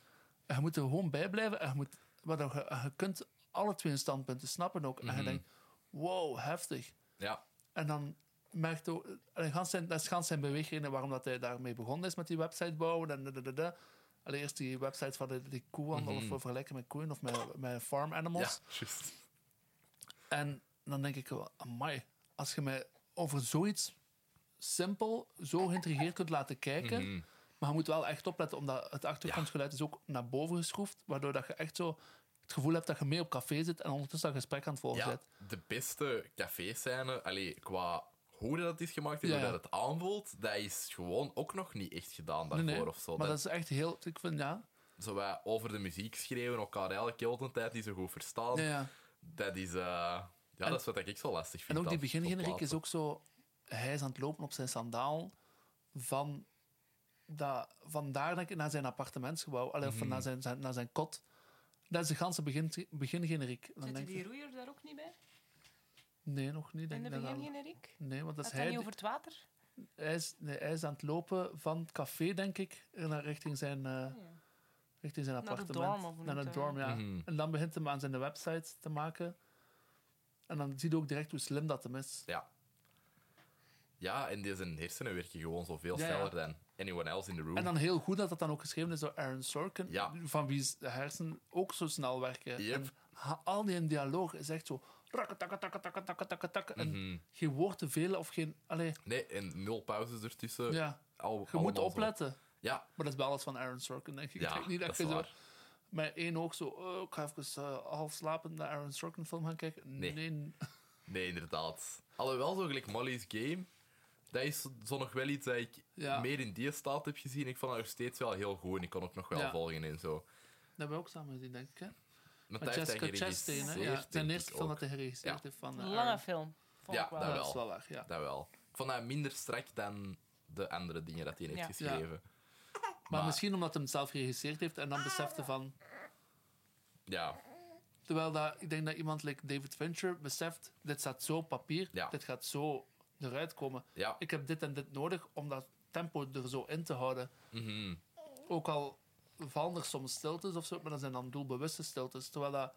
En je moet er gewoon bij blijven. En je, moet, maar dan, je, je kunt alle twee hun standpunten snappen ook. En je denkt, wow, heftig.
Ja.
En dan merkt ook, en gans zijn, dat is gans zijn beweegredenen waarom dat hij daarmee begonnen is met die website bouwen. En dadadada. Allereerst die website van de, die koehandel of vergelijken met koeien of met, met farm
Ja,
animals.
juist.
En dan denk ik wel, amai, als je mij over zoiets simpel, zo geïntrigeerd kunt laten kijken.
Mhm.
Maar je moet wel echt opletten, omdat het achtergrondgeluid is ook naar boven geschroefd. Waardoor dat je echt zo het gevoel hebt dat je mee op café zit en ondertussen dat gesprek aan het volgen
Ja,
bent.
de beste café-scène, allee, qua hoe dat is gemaakt en
Ja,
hoe
ja.
dat het aanvoelt, dat is gewoon ook nog niet echt gedaan daarvoor
Nee, nee.
of zo.
Maar
Dat-
dat is echt heel, ik vind ja.
Zo wij over de muziek schreeuwen, elkaar eigenlijk heel de tijd niet zo goed verstaan.
ja, ja.
Dat is... eh, ja, dat is wat ik zo lastig vind.
En ook die
aan
begingeneriek
platen.
is ook zo... Hij is aan het lopen op zijn sandaal van... Dat, vandaar denk ik naar zijn appartementsgebouw, allee, of
Mhm.
naar, zijn, zijn- naar zijn kot. Dat is de ganse begin, begingeneriek. Dan
Zitten
denk
die
je,
roeier daar ook niet bij?
nee, nog niet.
In
Denk
de
ik dat wel.
begingeneriek?
Nee, want dat is
Gaat dat
hij,
niet
die-
over het water?
hij, is, nee, hij is aan het lopen van het café, denk ik, naar, richting zijn... eh, Richting zijn
Ah, de
appartement.
dorm, of hoe
naar
noemt
de
dat?
dorm, ja.
Mhm.
En dan begint hij aan zijn website te maken. En dan zie je ook direct hoe slim dat hem is.
Ja. Ja, en die zijn hersenen werken gewoon zo veel
Ja, ja.
sneller dan anyone else in the room.
En dan heel goed dat dat dan ook geschreven is door Aaron Sorkin,
Ja.
van wie de hersenen ook zo snel werken.
Yep.
En ha- al die in dialoog is echt zo... rakketakketakketakketakketakketak. En
Mhm.
geen woord te veel of geen... Allee,
Nee, en nul pauzes ertussen.
ja.
Al,
Je
Eh, allemaal
moet
zo.
opletten.
Ja,
Maar dat is wel alles van Aaron Sorkin, denk ik. ik
ja
denk niet dat,
dat
je
is
zo
waar.
met één oog zo... oh, ik ga even eh, half slapend naar Aaron Sorkin film gaan kijken.
Nee.
Nee.
Nee, inderdaad. Alhoewel, zo gelijk Molly's Game, dat is zo nog wel iets dat ik
Ja.
meer in die staat heb gezien. Ik vond dat nog steeds wel heel goed en ik kon ook nog wel
Ja.
volgen en zo.
Dat hebben we ook samen gezien, denk ik. Hè?
Maar
Met
dat heeft hij
Jessica Chastain, hè?
geregisseerd,
Ja,
denk
zijn
ik
eerste film
dus ook.
dat hij geregisseerd
Ja.
heeft van eh,
Lange
Aaron.
film. Vond
Ja,
ik wel.
dat
Ja,
wel.
Dat is wel waar, ja.
Dat wel. Ik vond dat minder strak dan de andere dingen dat hij heeft
Ja.
geschreven.
Maar,
Maar-
misschien omdat hij hem zelf geregisseerd heeft en dan besefte van...
Ja,
Terwijl dat, ik denk dat iemand like David Fincher beseft... Dit staat zo op papier,
Ja.
dit gaat zo eruit komen.
ja.
Ik heb dit en dit nodig om dat tempo er zo in te houden.
Mhm.
Ook al vallen er soms stiltes of zo, maar dat zijn dan doelbewuste stiltes. Terwijl dat...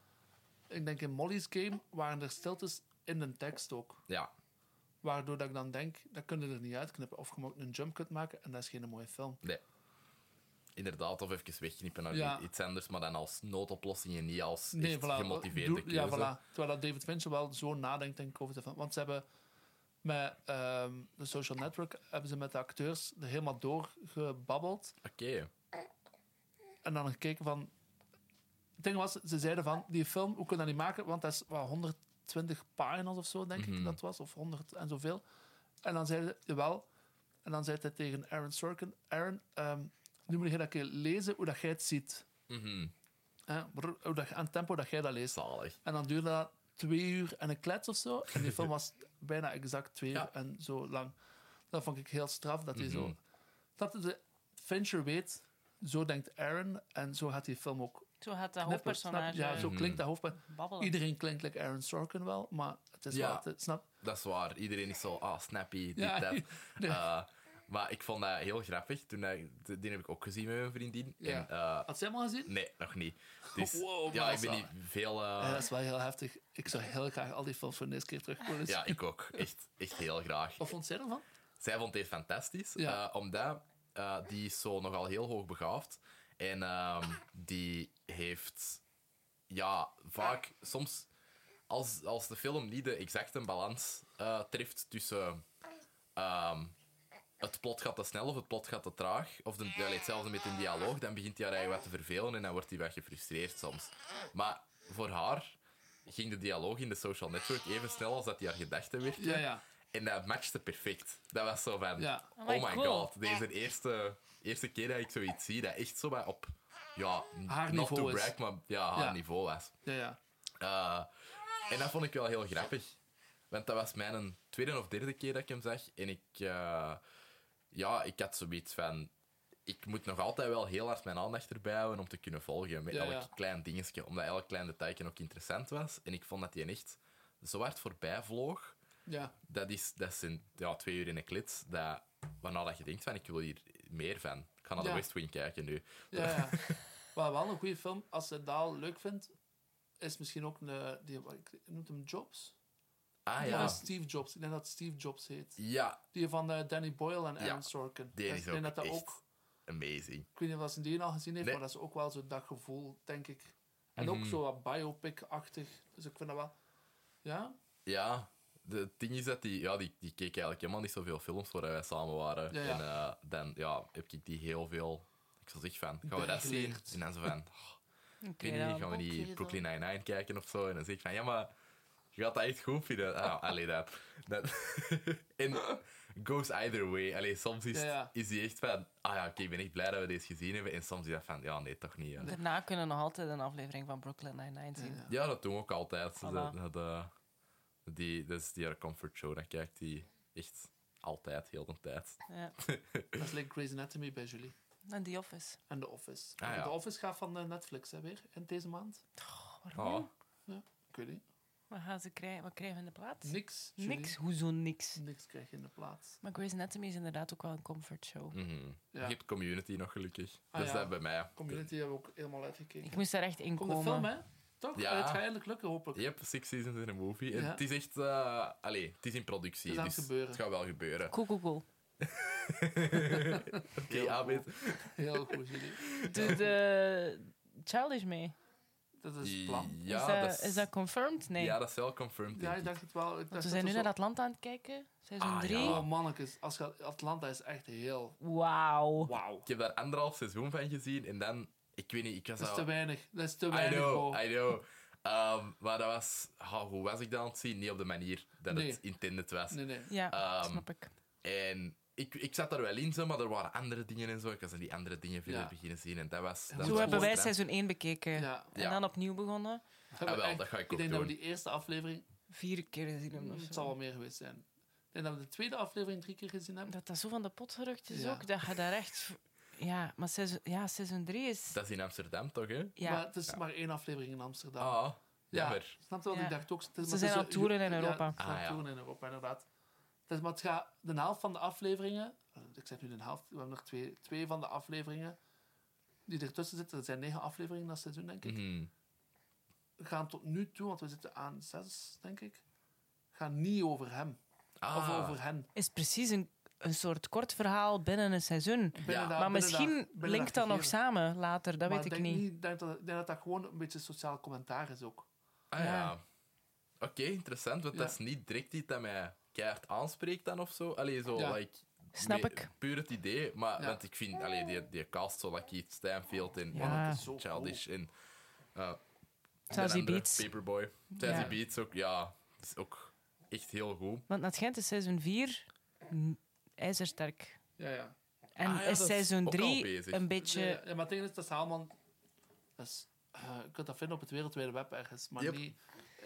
Ik denk in Molly's Game waren er stiltes in de tekst ook.
ja.
Waardoor dat ik dan denk, dat kunnen er niet uitknippen. Of je moet een jump cut maken en dat is geen mooie film.
Nee. Inderdaad, of even wegknippen naar
Ja.
iets anders, maar dan als noodoplossing en niet als
Nee,
echt
voilà. Oh,
gemotiveerde
Doe-
keuze.
Ja, voilà. Terwijl dat David Fincher wel zo nadenkt denk ik, over de film. Want ze hebben met ehm, de social network hebben ze met de acteurs er helemaal doorgebabbeld.
Oké.
En dan gekeken van... Het ding was, ze zeiden van, die film, hoe kunnen we dat niet maken? Want dat is wat, 120 pagina's of zo, denk
Mhm.
ik dat was. Of 100 en zoveel. En dan zeiden ze, jawel. En dan zei hij tegen Aaron Sorkin, Aaron, ehm, nu moet je dat keer lezen hoe dat jij het ziet.
Mhm.
Hè, brrr, hoe dat, aan het tempo dat jij dat leest.
Zalig.
En dan duurde dat twee uur en een klets of zo. En die film was bijna exact twee uur
Ja. Mhm.
en zo lang. Dat vond ik heel straf, dat hij zo... Dat de Fincher weet, zo denkt Aaron, en zo gaat die film ook...
Zo gaat dat
knippen,
hoofdpersonage
snap je? Ja, zo klinkt dat
Mhm.
hoofdpersonage.
babbelen.
Iedereen klinkt like Aaron Sorkin wel, maar het is
Ja.
wel... altijd- snap?
Dat is waar. Iedereen is zo, ah, snappy, dit,
Ja,
dat.
nee.
Eh, maar ik vond dat heel grappig. Toen dat, die heb ik ook gezien met mijn vriendin.
Ja.
En, eh,
Had zij hem al gezien?
nee, nog niet. Dus,
Wow,
ja, ik
massa.
ben niet veel... eh,
Ja, dat is wel heel heftig. Ik zou heel graag al die films van deze keer terug
ja,
willen zien.
ik ook. Echt, echt heel graag.
Wat vond zij ervan?
Zij vond dit fantastisch,
Ja.
eh, omdat eh, die is zo nogal heel hoog begaafd. En ehm, die heeft ja, vaak soms, als, als de film niet de exacte balans eh, treft tussen ehm, het plot gaat te snel of het plot gaat te traag, of de, allee, hetzelfde met een dialoog, dan begint hij haar eigen wat te vervelen en dan wordt hij wat gefrustreerd soms. Maar voor haar ging de dialoog in de social network even snel als dat die haar gedachten werd.
Ja, ja.
En dat matchte perfect. Dat was zo van...
Ja.
Oh
Oh
my,
my
god.
God.
Deze eerste, eerste keer dat ik zoiets zie, dat echt zo wat op... Ja, n-
Haar
not
niveau
to
is.
brag, maar ja, haar
Ja.
niveau was.
Ja, ja.
Eh, en dat vond ik wel heel grappig. Want dat was mijn tweede of derde keer dat ik hem zag. En ik... eh, ja, ik had zoiets van... Ik moet nog altijd wel heel hard mijn aandacht erbij houden om te kunnen volgen met
Ja,
elk
ja.
klein dingetje. Omdat elk klein detailje ook interessant was. En ik vond dat die echt zo hard voorbij vloog.
Ja,
Dat, is, dat zijn ja, twee uur in een klits. Dat, waarna dat je denkt van, ik wil hier meer van. Ik ga naar
Ja.
de West Wing kijken nu.
ja, ja. maar wel een goede film. Als je dat leuk vindt, is misschien ook een... eh, Die, ik noem hem Jobs?
Ah
Ja,
ja.
Steve Jobs. Ik denk dat Steve Jobs heet.
Ja,
Die van eh, Danny Boyle en
Ja,
Aaron Sorkin.
die
ik
is
denk
ook
dat dat
echt
ook...
amazing.
Ik weet niet of ze die al gezien heeft,
Nee. Mhm.
maar dat is ook wel zo dat gevoel, denk ik. En ook zo wat biopic-achtig. Dus ik vind dat wel... Ja?
Ja, de- het ding is dat die, ja, die, die keek eigenlijk helemaal niet zoveel films waar wij samen waren.
Ja, ja.
En eh, dan ja, heb ik die heel veel, ik zou zeggen van, gaan we dat zien?
Bijgeleerd.
En dan zo van, oh, ik weet
dan
niet, gaan we
oké
niet
dan.
Brooklyn Nine-Nine kijken of zo? En dan zeg ik van, ja, maar je gaat dat echt goed vinden. Ah, allee, dat. dat en goes either way. Allee, soms is,
Ja, ja.
is die echt van, ah ja, oké, ik ben echt blij dat we deze gezien hebben. En soms is dat van, ja, nee, toch niet. eh." ja.
Daarna kunnen we nog altijd een aflevering van Brooklyn Nine-Nine zien.
Ja, dat doen we ook altijd. Dus dat,
Voilà.
dat, eh, die, dat is die haar comfort show. Dan kijkt die echt altijd, heel de tijd.
Ja.
Dat is like Grey's Anatomy bij Julie.
En The Office.
En The Office.
Ah, ja.
The Office gaat van eh, Netflix hè, weer, in deze maand.
Oh,
Ik weet niet.
Wat, gaan ze krijgen? Wat krijgen we in de plaats?
Niks, Julie.
Niks. Hoezo niks?
Niks krijg je in de plaats.
Maar Grey's Anatomy is inderdaad ook wel een comfortshow.
mhm.
Ja.
Je hebt community nog gelukkig.
Ah,
dat is
ja.
dat bij mij.
Community hebben we ook helemaal uitgekeken.
Ik moest daar echt in
Komt de film,
komen.
hè? Toch?
Ja.
Het gaat eindelijk lukken, hopelijk.
Je hebt six seasons in een movie. En
Ja.
het is echt... eh allee, het is in productie.
Het is aan
dus
het gebeuren.
het gaat wel gebeuren.
Cool, cool, cool.
Oké,
Heel
Abid.
Heel goed, Julie.
Doet eh, Childish mee?
Dat is het plan.
Ja,
is, dat, is... dat confirmed? Nee.
ja, dat is wel confirmed.
Ja,
denk
ik
ik.
dacht het wel. Ik dacht
Want we
dat
zijn nu
zo-
naar Atlanta aan het kijken. Seizoen
Ah,
3.
ja.
Oh, mannetjes. Als je- Atlanta is echt heel...
Oh.
Wauw.
Wauw.
Ik heb daar anderhalf seizoen van gezien. En dan... Ik weet niet, ik was
Dat is
al-
te weinig. Dat is te
I
weinig,
know,
bro.
I know. Ehm, maar dat was... ah, hoe was ik dat aan het zien? Niet op de manier dat
Nee.
het intended was.
Nee, nee.
Ja,
Ehm,
snap ik.
En ik, ik zat daar wel in, zo, maar er waren andere dingen en zo. Ik was aan die andere dingen verder
Ja.
beginnen zien. En dat was... Dat
Zo
was
Zo
is
hebben wij
frustrant.
seizoen 1 bekeken.
Ja.
En
Ja.
dan opnieuw begonnen.
Dat hebben
Ah,
we
wel,
echt-
dat ga ik
Ik
ook
denk
doen.
dat we die eerste aflevering... Mm,
Vier keer gezien hebben of
Het
zo.
zal wel meer geweest zijn. Ik denk dat we de tweede aflevering drie keer gezien hebben.
Dat dat zo van de pot gerukt is
Ja.
ook. Dat je daar echt... Ja, maar seizoen, ja, seizoen 3 is...
Dat is in Amsterdam, toch, hè?
ja.
Maar het is maar één aflevering in Amsterdam.
Ah,
Ja,
jammer.
Snap je wat
Ja.
ik dacht ook? Het is-
Ze
maar
zijn
het is
aan
een-
het toeren in
ja,
Europa.
ze zijn aan
Ah, ja.
toeren in Europa, inderdaad. Het is, maar het gaat, de helft van de afleveringen... eh, Ik zeg nu de helft, we hebben nog twee, twee van de afleveringen die ertussen zitten. Er zijn negen afleveringen dat seizoen, denk ik.
Mhm.
Gaan tot nu toe, want we zitten aan zes, denk ik. Gaan niet over hem.
Ah,
Of over hen.
is precies een, een soort kort verhaal binnen een seizoen.
Ja.
dat-
maar
binnen
misschien
dat- binnen
linkt dat nog
gegeven.
samen later, dat
Maar
weet ik
denk
niet.
Ik denk dat, ik denk dat dat gewoon een beetje sociaal commentaar is ook.
ah, ja.
Ja.
Oké, interessant, want dat is niet direct iets dat mij keihard aanspreekt dan of zo. Allee, zo,
Ja.
like...
Snap
me-
ik.
Puur het idee, maar...
Ja.
Want ik vind, allee, die, die cast, zo, like Keith Stanfield en
Ja.
Dat is zo
Childish en... eh,
Zelfs die
de andere,
beats.
Paperboy. Zelfs
Ja.
die beats ook, ja. is ook echt heel goed.
Want naar het Gent is seizoen 4 ijzersterk.
cool. Ja, ja.
En
Ah ja, dat
is
is
seizoen
ook al
3
bezig.
een
Ja,
beetje...
ja, maar het ding is, dat is allemaal... Dat is, eh, je kunt dat vinden op het wereldwijde web ergens, maar
Yep.
niet,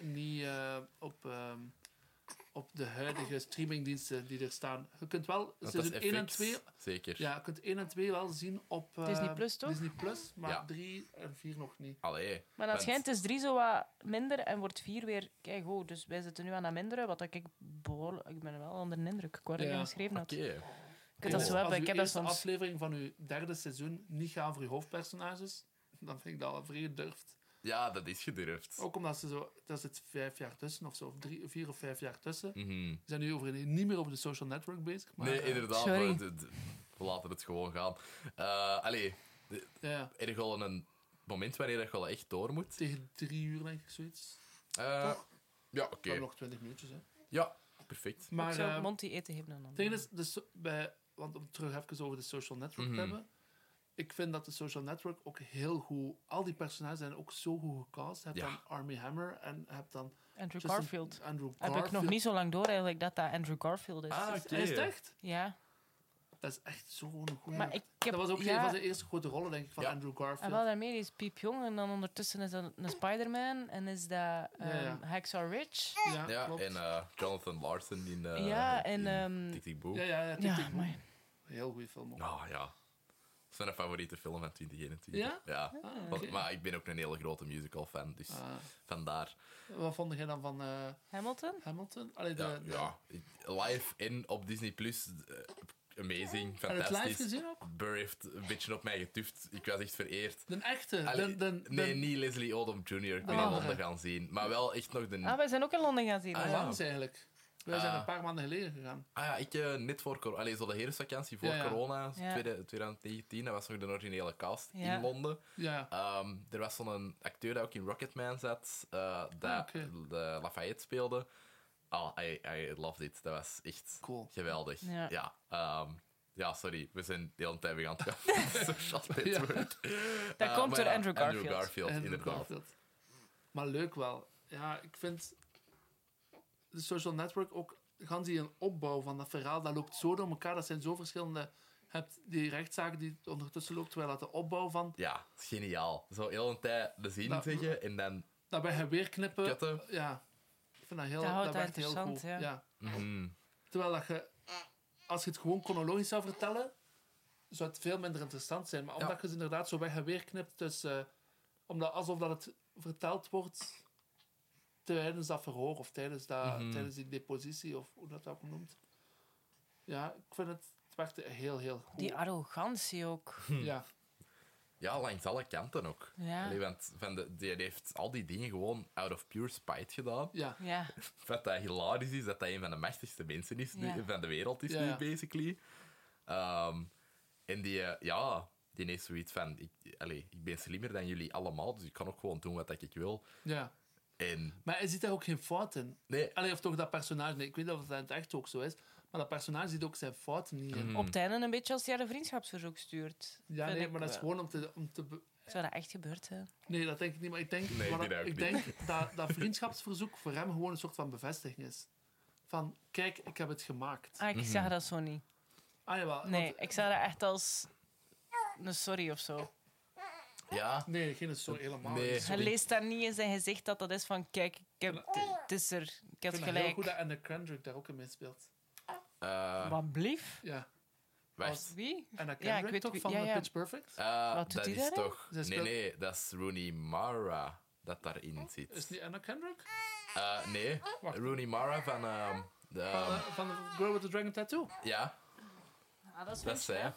niet eh, op, ehm, op de huidige streamingdiensten die er staan. Je kunt wel
Want dat is
seizoen 1 en
FX,
2...
Zeker.
Ja, je kunt 1 en 2 wel zien op... eh,
Disney Plus, toch?
Disney Plus, maar
Ja.
3 en 4 nog niet.
Allee.
Maar naar het
want-
Gent is 3 zo wat minder en wordt 4 weer keigoed. Dus wij zitten nu aan dat mindere, wat ik behoorlijk... Ik ben wel onder de indruk. Ik word
Ja.
erin geschreven had.
Oké.
Ik heb dat
Oh.
zo
Als
hebben.
uw
Ik heb dat
eerste
soms...
aflevering van uw derde seizoen niet gaan voor uw hoofdpersonages, dan vind ik dat al vrij gedurfd.
Ja, dat is gedurfd.
Ook omdat ze zo... Daar zit vijf jaar tussen of zo, of drie, vier of vijf jaar tussen.
Mhm.
We zijn nu over, niet meer over de social network bezig, maar...
Nee,
eh,
inderdaad.
sorry.
maar d- d- we laten het gewoon gaan. Eh allee,
ja.
er is wel een moment wanneer je wel echt door moet.
Tegen drie uur, denk ik, zoiets.
Eh, ja, oké.
We hebben nog twintig minuutjes, hè.
Ja, perfect.
Maar,
Maar
ik
eh,
zou
het
Monty eten geven en dan.
ding is, de so- bij, want om terug even over de social network
Mhm.
te hebben. Ik vind dat de social network ook heel goed... Al die personages zijn ook zo goed gecast. Je hebt
Ja.
dan Armie Hammer en je hebt dan...
Andrew
Justin-
Garfield.
Andrew
Heb
Garfield.
ik nog niet zo lang door eigenlijk dat dat Andrew Garfield is.
Ah,
Is-
oké.
Is het echt?
Ja.
Dat is echt zo'n goede...
Maar ik heb,
dat was ook
ja,
een van zijn eerste grote rollen, denk ik, van
Ja.
Andrew
En
Garfield.
wel daarmee, die is piepjong. En dan ondertussen is dat een Spider-Man. En is dat um,
ja.
Hacksaw Ridge.
Ja,
Ja,
klopt.
en eh, Jonathan Larson in, eh
Ja, en,
in
ehm,
Tick Tick Boom.
ja, ja, ja, tik,
Ja,
tik, boom.
amai.
Een heel goede film. ook.
Oh ja. Dat is mijn favoriete film van 2021.
Ja? Ah,
Want-
oké.
Nou, maar ik ben ook een hele grote musical fan, dus
Ah.
vandaar.
wat vond jij dan van eh,
Hamilton?
Hamilton? Allee, de,
Ja,
de-
ja. Ik- Live in op Disney Plus. eh, Amazing,
Heb je het live
fantastisch.
gezien ook?
Burr heeft een beetje op mij getuft. Ik was echt vereerd.
De echte.
Allee,
de, de, de-
nee, niet Leslie Odom Jr. Ik ben in
andere.
Londen gaan zien. Maar wel echt nog de...
Ah, wij zijn ook in Londen gaan zien. dus
Ah,
de
ja.
Langs eigenlijk. Wij zijn
Ah.
een paar maanden geleden gegaan.
Ah ja, ik eh, net voor corona, allee, zo de herfstvakantie voor
Ja, ja.
corona,
Ja.
tweede- 2019, dat was nog de originele cast
Ja.
in Londen.
Ja.
Ehm, er was zo'n acteur dat ook in Rocketman zat, eh, dat
Ah, oké.
de Lafayette speelde. Oh, I, I loved it. Dat was echt
Cool.
geweldig.
Ja.
Ja. ehm, ja, sorry. We zijn de hele tijd weer aan het gaan op social network.
Dat
Eh,
komt
maar
door
ja,
Andrew Garfield.
En
inderdaad.
Garfield. Maar leuk wel. Ja, ik vind de social network ook gans die een opbouw van dat verhaal. Dat loopt zo door elkaar. Dat zijn zo verschillende. Je hebt die rechtszaak die ondertussen loopt, terwijl dat de opbouw van.
Ja, is geniaal. Zo heel een tijd de zin
Nou,
zeggen en dan...
Daarbij gaan weer knippen.
Kutten.
eh, Ja, ik vind dat heel.
Dat houdt dat
werkt heel
interessant,
goed.
ja.
mm,
Terwijl dat je, als je het gewoon chronologisch zou vertellen, zou het veel minder interessant zijn. Maar
Ja.
omdat je ze inderdaad zo weg en weer knipt, dus, eh, omdat, alsof dat het verteld wordt tijdens dat verhoor of tijdens, dat, tijdens die depositie of hoe dat ook noemt. Ja, ik vind het, het werkte heel, heel goed.
Die arrogantie ook.
ja.
ja, langs alle kanten ook.
Ja.
Allee, want van de, die heeft al die dingen gewoon out of pure spite gedaan.
Ja.
Ja.
Wat dat hilarisch is, dat hij een van de machtigste mensen is nu,
Ja.
van de wereld is
Ja,
nu,
ja.
basically. Ehm, en die, eh, ja, die heeft zoiets van... Ik, allee, ik ben slimmer dan jullie allemaal, dus ik kan ook gewoon doen wat ik wil.
ja.
En
Maar hij ziet daar ook geen fout in.
nee,
Allee, of toch dat personage, nee, ik weet niet of dat in het echt ook zo is, maar dat personage ziet ook zijn fouten niet in.
Hmm.
Op het einde een beetje als hij haar een vriendschapsverzoek stuurt.
Ja,
Vind
nee,
ik
maar dat is
wel.
gewoon om te, om te be-
Zou dat echt gebeurd zijn?
Nee, dat denk ik niet. Maar ik denk,
Nee, ik
wat
denk
dat,
dat ook
ik denk dat, dat vriendschapsverzoek voor hem gewoon een soort van bevestiging is. Van, kijk, ik heb het gemaakt.
Ah, ik
Mhm.
zag dat zo niet.
Ah, jawel.
Nee,
want-
ik zag dat echt als een sorry of zo.
ja,
nee, geen sorry, helemaal
Nee.
niet.
Hij
Sorry.
leest dat niet in zijn gezicht dat dat is van kijk, ik heb, het is er, ik heb
Ik vind het heel
gelijk.
goed dat Anne Kendrick daar ook in meespeelt.
eh,
Wat blief?
Ja.
wacht.
Wie?
Anna
Ja, ik
Kendrick
weet
toch
wie-
van
ja,
eh,
ja.
Pitch Perfect?
Eh,
Wat doet
dat
die
is
daarin?
toch...
Zij
Nee,
speelt-
nee, dat is Rooney Mara dat daarin zit.
Is het niet Anna Kendrick?
Eh, nee,
Wacht.
Rooney Mara van... ehm, de,
Van, eh, van Girl with the Dragon Tattoo?
ja,
Ah, dat is
dat is zij.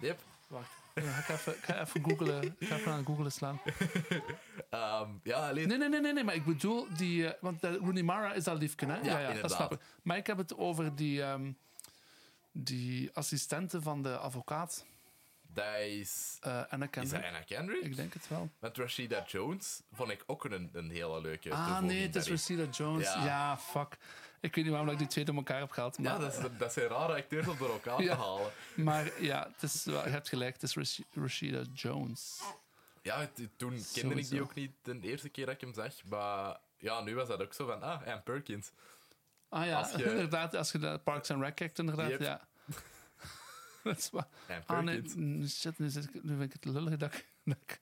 Yep.
Wacht. Ja, ik, ga even, ik ga even googlen. Ik ga even aan googlen slaan.
Ehm, ja, alleen...
Nee, nee, nee, nee, nee, maar ik bedoel die. eh, want eh, Rooney Mara is dat liefje, hè? Ja, ja, dat
inderdaad.
snap ik. Maar ik heb het over die, ehm, die assistente van de advocaat,
Dat is...
eh Anna
Is dat
Kendrick.
Anna Kendrick?
Ik denk het wel.
Met Rashida Jones vond ik ook een, een hele leuke
Ah,
toevoeging
nee, het is
daarin.
Rashida Jones. Ja.
Ja.
fuck. Ik weet niet waarom ik die twee door elkaar heb gehaald.
Ja,
Maar ja,
Ah, dat, is, dat zijn rare acteurs om door elkaar
Ja.
te halen.
maar, ja het is, wel- je hebt gelijk, het is Rash- Rashida Jones.
Ja, het- toen kende ik
Sowieso.
die ook niet de eerste keer dat ik hem zag. Maar ja, nu was dat ook zo van, ah, Anne Perkins.
Ah ja,
Als je-
inderdaad, als je naar Parks and Rec kijkt, inderdaad,
Yep.
ja. dat is waar.
Anne
Ah, nee,
Perkins.
nu shit, nu, zit ik, nu vind ik het lullig dat ik... dat ik-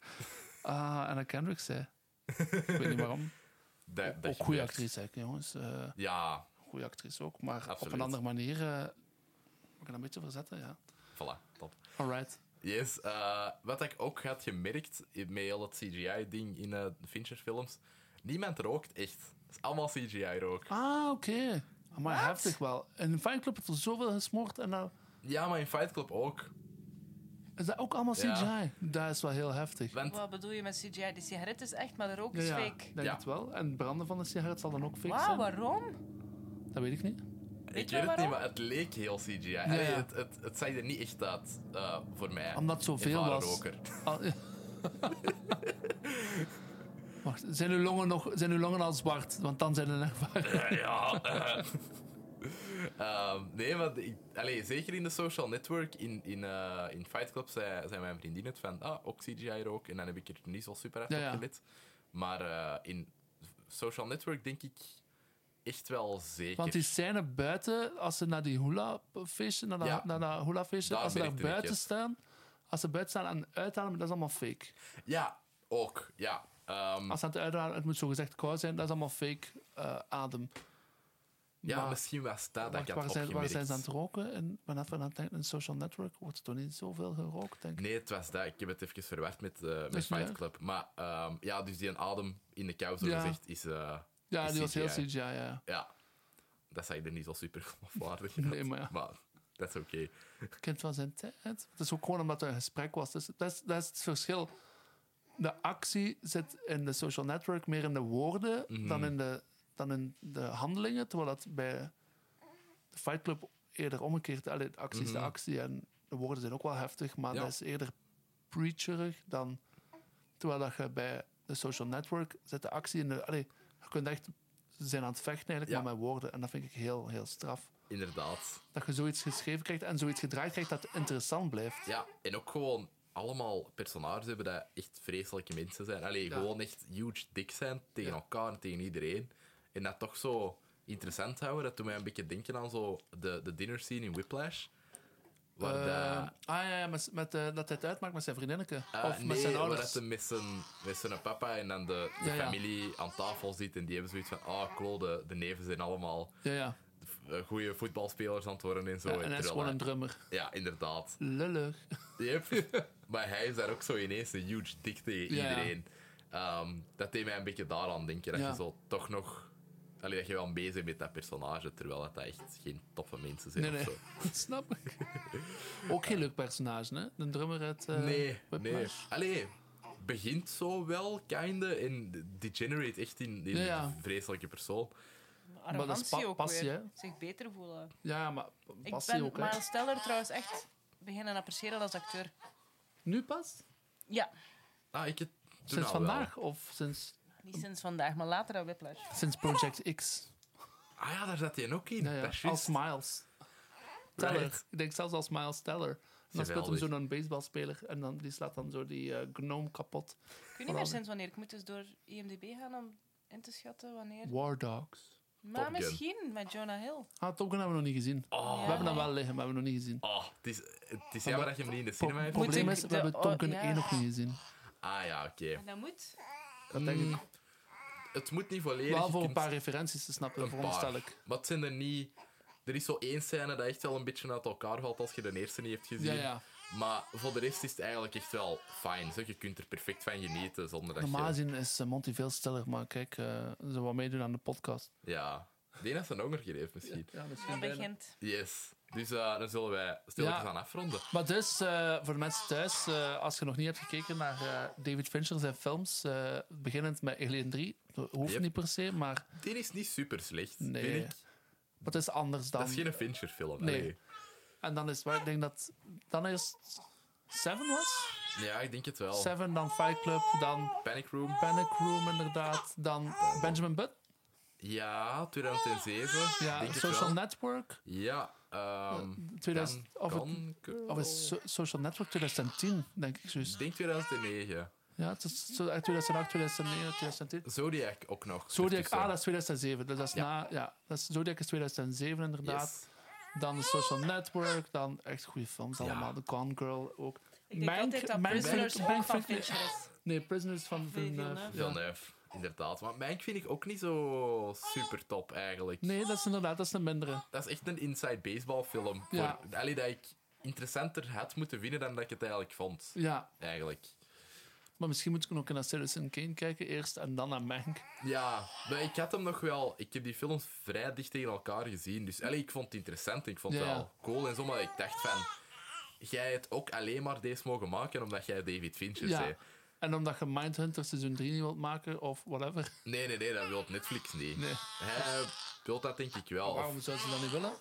Ah, Anna Kendrick zei. ik weet niet waarom.
Dat- dat
Ook goede
gebeurt.
actrice, hè, jongens. Eh
Ja,
goede actrice ook, maar op een
Absoluut.
andere manier... eh we gaan een beetje verzetten, ja.
voilà, top.
Alright.
Yes, eh, wat ik ook had gemerkt met heel het CGI-ding in eh Fincher-films, niemand rookt echt. Het is allemaal CGI-rook.
Ah, oké. Maar
Wat?
heftig wel. En in Fine Club heeft er zoveel gesmoord en nou...
Ja, maar in Fight Club ook.
Is dat ook allemaal CGI?
Ja.
Dat is wel heel heftig.
Want
Wat bedoel je met CGI? De sigaret is echt, maar de rook
Ja,
is
ja,
fake.
denk
Ja.
het wel. En het branden van de sigaret zal dan ook fake
Wauw,
zijn.
waarom?
Dat weet ik niet.
Ik
je
weet het
waarom?
niet, maar het leek heel CGI. Allee, het, het, het zag er niet echt uit eh, voor mij.
Omdat het zoveel
Ervaren
was.
roker.
Al- Wacht, zijn uw, longen nog, zijn uw longen al zwart? Want dan zijn ze echt waar.
ja. eh. Ehm, nee, maar ik, allee, zeker in de social network, in, in, eh, in Fight Club, zei, zei mijn vriendin het van, ah, ook CGI rook. En dan heb ik er niet zo super hard
Ja,
op
ja.
gelet. Maar eh, in social network denk ik echt wel zeker.
Want die scène buiten, als ze naar die hula-feestje, naar, dat-
Ja.
naar dat hula-feestje,
Daar
als ze daar
merkte ik
buiten
het.
staan, als ze buiten staan aan het uithalen, maar dat is allemaal fake.
Hm. Ja, ook, ja. Ehm,
Als ze aan het uithalen, het moet zo gezegd koud zijn, dat is allemaal fake eh, adem.
Ja,
maar-
misschien was dat dat
Wacht,
ik had
waar, zijn, waar
opgemerkt.
zijn ze aan het roken? En vanaf we aan het denken, een social network wordt er toch niet zoveel gerookt, denk ik.
Nee, het was dat. Ik heb het even verward met, eh, met
is niet
Fight
erg.
Club. Maar ehm, ja, dus die adem in de kou, zo
Ja.
gezegd, is... eh,
ja,
is
die was heel
CGI.
CGI, ja.
ja, dat zag ik er niet zo super geloofwaardig uit.
Nee, maar ja.
Maar dat is oké.
kind van zijn tijd. Het is ook gewoon omdat er een gesprek was. Dus dat, is, dat is het verschil. De actie zit in de social network meer in de woorden
Mhm.
dan, in de, dan in de handelingen. Terwijl dat bij de Fight Club eerder omgekeerd. Allee, de actie is de actie en de woorden zijn ook wel heftig, maar
Mhm. Ja.
dat is eerder preacherig dan. Terwijl dat je bij de social network zit de actie in de. Allee, je kunt echt. Ze zijn aan het vechten eigenlijk,
Ja.
maar met woorden. En dat vind ik heel, heel straf
Inderdaad.
dat je zoiets geschreven krijgt en zoiets gedraaid krijgt dat interessant blijft.
Ja, en ook gewoon allemaal personages hebben dat echt vreselijke mensen zijn. Allee,
Ja.
gewoon echt huge dik zijn tegen
Ja.
elkaar en tegen iedereen. En dat toch zo interessant houden. Dat doet mij een beetje denken aan zo de, de dinner scene in Whiplash. Waar
Eh,
dat-
ah ja, ja, met, met, eh, dat hij het uitmaakt met zijn vriendinneke.
Ah,
of met
nee,
zijn
waar
ouders.
dat hij met zijn, met zijn papa en dan de, de
Ja, ja.
familie aan tafel zit. En die hebben zoiets van: ah, oh, de, de neven zijn allemaal
Ja, ja.
goede voetbalspelers aan het worden en zo.
Ja,
en
en hij is
terwijl
gewoon een
hij-
drummer.
Ja, inderdaad.
Lullig.
Yep. maar hij is daar ook zo ineens een huge dik tegen
Ja.
iedereen. Ehm, dat deed mij een beetje daaraan denken. Dat
Ja.
je zo toch nog. Allee, dat je wel bezig bent met dat personage, terwijl dat echt geen toffe mensen zijn
Nee,
of
nee.
zo.
Dat snap ik. Ook geen leuk personage, hè? Een drummer uit. eh,
Nee, nee.
Whiplash.
Allee, begint zo wel, kinder, en degenerate echt in, in
Ja, ja.
een vreselijke persoon.
dat is
Arrogantie
pa-
ook
passie,
weer.
hè?
Zich beter voelen.
Ja, maar
Ik
passie
ben
ook, hè?
Miles Teller trouwens echt beginnen appreciëren als acteur.
Nu pas?
Ja,
Ah, ik het toen
Sinds
al wel.
vandaag of sinds,
niet sinds vandaag, maar later aan Whiplash.
sinds Project X?
Ah ja, daar zat hij ook in.
Ja, ja.
Dat is
Als
juist.
Miles. Teller.
Right.
Ik denk zelfs als Miles Teller. En dan speelt hem
Geweldig.
zo'n baseballspeler en dan, die slaat dan zo die eh, gnome kapot.
Ik weet niet meer sinds wanneer. Ik moet dus door IMDb gaan om in te schatten wanneer.
War Dogs.
Maar
Gun.
misschien met Jonah Hill.
Ah, Top Gun hebben we nog niet gezien.
Oh.
Ah. We hebben hem wel liggen, maar we hebben hem nog niet gezien.
Oh, het is, het is jammer dat je hem niet in de cinema
Het
hebt.
Moet
probleem
ik
is, we
de-
hebben Top
oh,
Gun
ja.
1 nog niet gezien.
Ah ja, oké.
En dat moet.
Dat denk ik.
Het moet niet volledig.
Wel
je
voor een
kunt-
paar referenties te snappen,
een
veronderstel
paar.
ik.
Maar het zijn er niet... Er is zo één scène dat echt wel een beetje uit elkaar valt als je de eerste niet hebt gezien.
Ja, ja.
Maar voor de rest is het eigenlijk echt wel fijn. Zeg. Je kunt er perfect van genieten zonder dat
Normaal
je...
gezien is eh, Monty veel stiller, maar kijk, eh, ze wat meedoen aan de podcast.
Ja. Die heeft zijn honger heeft misschien.
Ja,
Dat
misschien
begint.
Yes. Dus eh, dan zullen wij stilletjes
Ja.
aan afronden.
Maar dus, eh, voor de mensen thuis, eh, als je nog niet hebt gekeken naar eh, David Fincher zijn films, eh, beginnend met Alien 3, dat hoeft
Yep.
niet per se, maar
Die is niet super slecht,
Nee.
vind ik.
wat is anders dan...
Dat is geen Fincher-film.
Nee.
allee.
En dan is waar ik denk dat dan eerst Seven was.
Ja, ik denk het wel.
Seven, dan Fight Club, dan
Panic Room.
Panic Room inderdaad, dan Benjamin Butt,
Ja, 2007.
ja,
denk het
Social
wel.
Network,
Ja, ehm
2000,
Dan
of, het-
Gone Girl.
of is So- Social Network 2010, denk ik
Ik
zoiets.
denk 2009.
Ja, het is zo- uit 2008, 2009, 2010.
Zodiac ook nog. Dus
Zodiac,
ertussen.
ah, dat is 2007. Dus dat is
Ja.
na, ja, dat is, Zodiac is 2007 inderdaad.
Yes.
Dan de Social Network, dan echt goede films
Ja.
allemaal. The Gone Girl ook.
Ik denk altijd dat Prisoners ook van Fincher is.
Nee, Prisoners van Villeneuve.
Villeneuve.
ja.
Villeneuve, inderdaad. Maar Mank vind ik ook niet zo super top eigenlijk.
Nee, dat is inderdaad, dat is een mindere.
Dat is echt een inside baseball film.
Ja.
Voor, allee, dat ik interessanter had moeten winnen dan dat ik het eigenlijk vond.
Ja,
Eigenlijk.
maar misschien moet ik nog naar Citizen Kane kijken eerst en dan naar Mank.
Ja, maar ik had hem nog wel. Ik heb die films vrij dicht tegen elkaar gezien. Dus allee, ik vond het interessant. Ik vond het
Ja.
wel cool en zo. Maar ik dacht van. Jij het ook alleen maar deze mogen maken omdat jij David Fincher
Ja.
zei.
En omdat je Mindhunter seizoen 3 niet wilt maken of whatever.
Nee, nee, nee, dat wil Netflix niet.
Nee.
Hij wil dat denk ik wel. Of
Waarom zou ze dat niet willen?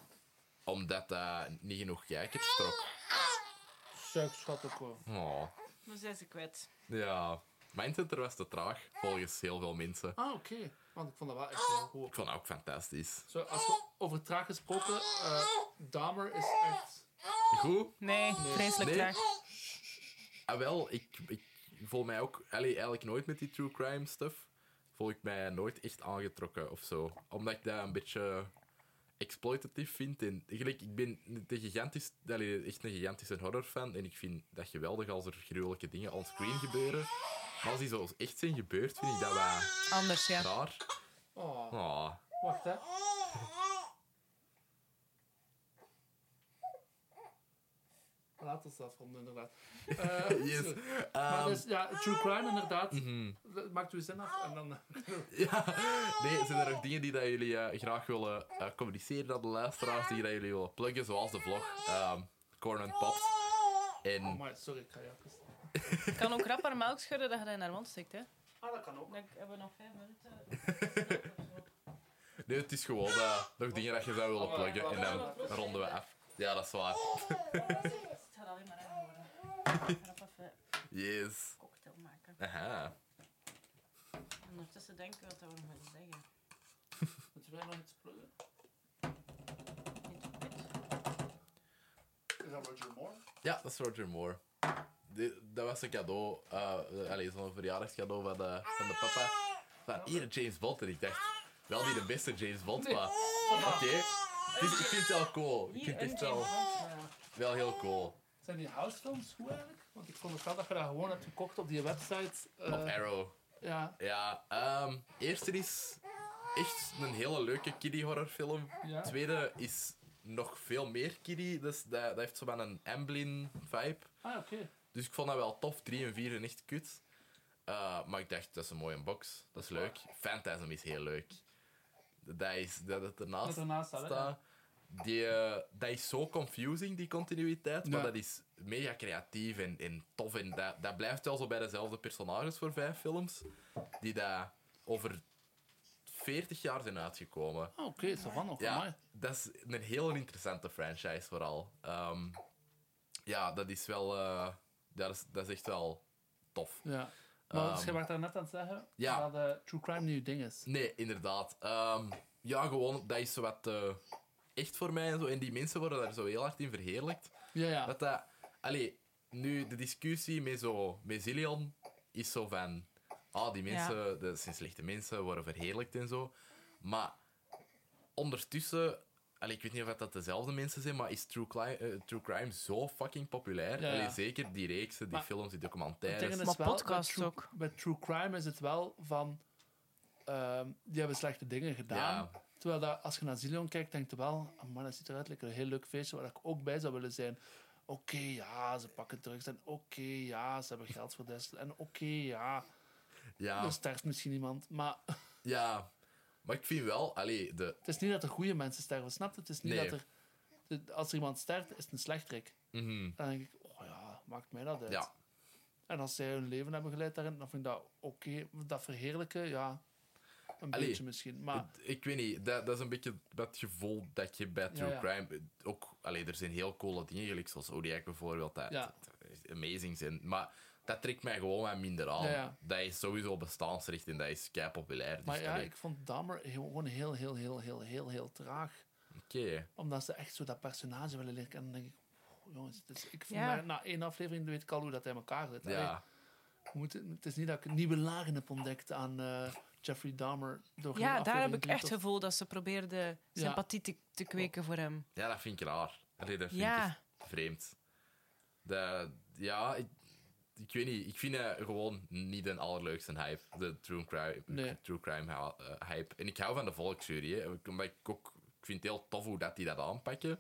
omdat dat niet genoeg kijkers trok.
Suik, schat ook wel.
Oh.
Maar zij is ze kwijt.
Ja. Mindhunter was te traag, volgens heel veel mensen.
Ah, oké. Want ik vond dat wel echt heel goed.
Ik vond dat ook fantastisch.
Zo, als we over traag gesproken, eh Dahmer is echt...
Goed?
Nee, vreselijk
Nee.
traag.
Ah, wel, ik, ik voel mij ook... Allee, eigenlijk nooit met die true crime stuff. Voel ik mij nooit echt aangetrokken of zo. Omdat ik dat een beetje exploitatief vind. En, gelijk, ik ben de gigantisch, allee, echt een gigantische horrorfan. En ik vind dat geweldig als er gruwelijke dingen onscreen gebeuren. Maar als die zo echt zijn gebeurd, vind ik dat wel
Anders, ja.
raar.
Oh,
Ah.
wacht hè. laten we dat ronden, inderdaad. Eh,
Yes.
zo. maar
Ehm,
dus, ja, true crime, inderdaad. Dat Maakt uw zin af en dan...
ja. Nee, zijn er nog dingen die dat jullie eh, graag willen eh, communiceren aan de luisteraars, die dat jullie willen pluggen, zoals de vlog ehm Corn and Pops.
Oh,
En
maar sorry, ik ga je even...
Ik kan ook rap haar melk schudden dat je dat in haar mond steekt, hè.
Ah, dat kan ook.
Dan hebben we nog vijf minuten.
nee, het is gewoon eh, nog dingen dat je zou willen pluggen en dan ronden we af. Ja, dat is waar.
Het gaat alleen maar erger worden. Ik ga rap even
Yes.
cocktail maken.
Aha.
En ondertussen denken we wat we nog moeten zeggen.
Moeten wij nog iets pluggen?
Niet op dit.
Is dat Roger Moore?
Ja, dat is Roger Moore. Dit- dat was een cadeau, eh allez, zo'n verjaardagscadeau van de, van de papa. Van hier, James Bond. En ik dacht, wel niet de beste James Bond, maar oké. Het is- Ik vind het wel cool. Ik
Hier
vind het
een
echt wel,
Ja.
wel heel cool.
Zijn die housefilms goed eigenlijk? Want ik vond het wel dat je dat gewoon hebt gekocht op die website. eh,
Op Arrow.
ja,
Ja, ehm eerste is echt een hele leuke kiddie horrorfilm.
Ja.
Tweede is nog veel meer kiddie. Dus dat, dat heeft zo van een Amblin vibe.
ah oké.
Dus ik vond dat wel tof. 3 en 4 zijn echt kut. Eh, maar ik dacht, dat is een mooie box. Dat is leuk. Phantasm is heel leuk. Dat is dat het
Dat
ernaast
ernaast staat, hè?
staat. Die, eh, dat is zo confusing, die continuïteit. Maar
Ja.
dat is mega creatief en, en tof. En dat, dat blijft wel zo bij dezelfde personages voor vijf films. Die daar over 40 jaar zijn uitgekomen.
Ah, oké, is dat van nog?
Ja,
Amai.
dat is een heel interessante franchise vooral. Ehm, ja, dat is wel... eh, dat, is, dat is echt wel tof.
Ja. Maar
Ehm,
dus, je werd daar net aan het zeggen
ja.
dat eh, True Crime nu je ding is.
Nee, inderdaad. Ehm, ja, gewoon, dat is zo wat eh, echt voor mij en zo. En die mensen worden daar zo heel hard in verheerlijkt.
Ja, ja.
Dat dat... Allee, nu, de discussie met, zo, met Zillion is zo van... Ah, die mensen, dat zijn slechte mensen, worden verheerlijkt en zo. Maar ondertussen... Allee, ik weet niet of dat dezelfde mensen zijn, maar is True, Cli- eh, True Crime zo fucking populair?
Ja, ja.
Allee, zeker die reeksen, die
Maar-
films, die
Het ding
documentaires.
is
Maar
wel, bij
podcasts
true-
ook.
Bij True Crime is het wel van... ehm, die hebben slechte dingen gedaan.
Ja.
Terwijl dat, als je naar Zillion kijkt, denk je wel... "Ah, Man, dat ziet eruit lekker een heel leuk feestje waar ik ook bij zou willen zijn. Oké, ja, ze pakken drugs. En oké, ja, ze hebben geld verduisterd. En oké, ja,
Ja,
er sterft misschien iemand. Maar
ja. Maar ik vind wel... Allee, de,
het is niet dat er goede mensen sterven. Snap je? Het is niet
Nee.
dat er... de- Als er iemand sterft, is het een slechterik. Dan denk ik, oh ja, maakt mij dat uit.
Mhm. ja,
En als zij hun leven hebben geleid daarin, dan vind ik dat oké. Dat verheerlijken, ja, een
Allee,
beetje misschien. Maar
Het- Ik weet niet, dat, dat is een beetje het gevoel dat je bij True
Ja, ja.
Crime... Ook, allee, er zijn heel coole dingen, gelijk zoals Zodiac bijvoorbeeld, dat
Ja.
dat amazing zijn. Maar dat trekt mij gewoon wat minder aan.
Ja, ja.
Dat is sowieso bestaansrecht en dat is kei populair. Dus,
Maar ja,
allee,
ik vond Dahmer heel- gewoon heel, heel, heel, heel, heel, heel traag.
Oké.
Omdat ze echt zo dat personage willen leren kennen. En dan denk ik, oh, jongens, het is- ik voel
Ja.
mij- na één aflevering weet ik al hoe dat hij in elkaar zit. Allee,
Ja.
we moeten- het is niet dat ik nieuwe lagen heb ontdekt aan eh, Jeffrey Dahmer. Door geen
Ja, daar heb
aflevering
ik echt het
te-
gevoel dat ze probeerde sympathie te, te kweken voor hem.
ja, dat vind ik raar. Allee, dat vind
Ja.
ik echt vreemd. Dat, ja, ik, ik weet niet. Ik vind het gewoon niet de allerleukste hype, de True Crime,
Nee.
true crime ha- eh, hype. En ik hou van de volksjury, hè, omdat ik ook... Ik vind het heel tof hoe dat die dat aanpakken.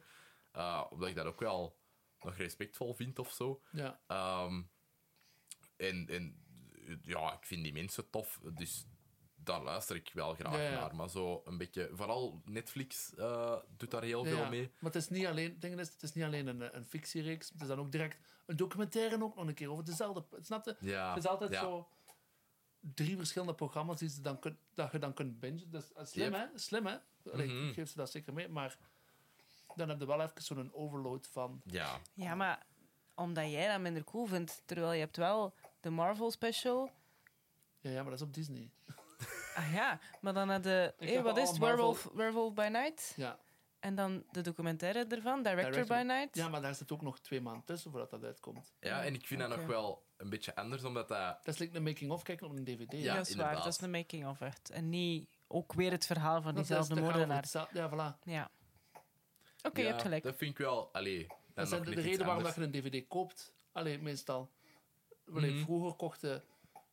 Eh, omdat ik dat ook wel nog respectvol vind of zo.
Ja,
Ehm, en, en ja, ik vind die mensen tof, dus daar luister ik wel graag
Ja, ja.
naar. Maar zo een beetje, vooral Netflix eh, doet daar heel
ja,
veel
ja.
mee.
Maar het is niet alleen, het ding is, het is niet alleen een, een fictiereeks. Het is dan ook direct een documentaire ook nog een keer over dezelfde... Snap je?
Ja,
Het is altijd
Ah, ja.
zo drie verschillende programma's die ze dan kun- dat je dan kunt bingen. Dus eh, slim,
Yep. Mhm.
hè? Slim, hè? Allee, Ik geef ze dat zeker mee, maar dan heb je wel even zo'n overload van...
Ja,
Ja, maar omdat jij dat minder cool vindt, terwijl je hebt wel de Marvel special.
Ja, ja maar dat is op Disney.
Ah ja, maar dan had de...
Ik
eh,
heb
wat is
al
het?
Marvel-
Werewolf, Werewolf by Night?
Ja,
En dan de documentaire ervan, Director,
Director.
by Night.
ja maar daar zit ook nog twee maanden tussen voordat dat uitkomt.
Ja, en ik vind dat
Oké.
nog wel een beetje anders, omdat dat...
Dat is like een making-of kijken op een dvd.
Ja,
dat is
inderdaad.
waar, dat is een making-of echt. En niet ook weer het verhaal van
dat is- dat is-
diezelfde
dat gaat over
moordenaar.
hetzelfde- Ja, voilà.
Ja. Oké,
ja,
je hebt gelijk.
Dat vind ik wel... Allee,
Dat
dan
is
nog
de, de
net iets
reden waarom dat
anders.
je een dvd koopt. Allee, meestal. Allee,
Mhm.
Vroeger kochten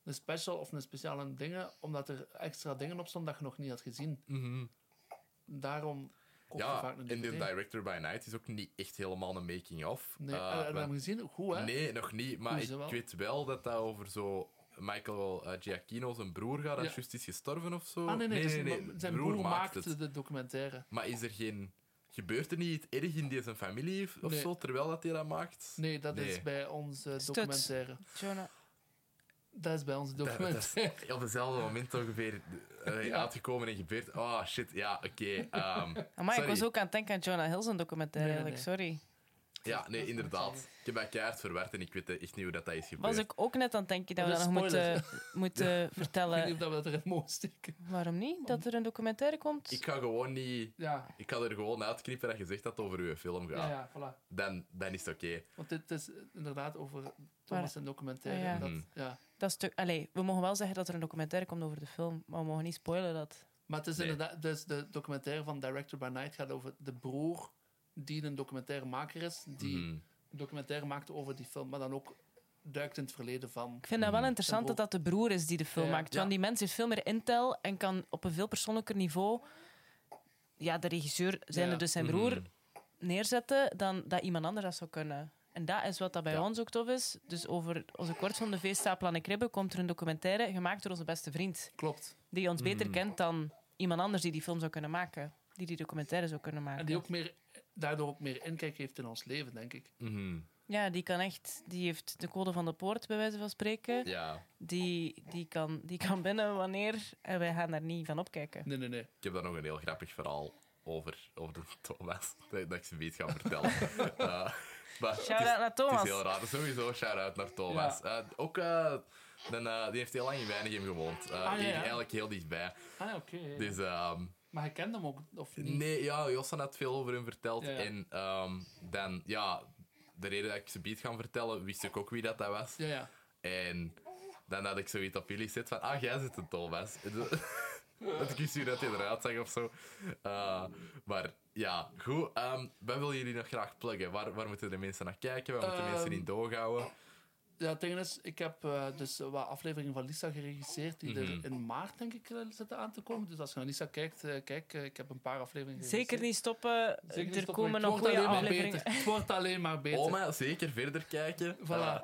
een special of een speciale dingen, omdat er extra dingen op stonden dat je nog niet had gezien.
Mhm.
Daarom kocht je Oh, vaak een
in Mhm. de
DVD.
Director by Night is ook niet echt helemaal een making-of.
Nee,
Eh,
en- en
we-
we hebben gezien hoe, hè?
nee, nog niet. Maar
Hoe
ik
ze wel?
weet wel dat dat over zo Michael eh, Giacchino, zijn broer, gaat. Dat
Ja.
juist is gestorven of zo.
Ah, nee, nee, zijn- zijn broer,
maakt
maakte de documentaire.
Maar is er geen... Gebeurt er niet iets erg in deze familie of
Nee.
zo, terwijl dat hij dat maakt?
Nee, dat
Nee.
is bij onze
Stuts.
documentaire.
Jonah.
Dat is bij onze
Dat- dat is
documentaire.
op hetzelfde moment ongeveer eh,
Ja.
uitgekomen en gebeurd. Oh, shit, ja, oké. ehm,
Amai, Ah, ik
Sorry.
was ook aan het denken aan Jonah Hill's documentaire,
Nee, nee,
eigenlijk. Sorry.
ja, nee,
dat
inderdaad.
moet
Ik heb dat keihard verward en ik weet echt niet hoe dat, dat is gebeurd.
Was ik ook net aan het denken dat we
Dat
dat
is
nog moeten,
spoiler.
moeten
Ik weet niet
vertellen.
of dat we dat erin mogen steken.
Waarom niet? Dat er een documentaire komt?
Ik ga gewoon niet...
Ja,
Ik ga er gewoon uitknippen dat je zegt dat het over uw film gaat.
ja, ja, voilà.
Dan, dan is het oké.
Want dit is inderdaad over Thomas en documentaire.
Ah, ja.
Dat,
Mhm.
ja.
Dat stuk, allee, we mogen wel zeggen dat er een documentaire komt over de film, maar we mogen niet spoilen dat.
Maar het is
Nee.
inderdaad, dus de documentaire van Director by Night gaat over de broer die een documentairemaker is, die
Mhm.
een documentaire maakte over die film, maar dan ook duikt in het verleden van.
Ik vind dat wel
Mhm.
interessant dat dat de broer is die de film
Mm. Ja.
maakt. Want
Ja.
die mens heeft veel meer intel en kan op een veel persoonlijker niveau ja, de regisseur, zijnde
Ja. Mm-hmm.
dus zijn
Mhm.
broer, neerzetten dan dat iemand anders dat zou kunnen. En dat is wat dat bij
Ja.
ons ook tof is. Dus over onze kortfilm De Veestapel aan de Kribbe komt er een documentaire gemaakt door onze beste vriend.
Klopt.
Die ons beter
Mm.
Mhm.
kent dan iemand anders die die film zou kunnen maken. Die die documentaire zou kunnen maken.
En die ook meer, daardoor ook meer inkijk heeft in ons leven, denk ik.
Mhm.
Ja, die kan echt. Die heeft de code van de poort, bij wijze van spreken.
Ja,
Die, die, kan, die kan binnen wanneer. En wij gaan daar niet van opkijken.
Nee, nee, nee.
ik heb daar nog een heel grappig verhaal over, over de Thomas. Dat dat ik ze weet ga vertellen. Eh, maar het
Shout
is-
out naar
Het
Thomas.
is heel raar. Sowieso shout-out naar Thomas. Eh, ook, eh, dan, eh, die heeft heel lang in Weinigem gewoond. Eh,
Ah, ja, ja.
hier Eigenlijk heel dichtbij.
Ah, ja, oké.
Dus ehm,
Maar hij kende hem ook, of niet?
nee, ja, Jossan had veel over hem verteld.
Ja, ja.
En ehm, dan, ja, de reden dat ik ze beat ga vertellen, wist ik ook wie dat, dat was.
Ja, ja.
En dan had ik zoiets op jullie zit van, ah, jij zit een Thomas. Dus, dat ik wist niet dat hij eruit zag of zo. Eh, maar ja, goed. ehm wat willen jullie nog graag pluggen? Waar, waar moeten de mensen naar kijken? Waar moeten de mensen
Ehm,
in doorhouden?
Ja, het ding is, ik heb eh, dus eh, wat afleveringen van Lisa geregisseerd die
Mhm.
er in maart, denk ik, eh, zitten aan te komen. Dus als je naar Lisa kijkt, eh, kijk, eh, ik heb een paar afleveringen
Zeker niet stoppen.
Zeker niet
er
stoppen.
komen
Het
nog
wordt
goede
alleen maar
afleveringen.
beter. Het wordt alleen
Oh,
maar beter.
Oma, zeker verder kijken.
Voilà.
Eh,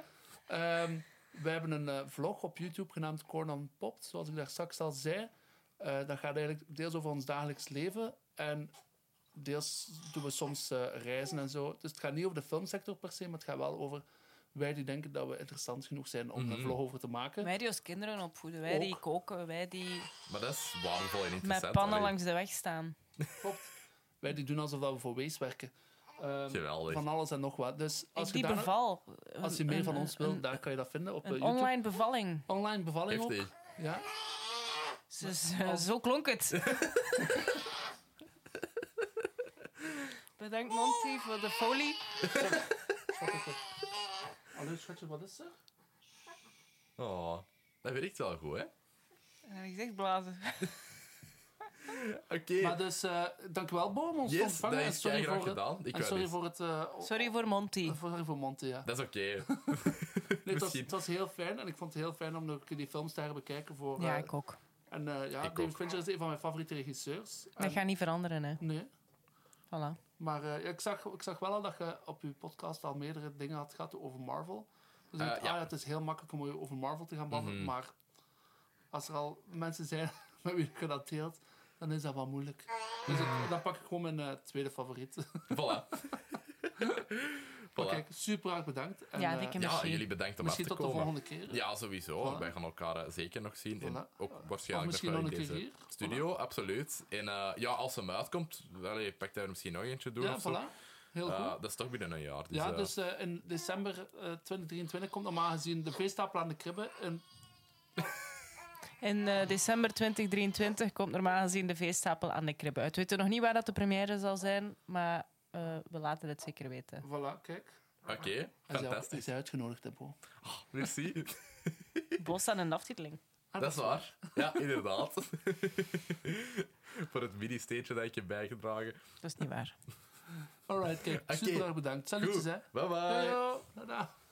Ehm, we hebben een eh, vlog op YouTube genaamd Corn on Pop, zoals ik daar straks al zei. Eh, dat gaat eigenlijk deels over ons dagelijks leven en deels doen we soms eh, reizen en zo. Dus het gaat niet over de filmsector per se, maar het gaat wel over wij die denken dat we interessant genoeg zijn om
Mhm.
een vlog over te maken.
Wij die als kinderen opvoeden. Wij die
Ook.
koken. Wij die
maar dat is waardevol en interessant.
met pannen
Allee,
langs de weg staan.
Wij die doen alsof dat we voor Wees werken. Ehm,
Geweldig.
van alles en nog wat. Dus als,
Ik
je,
die
daar-
beval.
als je
Een-
meer van
een-
ons wil,
een-
daar kan je dat vinden op eh,
Een
YouTube.
online bevalling.
Online bevalling ook.
Heftig.
Ja.
Dus, eh, zo klonk het. Bedankt Monty voor de folie.
Hallo schatje, wat is er?
Oh, dat werkt wel goed, hè?
En ik zeg blazen.
Oké,
Maar dus, eh dankjewel Bo om ons te
yes, dat
ontvangen. En
is jij
sorry
graag
voor, het-
gedaan. Ik
en
wou
sorry
niet.
voor het... eh, o-
Sorry voor Monty.
Sorry voor Monte, ja.
Dat is oké.
Nee, het, was,
misschien.
het was heel fijn en ik vond het heel fijn om ook die films te herbekijken. Voor,
Ja,
eh,
ik ook.
En eh, ja,
Ik
David
ook.
Fincher is een van mijn favoriete regisseurs. En-
Dat gaat niet veranderen, hè.
Nee,
Voilà.
maar eh, ja, ik, zag, ik zag wel al dat je op je podcast al meerdere dingen had gehad over Marvel. Dus ik
Eh,
dacht,
ja.
ah, ja, het is heel makkelijk om over Marvel te gaan babbelen,
Mhm.
maar als er al mensen zijn met wie je dat deelt, dan is dat wel moeilijk. Dus ik- dan pak ik gewoon mijn eh, tweede favoriet.
Voilà.
Maar
voilà.
Kijk, super hard bedankt. En,
Ja,
eh,
dikke
Ja,
Misschien-
jullie bedankt om
misschien
af te
tot
komen.
de volgende keer.
Ja, sowieso.
Voilà.
Wij gaan elkaar eh, zeker nog zien. En
Voilà.
ook
of
waarschijnlijk
misschien
nog
nog
wel
een
in
keer
deze
hier.
studio, absoluut. En eh, ja, als hem uitkomt, allee, pakt hij er misschien nog eentje door.
Ja,
of zo.
voilà. Heel
Eh,
goed.
dat is toch binnen een jaar. Dus,
Ja,
eh,
dus eh, in december eh, 2023 komt normaal gezien de feestapel aan de kribbe. En
In eh, december 2023 komt normaal gezien de veestapel aan de kribbe uit. We weten nog niet waar dat de première zal zijn, maar eh, we laten het zeker weten.
voilà, kijk.
Oké,
Hij is, hij
fantastisch.
is uitgenodigd, hè, Bo.
Merci.
Bos aan een aftiteling.
Ah,
Dat is waar. Ja, inderdaad. Voor het mini-stage dat ik heb bijgedragen.
Dat is niet waar.
Alright, kijk.
Oké.
Super erg bedankt. Salutjes,
Goed.
hè.
Bye bye.
Hey, yo. Tada.